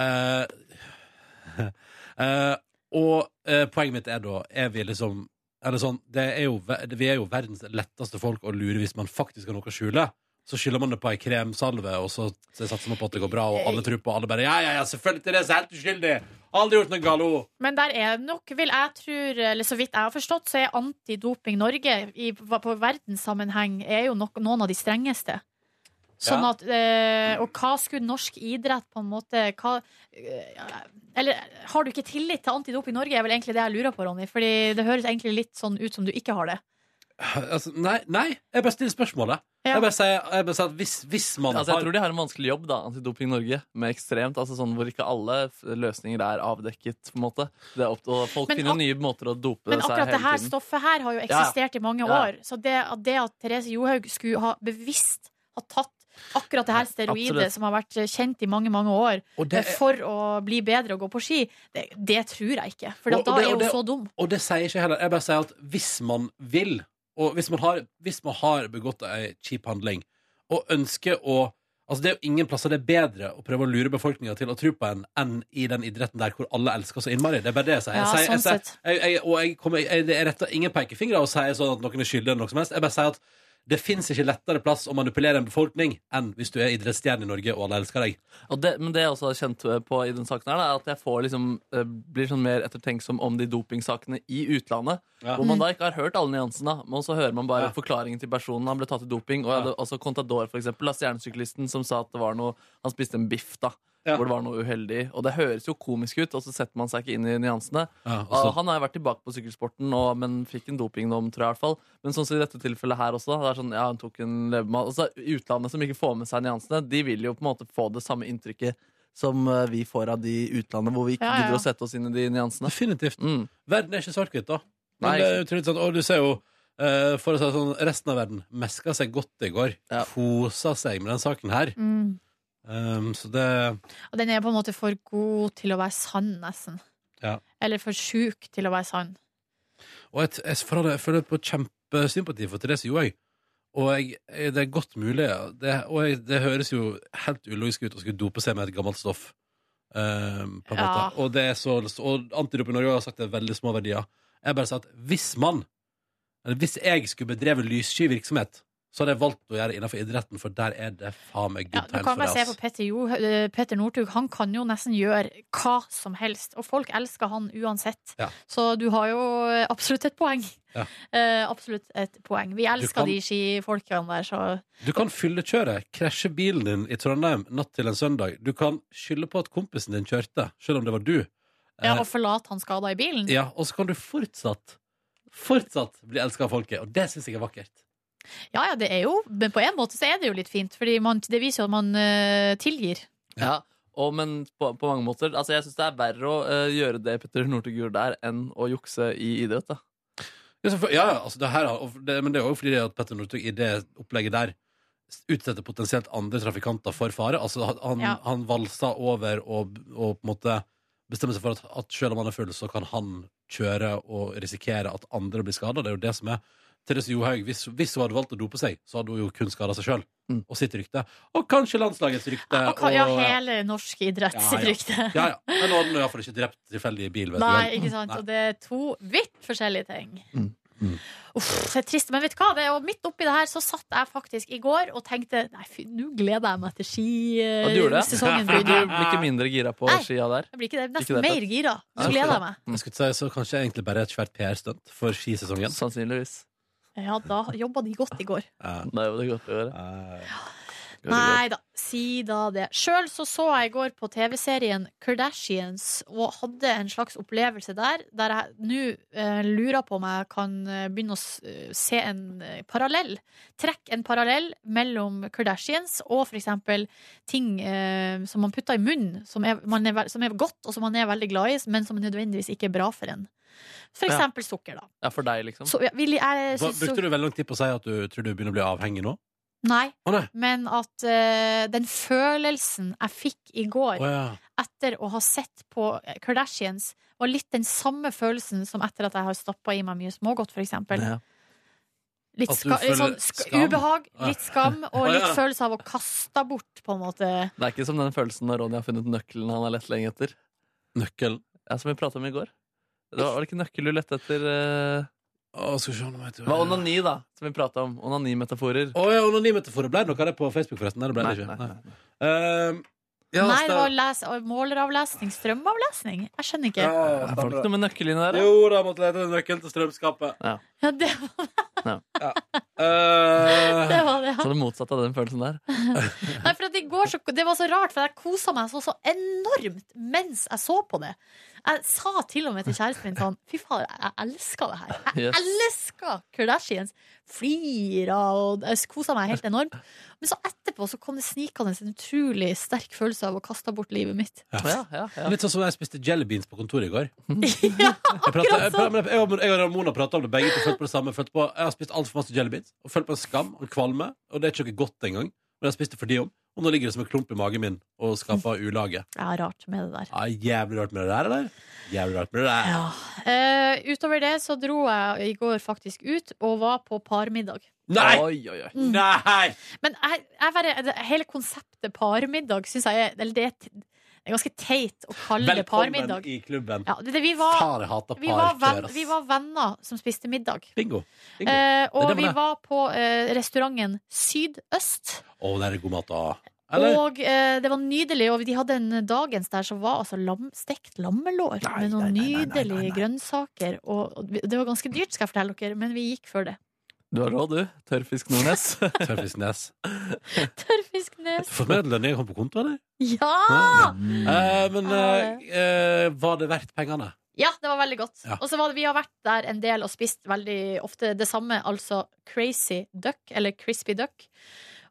Speaker 1: si. Eh, eh, og eh, poenget mitt er da Er vi liksom eller sånn, det er jo, ver- Vi er jo verdens letteste folk å lure hvis man faktisk har noe å skjule. Så skylder man det på ei kremsalve, og så satser man på at det går bra, og alle tror på, alle bare Ja, ja, ja, selvfølgelig, Therese er helt uskyldig! Aldri gjort noe galt! hun!»
Speaker 2: men der er det nok, vil jeg tror, eller så vidt jeg har forstått, så er Antidoping Norge i, på verdenssammenheng er jo nok, noen av de strengeste. Sånn
Speaker 10: Ja.
Speaker 2: at, eh, og hva skulle norsk idrett på en måte hva, eh, Eller har du ikke tillit til Antidoping Norge, er vel egentlig det jeg lurer på, Ronny. Fordi det høres egentlig litt sånn ut som du ikke har det.
Speaker 1: Altså, nei, nei, jeg bare stiller spørsmålet. Jeg bare sier, jeg bare sier at hvis, hvis man
Speaker 3: Altså, jeg
Speaker 1: har
Speaker 3: tror de har en vanskelig jobb, da, Antidoping Norge, med ekstremt, altså sånn hvor ikke alle f- løsninger er avdekket, på en måte. Det er opp, og folk
Speaker 2: Men
Speaker 3: finner
Speaker 2: ak-
Speaker 3: nye måter å dope
Speaker 2: Men
Speaker 3: seg
Speaker 2: akkurat det
Speaker 3: hele
Speaker 2: her
Speaker 3: tiden.
Speaker 2: stoffet her har jo
Speaker 3: Ja, ja.
Speaker 2: eksistert i mange
Speaker 3: Ja, ja.
Speaker 2: år. Så det, at- det at Therese Johaug skulle ha bevisst ha tatt akkurat det her steroidet
Speaker 1: absolutt.
Speaker 2: som har vært eh, kjent i mange mange år,
Speaker 1: Og det
Speaker 2: eh,
Speaker 1: er-
Speaker 2: for å bli bedre og gå på ski, det, det tror jeg ikke. For
Speaker 1: Og- og
Speaker 2: da
Speaker 1: det-
Speaker 2: er
Speaker 1: og
Speaker 2: hun
Speaker 1: det-
Speaker 2: så dum.
Speaker 1: Og det sier jeg ikke heller. Jeg bare sier at hvis man vil, og hvis man har, hvis man har begått ei kjip handling, og ønsker å Altså Det er jo ingen plasser det er bedre å prøve å lure befolkninga til å tro på en enn i den idretten der hvor alle elsker så innmari. Det er bare det jeg sier. Jeg
Speaker 2: Ja,
Speaker 1: sier, jeg,
Speaker 2: sånn
Speaker 1: sier-
Speaker 2: sett.
Speaker 1: jeg, jeg, og jeg, kommer, jeg, jeg retter ingen pekefingre og sier sånn at noen er skyldig eller noe som helst. Jeg bare sier at det fins ikke lettere plass å manipulere en befolkning enn hvis du er idrettsstjerne i Norge og alle elsker deg.
Speaker 3: Og det, men det jeg også har kjent eh, på i den saken her, da, er at jeg får liksom, eh, blir sånn mer ettertenksom om de dopingsakene i utlandet.
Speaker 1: Ja.
Speaker 3: Hvor
Speaker 1: Mm.
Speaker 3: man da ikke har hørt alle nyansene, men så hører man bare
Speaker 1: Ja.
Speaker 3: forklaringen til personen. Han ble altså tatt i doping. Og jeg hadde også Contador, for eksempel, da, stjernesyklisten som sa at det var noe Han spiste en biff, da.
Speaker 1: Ja.
Speaker 3: hvor det var noe uheldig. Og det høres jo komisk ut, og så setter man seg ikke inn i nyansene.
Speaker 1: Ja, og så-
Speaker 3: Og han har vært tilbake på sykkelsporten, og, men fikk en dopingdom, tror jeg. i hvert fall Men sånn som i dette tilfellet her også. Det er sånn, ja, hun tok en levemann altså, Utlandet som ikke får med seg nyansene, de vil jo på en måte få det samme inntrykket som eh, vi får av de i utlandet, hvor vi ikke
Speaker 2: Ja, ja.
Speaker 3: gidder å sette oss inn i de nyansene.
Speaker 1: Definitivt.
Speaker 3: Mm.
Speaker 1: Verden er ikke svart-hvitt, da. Men
Speaker 3: Nei,
Speaker 1: det er utrolig sånn, og du ser jo eh, for å si det sånn, Resten av verden meska seg godt i går.
Speaker 3: Ja.
Speaker 1: Kosa seg med den saken her.
Speaker 2: Mm.
Speaker 1: Um, så det
Speaker 2: Og den er på en måte for god til å være sann, nesten.
Speaker 1: Ja.
Speaker 2: Eller for sjuk til å være sann.
Speaker 1: Og jeg, jeg, føler- jeg føler på kjempesympati for Therese Johaug. Og jeg, jeg, det er godt mulig. ja. Det, og jeg, det høres jo helt ulogisk ut å skulle dope seg med et gammelt stoff. Um, på en
Speaker 2: Ja.
Speaker 1: måte. Og, det er så, og Antidop i Norge har sagt det er veldig små verdier. Jeg bare sa at hvis man eller hvis jeg skulle bedrevet lyssky virksomhet, så hadde jeg valgt å gjøre det innenfor idretten, for der er det faen meg
Speaker 2: Ja,
Speaker 1: good
Speaker 2: nå
Speaker 1: times
Speaker 2: kan
Speaker 1: for
Speaker 2: man se
Speaker 1: det.
Speaker 2: på
Speaker 1: ass.
Speaker 2: Petter, jo, eh, Petter Northug. Han kan jo nesten gjøre hva som helst, og folk elsker han uansett.
Speaker 1: Ja.
Speaker 2: Så du har jo eh, absolutt et poeng.
Speaker 1: Ja.
Speaker 2: Eh, absolutt et poeng. Vi elsker
Speaker 1: kan-
Speaker 2: de skifolkene der, så
Speaker 1: Du kan fyllekjøre, krasje bilen din i Trondheim natt til en søndag. Du kan skylde på at kompisen din kjørte, selv om det var du.
Speaker 2: ja,
Speaker 1: Eh,
Speaker 2: Og forlate han skada i bilen.
Speaker 1: Ja, og så kan du fortsatt Fortsatt bli elsket av folket Og det synes jeg er vakkert
Speaker 2: Ja, ja, det er jo Men på en måte så er det jo litt fint, Fordi man, det viser jo at man eh, tilgir.
Speaker 3: Ja, og, men på, på mange måter Altså, jeg syns det er verre å eh, gjøre det Petter Northug gjorde der, enn å jukse i idrett. da
Speaker 1: Ja, så for- ja, ja, altså det her har- og det, Men det er jo fordi det at Petter Northug I det opplegget der Utsetter potensielt andre trafikanter for fare Altså han, han-
Speaker 2: Ja.
Speaker 1: han valsa over og, og på en måte bestemmer seg for at, at Selv om han er full så kan han kjøre Og risikere at andre blir skadet Det er jo det som er Therese Johaug, hvis, hvis hun hadde valgt å dope seg Så hadde hun jo kun skadet seg selv
Speaker 3: Mm.
Speaker 1: Og sitt rykte Og kanskje landslagets rykte
Speaker 2: Og, hva- ja,
Speaker 1: og-
Speaker 2: hele norsk idrett
Speaker 1: Ja,
Speaker 2: sitt
Speaker 1: ja.
Speaker 2: rykte.
Speaker 1: Ja, ja. Men nå hadde han iallfall ikke drept tilfeldig bil. Vet
Speaker 2: Nei,
Speaker 1: du. vel?
Speaker 2: ikke sant?
Speaker 1: Nei.
Speaker 2: Og det er to vidt forskjellige ting.
Speaker 3: Mm. Mm.
Speaker 2: Uff, det er trist, men vet du hva? Det er, jo midt oppi det her så satt jeg faktisk i går og tenkte Nei, fy, nå gleder jeg meg til
Speaker 3: Ja,
Speaker 2: Eh,
Speaker 3: du gjorde det?
Speaker 2: skisesongen
Speaker 3: Du
Speaker 2: begynner.
Speaker 3: blir ikke mindre gira på
Speaker 2: Nei.
Speaker 3: skia der?
Speaker 2: Jeg blir ikke det,
Speaker 3: Ikke
Speaker 2: nesten
Speaker 3: det,
Speaker 2: mer gira.
Speaker 3: Ja,
Speaker 2: Nå gleder jeg meg.
Speaker 1: Jeg skulle si, så kanskje egentlig bare et svært PR-stunt for skisesongen.
Speaker 3: Sannsynligvis.
Speaker 2: Ja, da jobba de godt i går.
Speaker 1: Ja.
Speaker 3: Det er jo det godt å gjøre.
Speaker 1: eh.
Speaker 3: Godt å gjøre.
Speaker 2: Nei da, si da det. Sjøl så så jeg i går på TV-serien Kardashians og hadde en slags opplevelse der, der jeg nå eh, lurer på om jeg kan eh, begynne å s- eh, se en eh, parallell. Trekk en parallell mellom Kardashians og for eksempel ting eh, som man putter i munnen, som er, man er, vel- som er godt, og som man er veldig glad i, men som nødvendigvis ikke er bra for en. For
Speaker 3: Ja.
Speaker 2: eksempel sukker, da.
Speaker 3: Ja, for deg, liksom.
Speaker 2: Så, ja, vil jeg, jeg,
Speaker 1: Hva,
Speaker 2: synes-
Speaker 1: brukte du veldig lang tid på å si at du tror du begynner å bli avhengig nå?
Speaker 2: Nei,
Speaker 1: Å nei.
Speaker 2: men at eh, den følelsen jeg fikk i går
Speaker 1: Å ja.
Speaker 2: etter å ha sett på Kardashians, var litt den samme følelsen som etter at jeg har stappa i meg mye smågodt, for eksempel.
Speaker 3: Ja.
Speaker 2: Litt,
Speaker 1: At du
Speaker 2: ska litt
Speaker 1: føler
Speaker 2: sånn sk
Speaker 1: skam?
Speaker 2: ubehag,
Speaker 1: Ja.
Speaker 2: litt skam, og
Speaker 1: Å,
Speaker 2: litt
Speaker 1: ja.
Speaker 2: følelse av å kaste bort, på en måte.
Speaker 3: Det er ikke som den følelsen når Ronny har funnet nøkkelen han har lett lenge etter.
Speaker 1: Nøkkelen.
Speaker 3: Ja, som vi prata om i går. Det var, var det ikke nøkkel du lette etter? eh?
Speaker 1: Å, skal vi se om jeg vet
Speaker 3: Det var onani, da, som vi prata om. Onanimetaforer.
Speaker 1: Å ja, anonymetaforet. Ble det noe av det på Facebook, forresten? Nei, det ble det ikke. Nei. Ehm, ja,
Speaker 2: Nei, det
Speaker 1: stem-
Speaker 2: var les måleravlesning, strømavlesning. Jeg skjønner ikke. Ja,
Speaker 1: Ja,
Speaker 3: Det var ikke
Speaker 1: stemmer det.
Speaker 3: noe med nøkkel inni der. da.
Speaker 1: Jo da, måtte lete etter nøkkelen til strømskapet.
Speaker 2: det,
Speaker 1: Eh,
Speaker 2: det var det.
Speaker 3: Så det motsatte av den følelsen der.
Speaker 2: Nei, for at i går så, Det var så rart, for jeg kosa meg så, så enormt mens jeg så på det. Jeg sa til og med til kjæresten min sånn Fy faen, jeg elsker det her. Jeg
Speaker 3: Yes.
Speaker 2: elsker Kardashians. Flira og Jeg kosa meg helt enormt. Men så etterpå så kom det snikende en utrolig sterk følelse av å kaste bort livet mitt.
Speaker 3: Ja, ja, ja.
Speaker 1: Litt sånn som jeg spiste jelly beans på kontoret i går.
Speaker 2: Ja,
Speaker 1: Jeg, prater, jeg,
Speaker 2: akkurat sånn!
Speaker 1: men jeg, og- jeg og Ramona prata om det begge. to Følte på det samme følte på, Jeg har spist altfor masse jelly beans og følt på en skam og en kvalme. Og det er ikke noe godt engang. Men jeg har spist det for de om. Og nå ligger det som en klump i magen min og skaper ulage.
Speaker 2: Ja, rart med det der.
Speaker 1: Ja, jævlig rart med det der, eller? Jævlig rart med det der.
Speaker 2: Ja. Eh, utover det så dro jeg i går faktisk ut og var på parmiddag.
Speaker 1: Nei!
Speaker 3: Oi, oi, oi.
Speaker 1: Nei!
Speaker 2: Men jeg, jeg bare, det, hele konseptet parmiddag syns jeg er Eller det er, t- det er ganske teit å kalle det
Speaker 1: Velkommen
Speaker 2: parmiddag.
Speaker 1: i klubben.
Speaker 2: Ja, det, det, vi, var,
Speaker 1: Faen, jeg hater
Speaker 2: vi, var
Speaker 1: parkjør,
Speaker 2: venn,
Speaker 1: ass.
Speaker 2: vi var venner som spiste middag.
Speaker 1: Bingo. Bingo. Å,
Speaker 2: Eh,
Speaker 1: Det er det
Speaker 2: og
Speaker 1: man
Speaker 2: vi
Speaker 1: er.
Speaker 2: var på eh, restauranten Sydøst.
Speaker 1: der er god mat, da. Eller?
Speaker 2: Og eh, det var nydelig. Og de hadde en dagens der som var altså lam, stekt lammelår med noen nydelige grønnsaker. Og, og vi- det var ganske dyrt, skal jeg fortelle dere, men vi gikk for det.
Speaker 3: Du har råd, du. Tørrfisk Nordnes.
Speaker 1: Tørrfisknes.
Speaker 2: Tørrfisknes.
Speaker 1: Fått med lønning jeg kom på konto, eller?
Speaker 2: Ja!
Speaker 1: Eh, men eh, eh, var det verdt pengene?
Speaker 2: Ja, det var veldig godt.
Speaker 1: Ja.
Speaker 2: Og så var det, vi har vært der en del og spist veldig ofte det samme, altså crazy duck, eller crispy duck.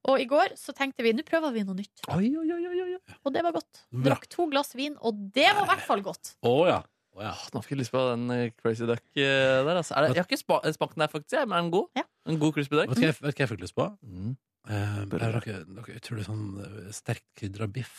Speaker 2: Og i går så tenkte vi, nå prøver vi noe nytt.
Speaker 1: Oi, oi, oi, oi, oi.
Speaker 2: Og det var godt.
Speaker 1: Bra.
Speaker 2: Drakk to glass vin, og det var i hvert fall godt.
Speaker 1: Å ja. Å, ja.
Speaker 3: Nå fikk jeg lyst på den eh, Crazy Duck eh, der, altså. Er det, jeg har ikke spa- eh, smakt den der, faktisk, jeg, men er den god?
Speaker 2: Ja.
Speaker 3: En god Crispy Duck?
Speaker 1: Vet du hva jeg, vet du hva jeg fikk lyst på?
Speaker 3: Mm.
Speaker 1: Eh, det er noe, noe utrolig sånn eh, sterkt krydra biff.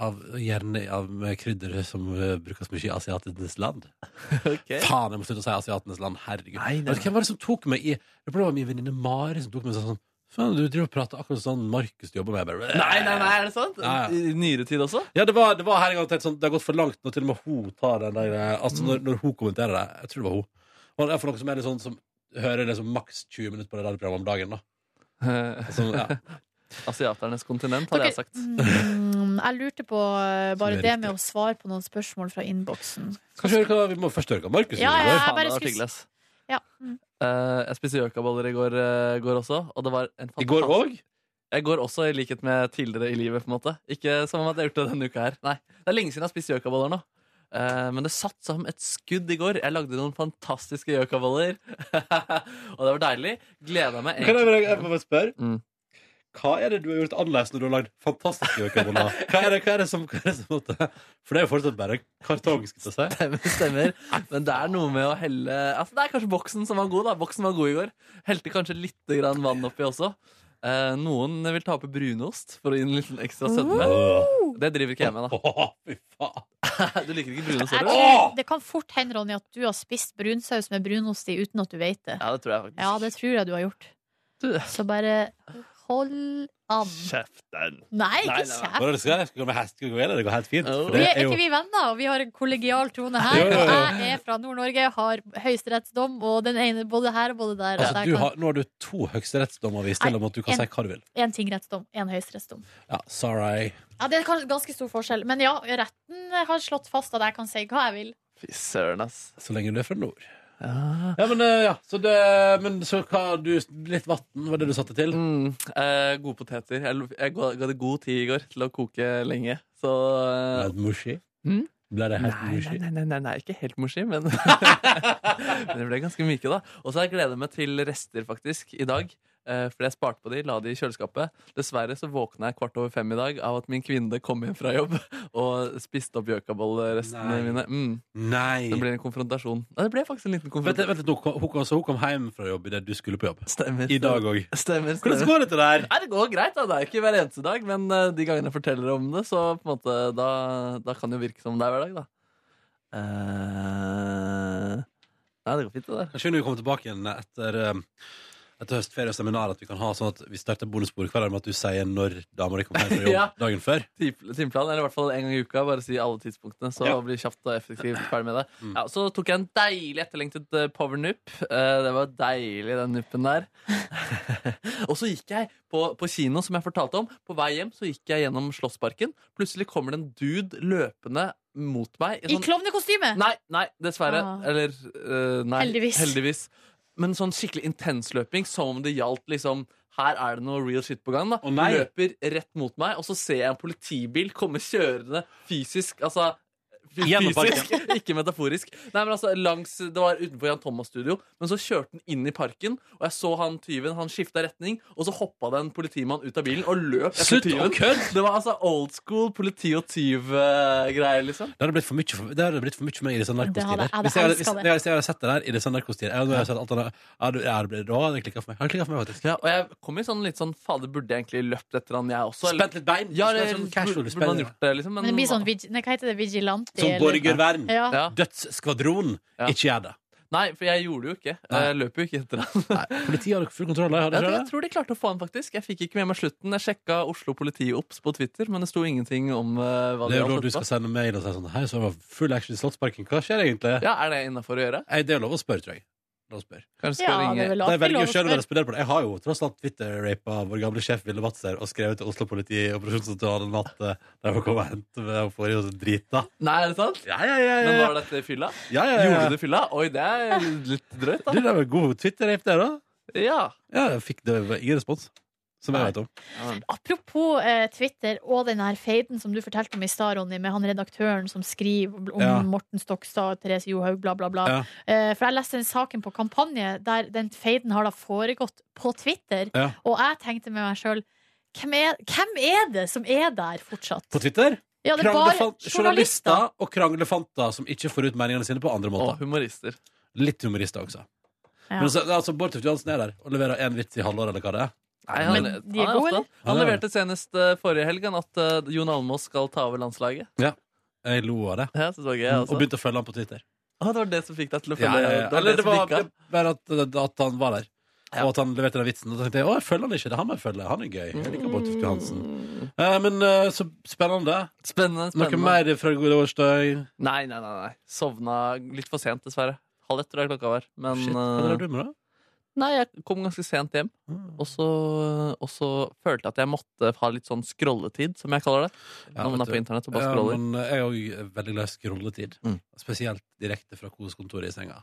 Speaker 1: Av, gjerne av med krydder som eh, brukes mye i asiatenes land.
Speaker 3: Ok.
Speaker 1: Faen, jeg må slutte å si asiatenes land. Herregud.
Speaker 3: Nei, nei,
Speaker 1: Vet du hvem var det som tok meg i Jeg tror det var min venninne Mari som tok meg i sånn Faen, du driver og prater akkurat sånn Markus jobber med. Jeg bare,
Speaker 3: nei, nei, nei, er det sant?
Speaker 1: Ja, ja.
Speaker 3: I nyere tid også?
Speaker 1: Ja, det var, det var her en gang tenkt sånn, det har gått for langt når til og med hun tar den der eh,
Speaker 3: Mm.
Speaker 1: Altså når, når hun kommenterer det. Jeg tror det var hun. Og det er for noen som er litt sånn som hører liksom maks 20 minutter på det radioprogrammet om dagen, da.
Speaker 3: Eh,
Speaker 1: Som, ja.
Speaker 3: Asiaternes kontinent, hadde
Speaker 2: Dere-
Speaker 3: jeg sagt.
Speaker 2: Mm, jeg lurte på eh, bare
Speaker 1: Som er
Speaker 2: det
Speaker 1: riktig.
Speaker 2: med å svare på noen spørsmål fra innboksen.
Speaker 1: Skal vi høre hva vi må først høre hva Markus
Speaker 2: Ja,
Speaker 1: gjorde i går?
Speaker 2: Jeg bare
Speaker 3: det var
Speaker 2: skulle-
Speaker 3: hyggelig, ass.
Speaker 2: Ja. Mm.
Speaker 3: Eh, jeg spiste gjøkaboller i går, eh, går også, og det var en
Speaker 1: I går
Speaker 3: fantastisk-
Speaker 1: òg?
Speaker 3: Jeg går også i likhet med tidligere i livet, på en måte. Ikke som om at jeg har gjort det denne uka her. Nei, Det er lenge siden jeg har spist gjøkaboller nå. Eh, men det satt som et skudd i går. Jeg lagde noen fantastiske gjøkaboller. og det var deilig. Gleda meg
Speaker 1: Kan jeg,
Speaker 3: egentlig.
Speaker 1: bare- jeg må bare spørre?
Speaker 3: Mm.
Speaker 1: Hva er det du har gjort annerledes når du har lagd fantastiske gjøkaboller? Hva, er det- hva er det som hva er det som måtte For det er jo fortsatt bare kartong, skal jeg si.
Speaker 3: Stemmer, stemmer. Men det er noe med å helle Altså, det er kanskje boksen som var god, da. Boksen var god i går. Helte kanskje litt grann vann oppi også. Eh, noen vil ta oppi brunost for å gi den litt ekstra sødme.
Speaker 1: Åh,
Speaker 3: Det driver ikke jeg med,
Speaker 1: Åh, fy faen.
Speaker 3: da. Du liker ikke brunost,
Speaker 2: Jeg
Speaker 3: gjør du?
Speaker 2: tror, det kan fort hende, Ronny, at du har spist brunsaus med brunost i uten at du vet det.
Speaker 3: Ja, det tror jeg faktisk.
Speaker 2: Ja, det tror jeg du har gjort.
Speaker 3: Du-
Speaker 2: Så bare hold an.
Speaker 3: Kjeften.
Speaker 2: Nei,
Speaker 3: Nei, nei,
Speaker 2: ikke
Speaker 3: nei.
Speaker 2: kjeft.
Speaker 1: Hvordan er det skal jeg? Skal vi gå med hest? Skal vi gå videre? Det går helt fint.
Speaker 3: Oh.
Speaker 1: For
Speaker 2: Vi
Speaker 1: det
Speaker 2: er
Speaker 1: er jo
Speaker 2: ikke vi venner, og vi har en kollegial tone
Speaker 1: Jo,
Speaker 2: her.
Speaker 1: jo, jo.
Speaker 2: Og jeg er fra Nord-Norge, har høyesterettsdom, og den ene både her og både der.
Speaker 1: Altså,
Speaker 2: at
Speaker 1: du
Speaker 2: jeg
Speaker 1: har, nå har du to høyesterettsdommer vist til om at du kan
Speaker 2: en-
Speaker 1: si hva du vil.
Speaker 2: kan En tingrettsdom, en høyesterettsdom.
Speaker 1: Ja, sorry.
Speaker 2: Ja, Det er kan- ganske stor forskjell. Men ja, retten har slått fast at jeg kan si hva jeg vil.
Speaker 3: Fy søren, ass.
Speaker 1: Så lenge du er fra nord.
Speaker 3: Ja.
Speaker 1: Ja, men eh, ja, så det Men så hva du Litt vann var det du satte til?
Speaker 3: Mm, eh, gode poteter. Jeg, jeg ga ga det god tid i går til å koke lenge. Så
Speaker 1: Ble
Speaker 3: eh,
Speaker 1: det mushy?
Speaker 3: Mm.
Speaker 1: Ble det helt
Speaker 3: nei, nei,
Speaker 1: mushy?
Speaker 3: nei, nei, nei, nei, ikke helt morsi, men Men det ble ganske myke, da. Og så har jeg gleda meg til rester, faktisk, i dag. Eh, fordi jeg sparte på de, la de i kjøleskapet. Dessverre så våkna jeg kvart over fem i dag av at min kvinne kom hjem fra jobb og spiste opp gjøkabollrestene
Speaker 1: Nei.
Speaker 3: mine. Mm,
Speaker 1: Nei.
Speaker 3: det blir en konfrontasjon. Ja, det ble faktisk en liten
Speaker 1: Vent litt,
Speaker 3: konfrontasjon.
Speaker 1: vent litt, nå, hun, kom- så hun kom hjem fra jobb idet du skulle på jobb?
Speaker 3: Stemmer.
Speaker 1: I dag òg.
Speaker 3: Stemmer,
Speaker 1: Hvordan
Speaker 3: stemmer.
Speaker 1: går det til der?
Speaker 3: Nei, det går greit, da. Det er jo ikke hver eneste dag, men eh, de gangene jeg forteller om det, så på en måte, da, da kan det jo virke som det er hver dag, da. Eh, Nei, det går fint, det der.
Speaker 1: Kanskje når vi kommer tilbake igjen etter, eh, etter høstferie og seminar, at vi kan ha sånn at vi starter bonusbordet hver dag med at du sier når dama di kommer hjem fra jobb
Speaker 3: Ja.
Speaker 1: dagen før.
Speaker 3: Tim- Timeplan, eller i hvert fall en gang i uka. Bare si alle tidspunktene, så
Speaker 1: Ja.
Speaker 3: blir kjapt og effektivt ferdig med det.
Speaker 1: Mm.
Speaker 3: Ja, så tok jeg en deilig etterlengtet eh, powernup. Eh, Det var deilig, den nuppen der. og så gikk jeg på, på kino, som jeg fortalte om. På vei hjem så gikk jeg gjennom Slottsparken. Plutselig kommer det en dude løpende mot meg. sånn
Speaker 2: I klovnekostyme!
Speaker 3: Nei, nei, dessverre.
Speaker 2: Ah.
Speaker 3: Eller eh, nei,
Speaker 2: Heldigvis.
Speaker 3: Men sånn skikkelig intensløping, som om det gjaldt liksom her er det noe real shit på gang. da
Speaker 1: Å, nei.
Speaker 3: Løper rett mot meg, og så ser jeg en politibil komme kjørende fysisk. Altså fy-
Speaker 1: Gjennom
Speaker 3: fysisk, ikke metaforisk. Nei, men altså langs, Det var utenfor Jan Thomas' studio, men så kjørte den inn i parken. Og jeg så han tyven, han skifta retning, og så hoppa det en politimann ut av bilen og løp etter
Speaker 1: Slutt å
Speaker 3: tyven.
Speaker 1: kødde!
Speaker 3: Det var altså old school politi og tyv-greier, liksom.
Speaker 1: Det hadde blitt for mye for, det hadde blitt for, mye for meg i disse
Speaker 2: Det
Speaker 1: narkostider.
Speaker 2: hadde- jeg hadde
Speaker 1: Hvis jeg hadde,
Speaker 2: elsket
Speaker 1: hvis,
Speaker 2: det.
Speaker 1: hvis jeg hadde sett det der i disse narkostider jeg hadde- jeg hadde sett alt annet- ja, du- ja, det ble- Da hadde det klikka for meg. Har det klikket for meg, faktisk?
Speaker 3: Ja, og jeg kom i sånn litt sånn Fader, burde jeg egentlig løpt etter han, jeg også?
Speaker 1: Spent litt bein.
Speaker 3: ja,
Speaker 1: det,
Speaker 3: det,
Speaker 1: er sånn casual
Speaker 3: burde, burde man gjort det, liksom?
Speaker 2: Men det blir sånn vig- Nei, hva heter det? Vigilante?
Speaker 1: Som
Speaker 2: eller-
Speaker 1: Borger Wern.
Speaker 2: Ja.
Speaker 3: ja.
Speaker 1: Dødsskvadron.
Speaker 3: Ja.
Speaker 1: Ikke gjør det.
Speaker 3: Nei, for jeg gjorde det jo ikke.
Speaker 1: Nei.
Speaker 3: Jeg løp jo ikke etter han.
Speaker 1: Politiet har dere full kontroll. Har
Speaker 3: Jeg
Speaker 1: dere
Speaker 3: tror,
Speaker 1: det?
Speaker 3: jeg tror de klarte å få han, faktisk. Jeg fikk ikke med meg slutten. Jeg sjekka Oslo Politiops på Twitter, men det sto ingenting om eh, hva
Speaker 1: Det
Speaker 3: de
Speaker 1: er jo da
Speaker 3: hadde
Speaker 1: du skal
Speaker 3: fått på.
Speaker 1: sende mail og si sånn Hei, så var det full action i Slottsparken. Hva skjer egentlig?
Speaker 3: Ja, er det innafor å gjøre?
Speaker 1: Nei, det er lov å spørre, tror jeg. Lov å spørre.
Speaker 3: Kanskje
Speaker 2: Ja, det
Speaker 3: skal
Speaker 2: er
Speaker 3: ringe
Speaker 2: vel
Speaker 1: De
Speaker 2: alltid
Speaker 1: velger
Speaker 2: lov
Speaker 1: jo
Speaker 2: å
Speaker 1: selv å
Speaker 2: spørre.
Speaker 1: respondere på det. Jeg har jo tross alt Twitter-rapa vår gamle sjef Ville Batzer og skrevet til Oslo politi i operasjonssentralen at eh, de må komme og hente meg og få i oss drita.
Speaker 3: Nei, er det sant?
Speaker 1: Ja, ja, ja.
Speaker 3: Men
Speaker 1: ja,
Speaker 3: var dette i fylla?
Speaker 1: ja, ja, ja.
Speaker 3: Gjorde du det i fylla? Oi, det er litt drøyt, da.
Speaker 1: Det der var god Twitter-rape, det, da.
Speaker 3: Ja.
Speaker 1: Ja, jeg fikk det var ingen respons. Som jeg vet om.
Speaker 2: Apropos eh, Twitter og den her feiden som du fortalte om i stad, Ronny, med han redaktøren som skriver om
Speaker 1: Ja.
Speaker 2: Morten Stokstad, Therese Johaug, bla, bla, bla.
Speaker 1: Ja.
Speaker 2: Eh, for jeg leste den saken på kampanje der den feiden har da foregått på Twitter,
Speaker 1: Ja.
Speaker 2: og jeg tenkte med meg sjøl hvem, er- hvem er det som er der fortsatt?
Speaker 1: På Twitter?
Speaker 2: Ja, det er bare
Speaker 1: Kranglefan-
Speaker 2: journalister.
Speaker 1: Journalister og kranglefanter som ikke får ut meningene sine på andre
Speaker 3: Og
Speaker 1: måter.
Speaker 3: humorister.
Speaker 1: Litt humorister også.
Speaker 2: Ja.
Speaker 1: Men så, altså, Bård Tufte Johansen er der og leverer én vits i halvåret, eller hva det er.
Speaker 3: Nei,
Speaker 2: Men de er gode,
Speaker 3: ofte-
Speaker 2: eller?
Speaker 3: han
Speaker 1: Ja, ja.
Speaker 3: leverte senest eh, forrige helg han, at eh, Jon Almaas skal ta over landslaget.
Speaker 1: Jeg lo av det.
Speaker 3: Ja, så så jeg
Speaker 1: Og
Speaker 3: også.
Speaker 1: begynte å følge han på Twitter.
Speaker 3: Ah, det var det som fikk deg til å
Speaker 1: Ja,
Speaker 3: følge
Speaker 1: ja, ja.
Speaker 3: det var
Speaker 1: Eller
Speaker 3: det
Speaker 1: det
Speaker 3: som
Speaker 1: var
Speaker 3: fikk av.
Speaker 1: bare at, at han var der.
Speaker 3: Ja.
Speaker 1: Og at han leverte den vitsen. Og så tenkte jeg å, jeg følger han ikke. Det er han jeg følger. Han er gøy. Jeg liker Bård Tufte Johansen. Eh, men eh, så spennende.
Speaker 3: Spennende,
Speaker 1: Noe
Speaker 3: spennende.
Speaker 1: mer fra Gode årsdag?
Speaker 3: Nei, nei, nei, nei. Sovna litt for sent, dessverre. Halv ett tror jeg klokka var. Men
Speaker 1: Shit, hva
Speaker 3: eh,
Speaker 1: drar du Ah. med, da?
Speaker 3: nei, jeg kom ganske sent hjem. Og så, og så følte jeg at jeg måtte ha litt sånn scrolletid, som jeg kaller det.
Speaker 1: Ja,
Speaker 3: når man
Speaker 1: vet
Speaker 3: er
Speaker 1: du.
Speaker 3: på internett og bare
Speaker 1: Ja,
Speaker 3: scroller.
Speaker 1: men eh, jeg er jo veldig glad i scrolletid.
Speaker 3: Mm.
Speaker 1: Spesielt direkte fra koskontoret i senga.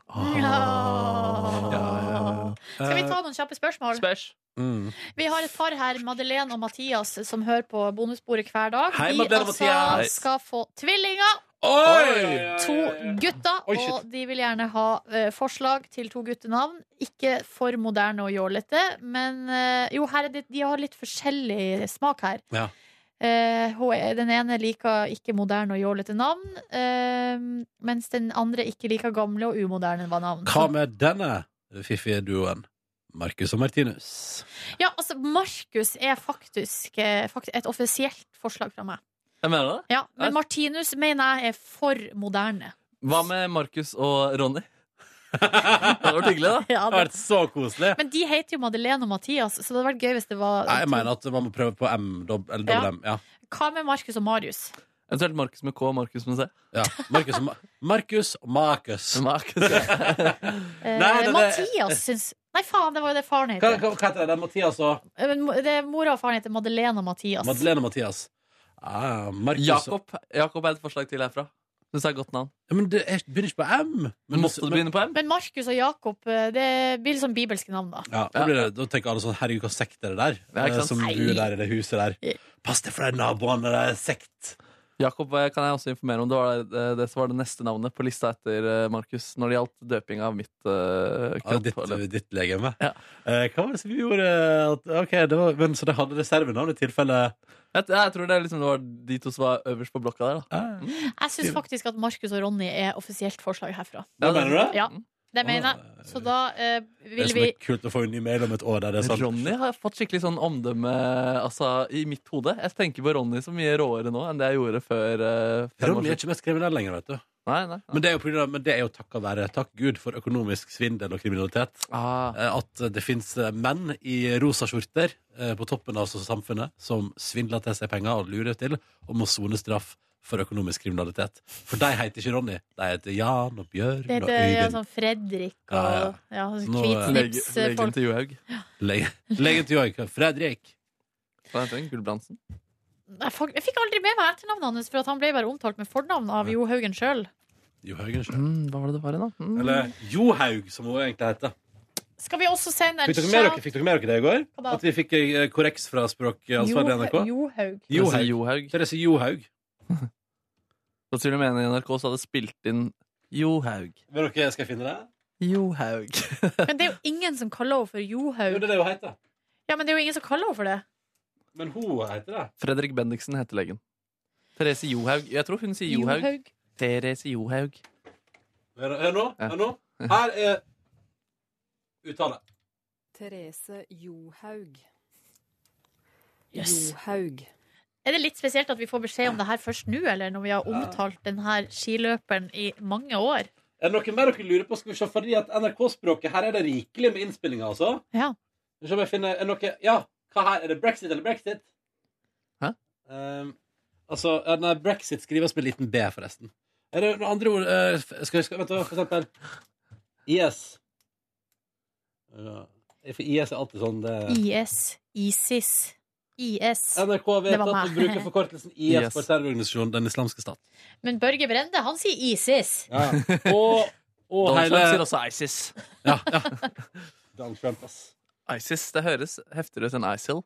Speaker 2: Ja. Skal vi
Speaker 1: Eh,
Speaker 2: ta noen kjappe spørsmål?
Speaker 3: Spørs.
Speaker 1: mm.
Speaker 2: Vi har et par her, Madeleine og Mathias, som hører på Bonusbordet hver dag.
Speaker 1: Hei,
Speaker 2: de
Speaker 1: Madeleine og
Speaker 2: altså
Speaker 1: Mathias.
Speaker 2: skal få tvillinger,
Speaker 1: Oi!
Speaker 2: to gutter,
Speaker 1: Oi, shit.
Speaker 2: og de vil gjerne ha eh, forslag til to guttenavn. Ikke for moderne og jålete, men eh, jo, her er det, de har litt forskjellig smak her.
Speaker 1: Ja.
Speaker 2: Eh, hun er- den ene liker ikke moderne og jålete navn, eh, mens den andre ikke liker gamle og umoderne navn.
Speaker 1: Hva med denne fiffige duoen? Marcus og Martinus.
Speaker 2: Ja, altså, Markus er faktisk eh, fakt et offisielt forslag fra meg.
Speaker 3: Jeg mener det.
Speaker 2: Ja, men Martinus mener jeg er for moderne.
Speaker 3: Hva med Markus og Ronny? det hadde vært hyggelig, da.
Speaker 2: Ja,
Speaker 1: Det har vært så koselig!
Speaker 2: Men de heter jo Madeleine og Mathias, så det hadde vært gøy hvis det var
Speaker 1: Nei, jeg mener at man må prøve på M, dob eller
Speaker 2: Ja.
Speaker 1: dobbel M. Ja.
Speaker 2: Hva med Markus og Marius?
Speaker 3: Eventuelt Markus med K og Markus med C.
Speaker 1: Ja. Markus og Ma Markus og Markus.
Speaker 3: Markus, ja.
Speaker 2: Eh,
Speaker 1: Nei, det- det-
Speaker 2: Mathias syns Nei, faen, det var jo det faren
Speaker 1: Hva,
Speaker 2: heter.
Speaker 1: hva, hva heter det? Den Mathias og
Speaker 2: Eh, Men mo- det Mora og faren heter Madeleine og Mathias.
Speaker 1: Madeleine og Mathias. Ah, Markus og-
Speaker 3: Jakob, Jakob er et forslag til herfra. Syns jeg er et godt navn.
Speaker 1: Ja, men det er, begynner ikke på M. Men,
Speaker 3: Måtte du begynne på M?
Speaker 2: Men Markus og Jakob eh, det blir litt sånn bibelske navn, da.
Speaker 1: Ja, da, blir det, da tenker alle sånn Herregud, hva sekt er det der?
Speaker 3: Ja, ikke
Speaker 1: Eh,
Speaker 3: sant?
Speaker 1: Som bor der i det huset der. Pass deg for de naboene, det er sekt!
Speaker 3: Jakob eh, kan jeg også informere om. Det var eh, det som var det neste navnet på lista etter eh, Markus når det gjaldt døping av mitt eh,
Speaker 1: Ja,
Speaker 3: kropp.
Speaker 1: ditt,
Speaker 3: eller-
Speaker 1: ditt legeme.
Speaker 3: Ja.
Speaker 1: Eh, hva var det som gjorde at Ok, det var, men så de hadde reservenavn i tilfelle
Speaker 3: Jeg, jeg tror det, er liksom, det var de to som var øverst på blokka der. Da.
Speaker 1: eh,
Speaker 2: Jeg syns faktisk at Markus og Ronny er offisielt forslag herfra.
Speaker 1: Hva mener du?
Speaker 2: Ja, Det mener jeg. Så da eh,
Speaker 1: Ah. Det
Speaker 2: vil
Speaker 1: som
Speaker 2: vi
Speaker 1: er kult å få en ny mail om et år der det er sånn
Speaker 3: Ronny har fått skikkelig sånn omdømme altså, i mitt hode. Jeg tenker på Ronny så mye råere nå enn det jeg gjorde før. eh, fem år
Speaker 1: Ronny er
Speaker 3: siden.
Speaker 1: ikke mest kriminell lenger, vet du.
Speaker 3: Nei, nei, nei.
Speaker 1: Men det er jo, på grunn av- men det er jo takk å være takk Gud for økonomisk svindel og kriminalitet.
Speaker 3: Ah,
Speaker 1: eh, At det fins menn i rosa skjorter eh, på toppen av samfunnet som svindler til seg penger og lurer til og må sone straff for økonomisk kriminalitet. For de heter ikke Ronny. De heter Jan og Bjørn
Speaker 2: Det
Speaker 1: og
Speaker 2: heter ja,
Speaker 1: Øyvind.
Speaker 2: sånn Fredrik og
Speaker 1: Ja,
Speaker 2: ja, sånn
Speaker 1: ja. Så nå, eh,
Speaker 3: lege- Legen
Speaker 2: hvitsnipsfolk.
Speaker 3: til Johaug.
Speaker 1: Legen legen til Joik. Fredrik.
Speaker 3: Hva heter hun? Gulbrandsen?
Speaker 2: Jeg fak- jeg fikk aldri med meg etternavnet hans, for at han ble bare omtalt med fornavn av Jo Haugen sjøl.
Speaker 1: Johaugen sjøl.
Speaker 3: Mm, hva var det det var i, da? Mm.
Speaker 1: Eller Johaug, som hun egentlig heter.
Speaker 2: Skal vi også sende en
Speaker 1: Fikk dere med dere, fikk dere, med dere det i går?
Speaker 2: Hva da?
Speaker 1: At vi fikk eh, korreks fra språkansvarlig i NRK?
Speaker 2: Johaug.
Speaker 3: Johaug.
Speaker 1: Johaug.
Speaker 3: Johaug.
Speaker 1: Therese Johaug.
Speaker 3: Da Sylvi Mene i NRK så hadde spilt inn Johaug.
Speaker 1: Vil dere, skal jeg finne det?
Speaker 3: Johaug.
Speaker 2: Men det er jo ingen som kaller henne for
Speaker 1: Jo,
Speaker 2: Johaug.
Speaker 1: det er det hun heter.
Speaker 2: Ja, men det er jo ingen som kaller henne for det.
Speaker 1: Men hun heter det.
Speaker 3: Fredrik Bendiksen heter legen. Therese Johaug. Jeg tror hun sier Johaug. Therese Johaug.
Speaker 1: Hør, hør nå.
Speaker 3: Ja.
Speaker 1: Hør nå. Her er uttale.
Speaker 4: Therese Johaug.
Speaker 2: Yes.
Speaker 4: Johaug.
Speaker 2: Er det litt spesielt at vi får beskjed om det her først nå, eller når vi har omtalt denne skiløperen i mange år?
Speaker 1: Er det noe mer dere lurer på? Skal vi se, fordi at NRK-språket Her er det rikelig med innspillinger, altså.
Speaker 2: Ja.
Speaker 1: Skal vi se om jeg finner er noe, Ja, hva her? Er det brexit eller brexit?
Speaker 3: Hæ?
Speaker 1: Ehm, altså, ja, nei, brexit skrives med liten B, forresten. Er det noen andre ord eh, f- Skal vi skal, Vent, da, for eksempel IS. Ja, for IS er alltid sånn det
Speaker 2: IS. ISIS. IS.
Speaker 1: NRK
Speaker 2: Det var
Speaker 1: vedtatt å
Speaker 2: meg.
Speaker 1: bruke forkortelsen IS
Speaker 3: Yes.
Speaker 1: for terrororganisasjonen Den islamske stat.
Speaker 2: Men Børge Brende, han sier ISIS.
Speaker 1: Ja. Og, og
Speaker 3: Donald Trump
Speaker 1: hele
Speaker 3: sier også ISIS.
Speaker 1: Ja, ja. Donald Trump, ass.
Speaker 3: ISIS det høres heftigere ut enn ISIL.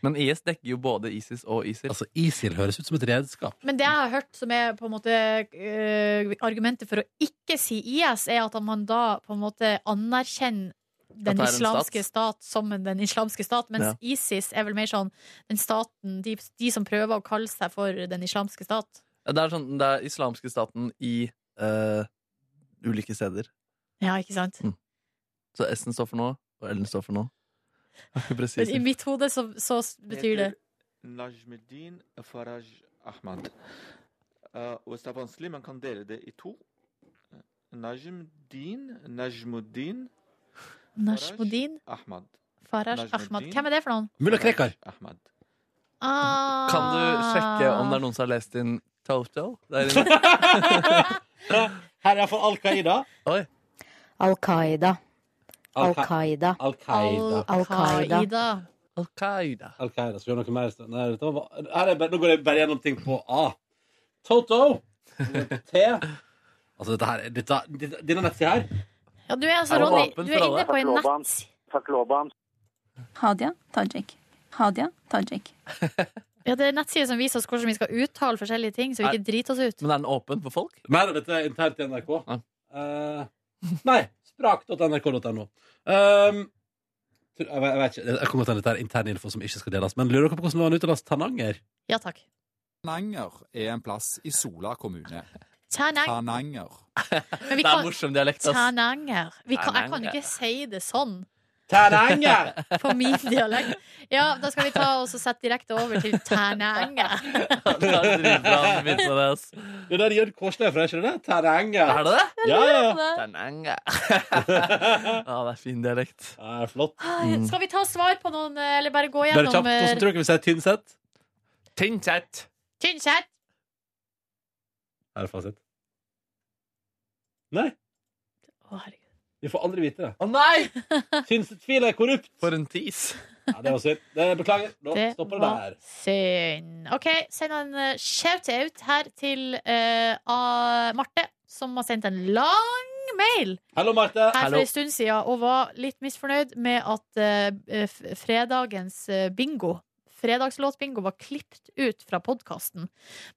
Speaker 3: Men IS dekker jo både ISIS og ISIL.
Speaker 1: Altså, ISIL høres ut som et redskap.
Speaker 2: Men det jeg har hørt som er på en måte øh, argumentet for å ikke si IS, er at man da på en måte anerkjenner
Speaker 3: At
Speaker 2: den
Speaker 3: det er en
Speaker 2: islamske stat som en- den islamske stat, mens
Speaker 3: Ja.
Speaker 2: ISIS er vel mer sånn den staten de, de som prøver å kalle seg for den islamske stat.
Speaker 3: Det er sånn, det er islamske staten i eh, ulike steder.
Speaker 2: Ja, ikke sant?
Speaker 3: Så S-en står for noe, og L-en står for noe. Presis.
Speaker 2: Men I mitt hode så, så betyr det
Speaker 7: Najmuddin Faraj Ahmad. Eh, og hvis det er vanskelig, man kan dele det i to. Najmuddin Najmuddin
Speaker 2: Nashmuddin
Speaker 7: Ahmad.
Speaker 2: Faraj Ahmad. Hvem er det for noen?
Speaker 1: Mulla
Speaker 7: Faraj
Speaker 1: Krekar.
Speaker 7: Ahmad.
Speaker 2: Ah.
Speaker 3: Kan du sjekke om det er noen som har lest inn Toto? Der inne?
Speaker 1: Her er iallfall Al Qaida.
Speaker 3: Oi.
Speaker 10: Al Qaida.
Speaker 1: Al
Speaker 10: Al Qaida.
Speaker 1: Al Qaida.
Speaker 10: Al Qaida.
Speaker 2: Al-Qaida.
Speaker 3: Al Qaida.
Speaker 1: Al Qaida. Skal vi gjøre noe mer? Nei, dette var, her er bare, nå går jeg bare gjennom ting på A. Toto. T. Altså, dette her dette, dette, Denne nettsida her
Speaker 2: Ja, du er altså,
Speaker 3: Er det
Speaker 2: Ronny,
Speaker 3: åpen
Speaker 2: du
Speaker 3: for
Speaker 2: er
Speaker 3: alle?
Speaker 2: inne på en nett.
Speaker 6: Hadia Tajik. Hadia Tajik.
Speaker 2: Ja, det er en nettside som viser oss hvordan vi skal uttale forskjellige ting, så vi ikke driter oss ut.
Speaker 3: Men er den åpen for folk?
Speaker 1: Mer av dette er internt i NRK.
Speaker 3: Ja.
Speaker 1: Eh, nei. Sprak.nrk.no. Um, tror- jeg, vet- jeg vet ikke. Jeg kommer til at dette er intern info som ikke skal deles. Men lurer dere på hvordan det var å utlast Tananger?
Speaker 2: Ja takk.
Speaker 11: Tananger er en plass i Sola kommune.
Speaker 2: Ternang.
Speaker 11: Tananger.
Speaker 2: Men vi
Speaker 3: Det er
Speaker 2: kan
Speaker 3: morsom dialekt, ass.
Speaker 2: Ternanger. Vi kan, jeg kan
Speaker 3: Ternanger.
Speaker 2: ikke si det sånn
Speaker 1: Tananger!
Speaker 2: på min dialekt. Ja, da skal vi ta oss og sette direkte over til Ternanger.
Speaker 3: Det er dritbra å begynne med det, ass.
Speaker 1: det der Jørn Kårstø er fra, ikke det? Tananger.
Speaker 3: Er det det?
Speaker 1: Ja, ja.
Speaker 3: Tananga. Ja, det er fin dialekt.
Speaker 1: ja det er flott.
Speaker 2: Skal vi ta svar på noen, eh, eller bare gå
Speaker 1: Mm. Bare kjapt. Hvordan
Speaker 2: gjennom eh,
Speaker 1: tror dere vi sier Tynset?
Speaker 3: Tynset.
Speaker 2: Tynset?
Speaker 1: Her er fasit. Nei,
Speaker 2: Å, herregud.
Speaker 1: vi får aldri vite det.
Speaker 3: Å nei!
Speaker 1: Tynset-tvil er korrupt!
Speaker 3: For en tis.
Speaker 1: Ja, det var synd. Det beklager. Nå
Speaker 2: Det
Speaker 1: stopper det
Speaker 2: var
Speaker 1: der.
Speaker 2: synd. OK, send en eh, shout-out her til eh, A- Marte, som har sendt en lang mail.
Speaker 1: Hallo, Marte.
Speaker 2: her
Speaker 3: Hallo.
Speaker 2: for en stund siden og var litt misfornøyd med at eh, f- fredagens eh, bingo Fredagslåtbingo var klippt ut fra podkasten,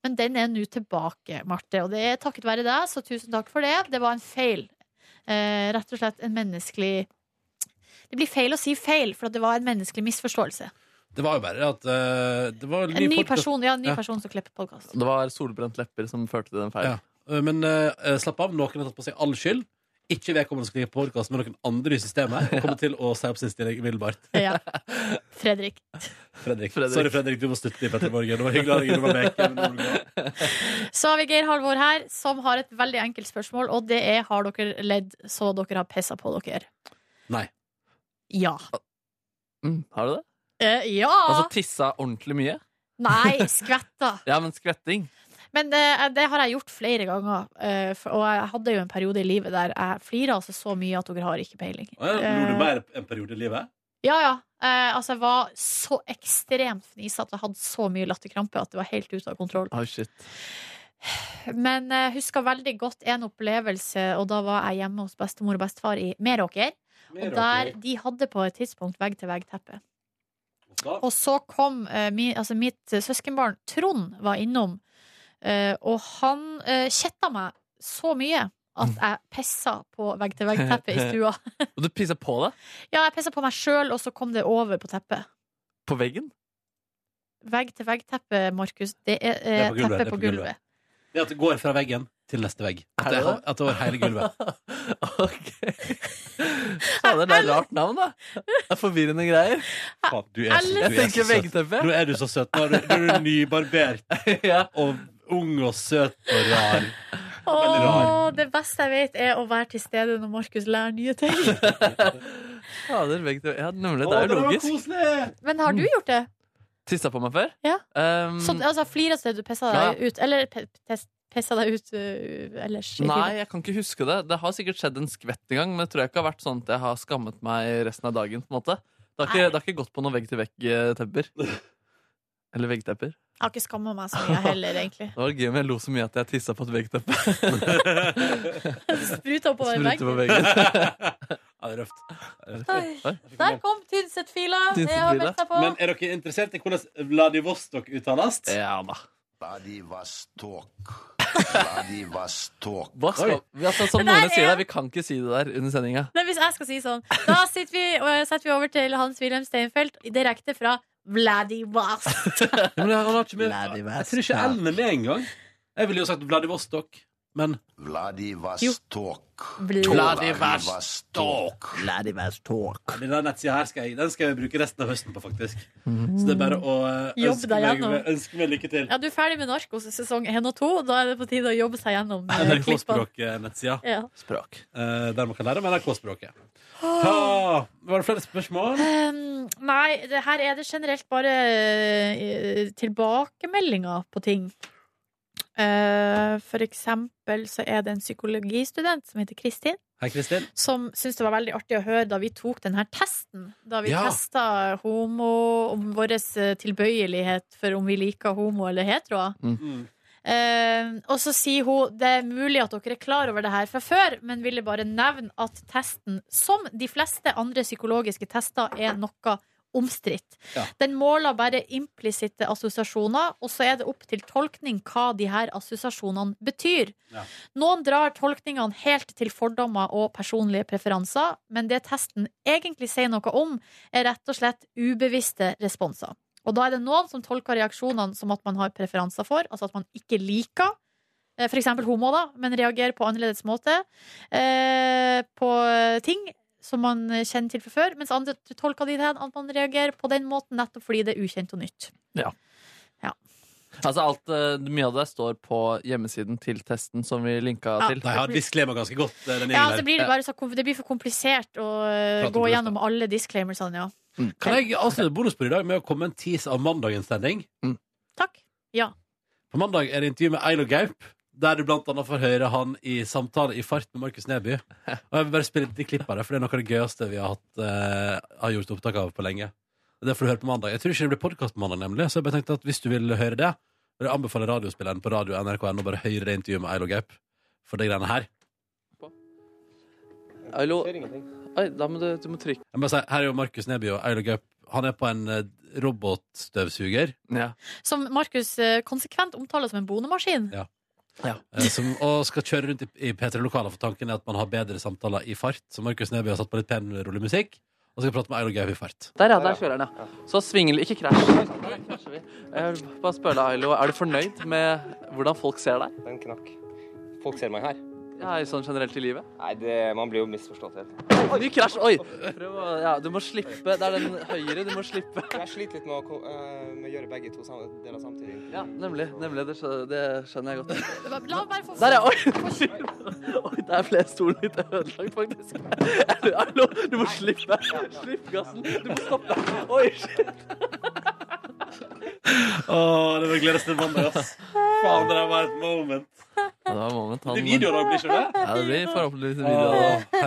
Speaker 2: men den er nå tilbake, Marte. Og det er takket være deg, så tusen takk for det. Det var en feil. Eh, rett og slett en menneskelig Det blir feil å si feil, for at det var en menneskelig misforståelse.
Speaker 1: Det var jo bare at eh, Det var
Speaker 2: En ny
Speaker 1: podcast.
Speaker 2: person, ja, en ny
Speaker 1: Ja.
Speaker 2: person som klipper podkast.
Speaker 3: Det var solbrent lepper som førte til den
Speaker 1: Ja.
Speaker 3: feilen.
Speaker 1: Eh, Men eh, slapp av, noen har tatt på seg all skyld. Ikke vedkommende som klikker på podkast, men noen andre i systemet Og kommer til å si opp sin stilling umiddelbart.
Speaker 2: Ja. Fredrik.
Speaker 1: Fredrik.
Speaker 3: Fredrik.
Speaker 1: Sorry, Fredrik, du må slutte i Petter Morgen. Det var hyggelig å ha deg innom meg. men nå må du gå.
Speaker 2: Så har vi Geir Halvor her, som har et veldig enkelt spørsmål, og det er har dere ledd så dere har pissa på dere?
Speaker 1: Nei.
Speaker 2: Ja.
Speaker 3: Mm, har du det?
Speaker 2: Eh, ja!
Speaker 3: Altså tissa ordentlig mye?
Speaker 2: Nei, skvetta.
Speaker 3: Ja, men skvetting.
Speaker 2: Men eh, det har jeg gjort flere ganger, eh, for- og jeg hadde jo en periode i livet der jeg flira altså så mye at dere har ikke peiling.
Speaker 1: Å, ja, Lo du
Speaker 2: Eh,
Speaker 1: mer en periode i livet?
Speaker 2: Ja, ja. Eh, altså, jeg var så ekstremt fnisete at jeg hadde så mye latterkrampe at det var helt ute av kontroll.
Speaker 3: Oi, shit.
Speaker 2: Men jeg husker veldig godt en opplevelse, og da var jeg hjemme hos bestemor og bestefar i Meråker. Og der de hadde på et tidspunkt vegg-til-vegg-teppe. Og så kom eh, mi, altså mitt søskenbarn Trond var innom, eh, og han uh, kjetta meg så mye at jeg pissa på vegg-til-vegg-teppet i stua.
Speaker 3: Og du pissa på det?
Speaker 2: Ja, jeg pissa på meg sjøl, og så kom det over på teppet.
Speaker 3: På veggen?
Speaker 2: Vegg-til-vegg-teppe, Markus, det er, eh,
Speaker 1: Det er på gulvet, det er
Speaker 2: teppet på
Speaker 1: på gulvet.
Speaker 2: gulvet.
Speaker 1: Det at det går fra veggen til neste vegg. At
Speaker 3: Er
Speaker 1: det,
Speaker 3: det det?
Speaker 1: at det var hele gulvet.
Speaker 3: ok. Fader, det er rart navn, da. Det er forvirrende greier.
Speaker 1: Faen, du er så,
Speaker 3: Jeg
Speaker 1: du er
Speaker 3: tenker
Speaker 1: så søt.
Speaker 3: veggteppe.
Speaker 1: Nå er du så søt. Nå er du, nå er du nybarbert
Speaker 3: Ja.
Speaker 1: og ung og søt og rar. Veldig
Speaker 2: Åh,
Speaker 1: rar.
Speaker 2: det beste jeg vet, er å være til stede når Markus lærer nye ting.
Speaker 3: Fader, veggteppe. Ja, nemlig.
Speaker 1: Å,
Speaker 3: Det er jo
Speaker 1: var
Speaker 3: logisk.
Speaker 1: koselig!
Speaker 2: Men har du gjort det?
Speaker 3: Tissa på meg før?
Speaker 2: Ja.
Speaker 3: Um,
Speaker 2: Sånn, altså, Flira til du pissa
Speaker 3: Ja.
Speaker 2: deg ut? Eller pe- pes- pissa deg ut øh, ellers? i
Speaker 3: Nei,
Speaker 2: livet?
Speaker 3: jeg kan ikke huske det. Det har sikkert skjedd en skvett en gang, men jeg tror jeg ikke har vært sånn at jeg har skammet meg resten av dagen. på en måte. Det har ikke,
Speaker 2: Nei.
Speaker 3: det har ikke gått på noen vegg-til-vegg-tepper. Eller veggtepper.
Speaker 2: Jeg har ikke skamma meg så mye heller, egentlig.
Speaker 3: Det var gøy om jeg lo så mye at jeg tissa på et veggteppe.
Speaker 2: Spruta oppover
Speaker 3: Sprutte på
Speaker 2: veggen.
Speaker 3: veggen.
Speaker 1: Ja, det er røft.
Speaker 2: Oi. Der kom Tynset-fila. Det
Speaker 1: Tynset-fila.
Speaker 2: har meldt seg på.
Speaker 1: Men er dere interessert i hvordan Vladivostok uttales? Ja da.
Speaker 12: Vladivostok. Vladivostok.
Speaker 3: altså, som
Speaker 2: Det der
Speaker 3: noen sier
Speaker 2: er-
Speaker 3: der, vi kan ikke si det der under sendinga.
Speaker 2: Nei, hvis jeg skal si sånn, da sitter vi, og setter vi over til Hans-Wilhelm Steinfeld direkte fra Vladivostok.
Speaker 1: Men han har ikke med Jeg tror ikke L-en er med engang. Jeg ville jo sagt Vladivostok, men
Speaker 12: Vladivostok.
Speaker 1: Vladivostok. Ja, Den der nettsida her skal jeg, den skal jeg bruke resten av høsten på, faktisk. Så det er bare å eh,
Speaker 2: Mm. Jobb
Speaker 1: ønske
Speaker 2: deg
Speaker 1: meg,
Speaker 2: gjennom.
Speaker 1: ønske meg lykke til.
Speaker 2: Ja, du er ferdig med Narkos sesong 1 og 2. Da er det på tide å jobbe seg gjennom eh, klippene.
Speaker 1: NRK-språk-nettsida.
Speaker 2: Ja.
Speaker 1: Språk. Eh, der man kan lære om NRK-språket. Ah, var det flere spørsmål?
Speaker 2: Um, nei, det her er det generelt bare eh, tilbakemeldinger på ting. Eh, for eksempel så er det en psykologistudent som heter Kristin.
Speaker 1: Hei, Kristin.
Speaker 2: som syntes det var veldig artig å høre da vi tok den her testen. Da vi
Speaker 1: Ja.
Speaker 2: testa homo, om vår eh, tilbøyelighet for om vi liker homo eller hetero. Eh, og så sier hun det er mulig at dere er klar over det her fra før, men ville bare nevne at testen, som de fleste andre psykologiske tester, er noe omstridt.
Speaker 13: Ja.
Speaker 2: Den måler bare implisitte assosiasjoner, og så er det opp til tolkning hva de her assosiasjonene betyr.
Speaker 13: Ja.
Speaker 2: Noen drar tolkningene helt til fordommer og personlige preferanser, men det testen egentlig sier noe om, er rett og slett ubevisste responser. Og da er det noen som tolker reaksjonene som at man har preferanser for, altså at man ikke liker. eh, For eksempel homo, da, men reagerer på annerledes måte eh, på ting som man kjenner til fra før, mens andre tolker de det hen at man reagerer på den måten nettopp fordi det er ukjent og nytt.
Speaker 3: Ja.
Speaker 2: Ja.
Speaker 3: Altså alt, eh, Mye av det står på hjemmesiden til testen som vi linka
Speaker 2: Ja.
Speaker 3: til.
Speaker 2: De har disclaimer ganske
Speaker 1: godt. eh, Den
Speaker 2: Ja, så blir det, bare så, kom- det blir for komplisert å eh,
Speaker 1: Prate om
Speaker 2: gå
Speaker 1: det,
Speaker 2: gjennom alle disclaimersene, ja.
Speaker 1: Kan jeg avslutte bonusbordet i dag med å komme med en tease av mandagens sending?
Speaker 2: Ja.
Speaker 1: På mandag er det intervju med Eilo Gaup, der du blant annet får høre han i samtale i fart med Markus Neby. Og jeg vil bare spille et lite klipp av det, for det er noe av det gøyeste vi har, hatt, eh, har gjort opptak av på lenge. Og Det får du høre på mandag. Jeg tror ikke det blir podkast på mandag, nemlig, så jeg bare tenkte at hvis du vil høre det, vil jeg anbefale radiospilleren på radio NRK.no å bare høre det intervjuet med Eilo Gaup for de greiene her.
Speaker 3: Hallo. Oi, da må du, du må trykke.
Speaker 1: Jeg må si, her er jo Markus Neby og Eilo Gaup. Han er på en eh, robotstøvsuger.
Speaker 2: Som Markus eh, konsekvent omtaler som en bonemaskin.
Speaker 1: Ja. Eh, Som, og skal kjøre rundt i, i P3-lokaler, for tanken er at man har bedre samtaler i fart. Så Markus Neby har satt på litt pen, rolig musikk, og skal prate med Eilo Gaup i fart.
Speaker 3: Der, ja. Der kjører den, ja. Så svingel Ikke krasj. Oi, nå krasjer vi. Jeg vil bare spørre deg, Ailo, er du fornøyd med hvordan folk ser deg?
Speaker 14: Den knakk. Folk ser meg her.
Speaker 3: Ja, i sånn generelt i livet?
Speaker 14: Nei, det, man blir jo misforstått helt.
Speaker 3: Oi, ny krasj! Oi! Prøv å Ja, du må slippe. Det er den høyre. Du må slippe.
Speaker 14: Jeg sliter litt med å, ko- eh, med å gjøre begge to sam- deler samtidig.
Speaker 3: Ja, nemlig. nemlig det, skjønner, det skjønner jeg godt.
Speaker 2: La meg bare få
Speaker 3: Der, ja. Oi! Oi, der ble stolen litt ødelagt, faktisk. Hallo, du må slippe. Slipp gassen. Du må stoppe. Oi, shit.
Speaker 1: Å, det var gledes til mandag, ass. Faen, det der var et moment.
Speaker 3: Ja, det var moment.
Speaker 1: Det blir video da, blir ikke det?
Speaker 3: Ja, det blir forhåpentligvis video da.
Speaker 1: Å,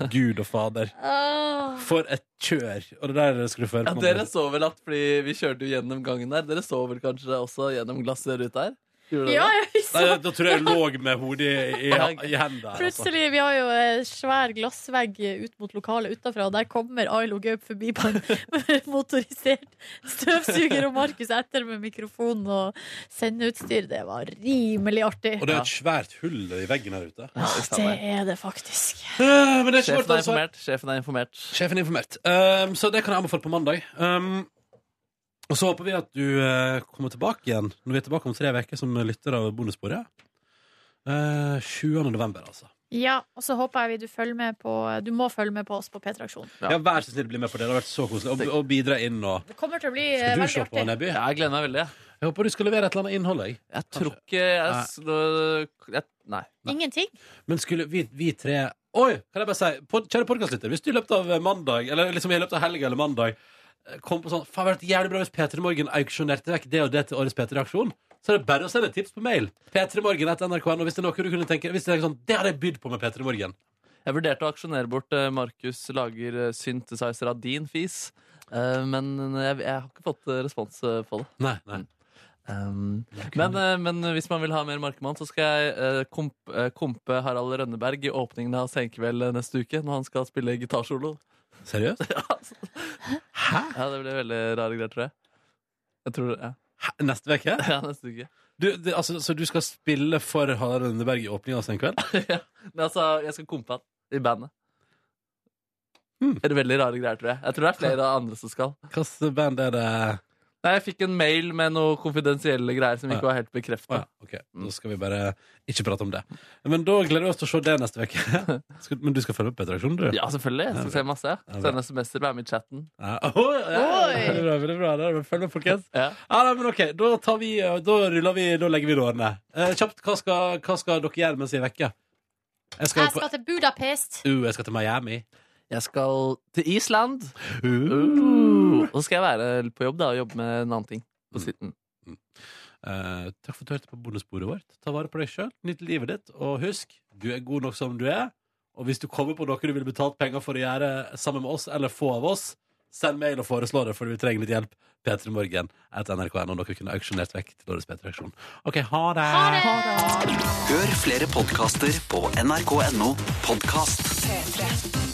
Speaker 1: herregud og fader.
Speaker 2: Ah.
Speaker 1: For et kjør. Og det der skal du få
Speaker 3: Ja,
Speaker 1: høre på.
Speaker 3: dere så vel at fordi vi kjørte jo gjennom gangen der, dere så vel kanskje også gjennom glassruta her? Gjorde dere
Speaker 2: Ja,
Speaker 3: det?
Speaker 2: jeg så- Nei,
Speaker 1: da tror jeg jeg lå med hodet i, i hendene. altså.
Speaker 2: Plutselig, vi har jo eh, svær glassvegg eh, ut mot lokalet utafra, og der kommer Ailo Gaup forbi på en motorisert støvsuger, og Markus etter med mikrofon og sendeutstyr. Det var rimelig artig.
Speaker 1: Og det er et svært hull i veggen her ute.
Speaker 2: Ja, det er det faktisk.
Speaker 1: Eh, men det er ikke
Speaker 3: Sjefen
Speaker 1: vårt ansvar.
Speaker 3: er informert. Sjefen er informert.
Speaker 1: Sjefen er informert. Um, så det kan jeg anbefale på mandag. Um, og så håper vi at du eh, kommer tilbake igjen når vi er tilbake om tre uker som lytter av bonussporet. Eh, 7. november, altså.
Speaker 2: Ja, og så håper jeg vi du følger med på Du må følge med på oss på P-traksjon.
Speaker 1: Ja. vær så snill, bli med på det. Det har vært så koselig. Og, og bidra inn og
Speaker 2: Det kommer til å bli eh,
Speaker 1: Skal du
Speaker 2: veldig
Speaker 1: se på,
Speaker 2: artig.
Speaker 1: Nebby?
Speaker 3: Ja, jeg gleder meg veldig. Jeg,
Speaker 1: jeg håper du skal levere et eller annet innhold. Jeg,
Speaker 3: jeg tror ikke jeg, s- nå- jeg Nei.
Speaker 2: Ingenting.
Speaker 1: Men skulle vi, vi tre Oi, kan jeg bare si, pod, kjære podkastlytter, hvis du i løpet av mandag Eller liksom i løpet av helga eller mandag eh, kom på sånn Faen, det hadde vært jævlig bra hvis P3 Morgen auksjonerte vekk det og det til årets P3-aksjon. Så er det bare å sende et tips på mail. P3morgen.nrk.no. Hvis det er noe du kunne tenke Hvis det er sånn, det hadde jeg bydd på med P3 Morgen.
Speaker 3: Jeg vurderte å aksjonere bort eh, Markus lager eh, synthesizer av din fis, eh, men jeg, jeg har ikke fått eh, respons eh, på det.
Speaker 1: Nei, nei.
Speaker 3: Um, men, eh, men hvis man vil ha mer Markmann, så skal jeg eh, komp, eh, kompe Harald Rønneberg i åpningen av Senkveld eh, neste uke, når han skal spille gitarsolo.
Speaker 1: Seriøst?
Speaker 3: Hæ? Ja, det blir veldig rare greier, tror jeg. jeg tror, ja.
Speaker 1: Neste uke?
Speaker 3: Ja, neste uke.
Speaker 1: Du, det, altså, så du skal spille for Harald Rønneberg i åpninga altså en kveld?
Speaker 3: Men altså, jeg skal kompe han i bandet. Det er veldig rare greier, tror jeg. Jeg tror det er flere andre som skal.
Speaker 1: Hvilket band er det?
Speaker 3: Nei, jeg fikk en mail med noen konfidensielle greier som ikke var helt bekrefta.
Speaker 1: Ok, Da skal vi bare ikke prate om det. Men da gleder vi oss til å se det neste uke. Skal- Men du skal følge opp på reaksjonen, du?
Speaker 3: Ja, selvfølgelig. Jeg skal se masse. Sende SMS-er, være med i chatten.
Speaker 1: Ja. Oi, ja.
Speaker 3: Oi.
Speaker 1: Veldig bra, veldig bra. Det er bra. Følg med, folkens.
Speaker 3: Ja.
Speaker 1: nei, men ok, da, tar vi, eh, da ruller vi, da legger vi det årene. Eh, kjapt, hva skal, hva skal dere gjøre mens jeg er vekke? Jeg skal,
Speaker 2: Jeg skal til Budapest.
Speaker 1: på, uh, jeg skal til Miami.
Speaker 3: Jeg skal til Island. Og så skal jeg være på jobb da og jobbe med en annen ting. På siden.
Speaker 1: Eh, takk for at du hørte på bonusbordet vårt. Ta vare på deg sjøl, nyt livet ditt, og husk, du er god nok som du er. Og hvis du kommer på noe du ville betalt penger for å gjøre sammen med oss, eller få av oss, send mail og foreslå det, for vi trenger litt hjelp. P3morgen etter nrk.no. Dere kunne auksjonert vekk til årets P3-aksjon. OK, ha det!
Speaker 13: Hør flere podkaster på nrk.no podkast.
Speaker 15: P3.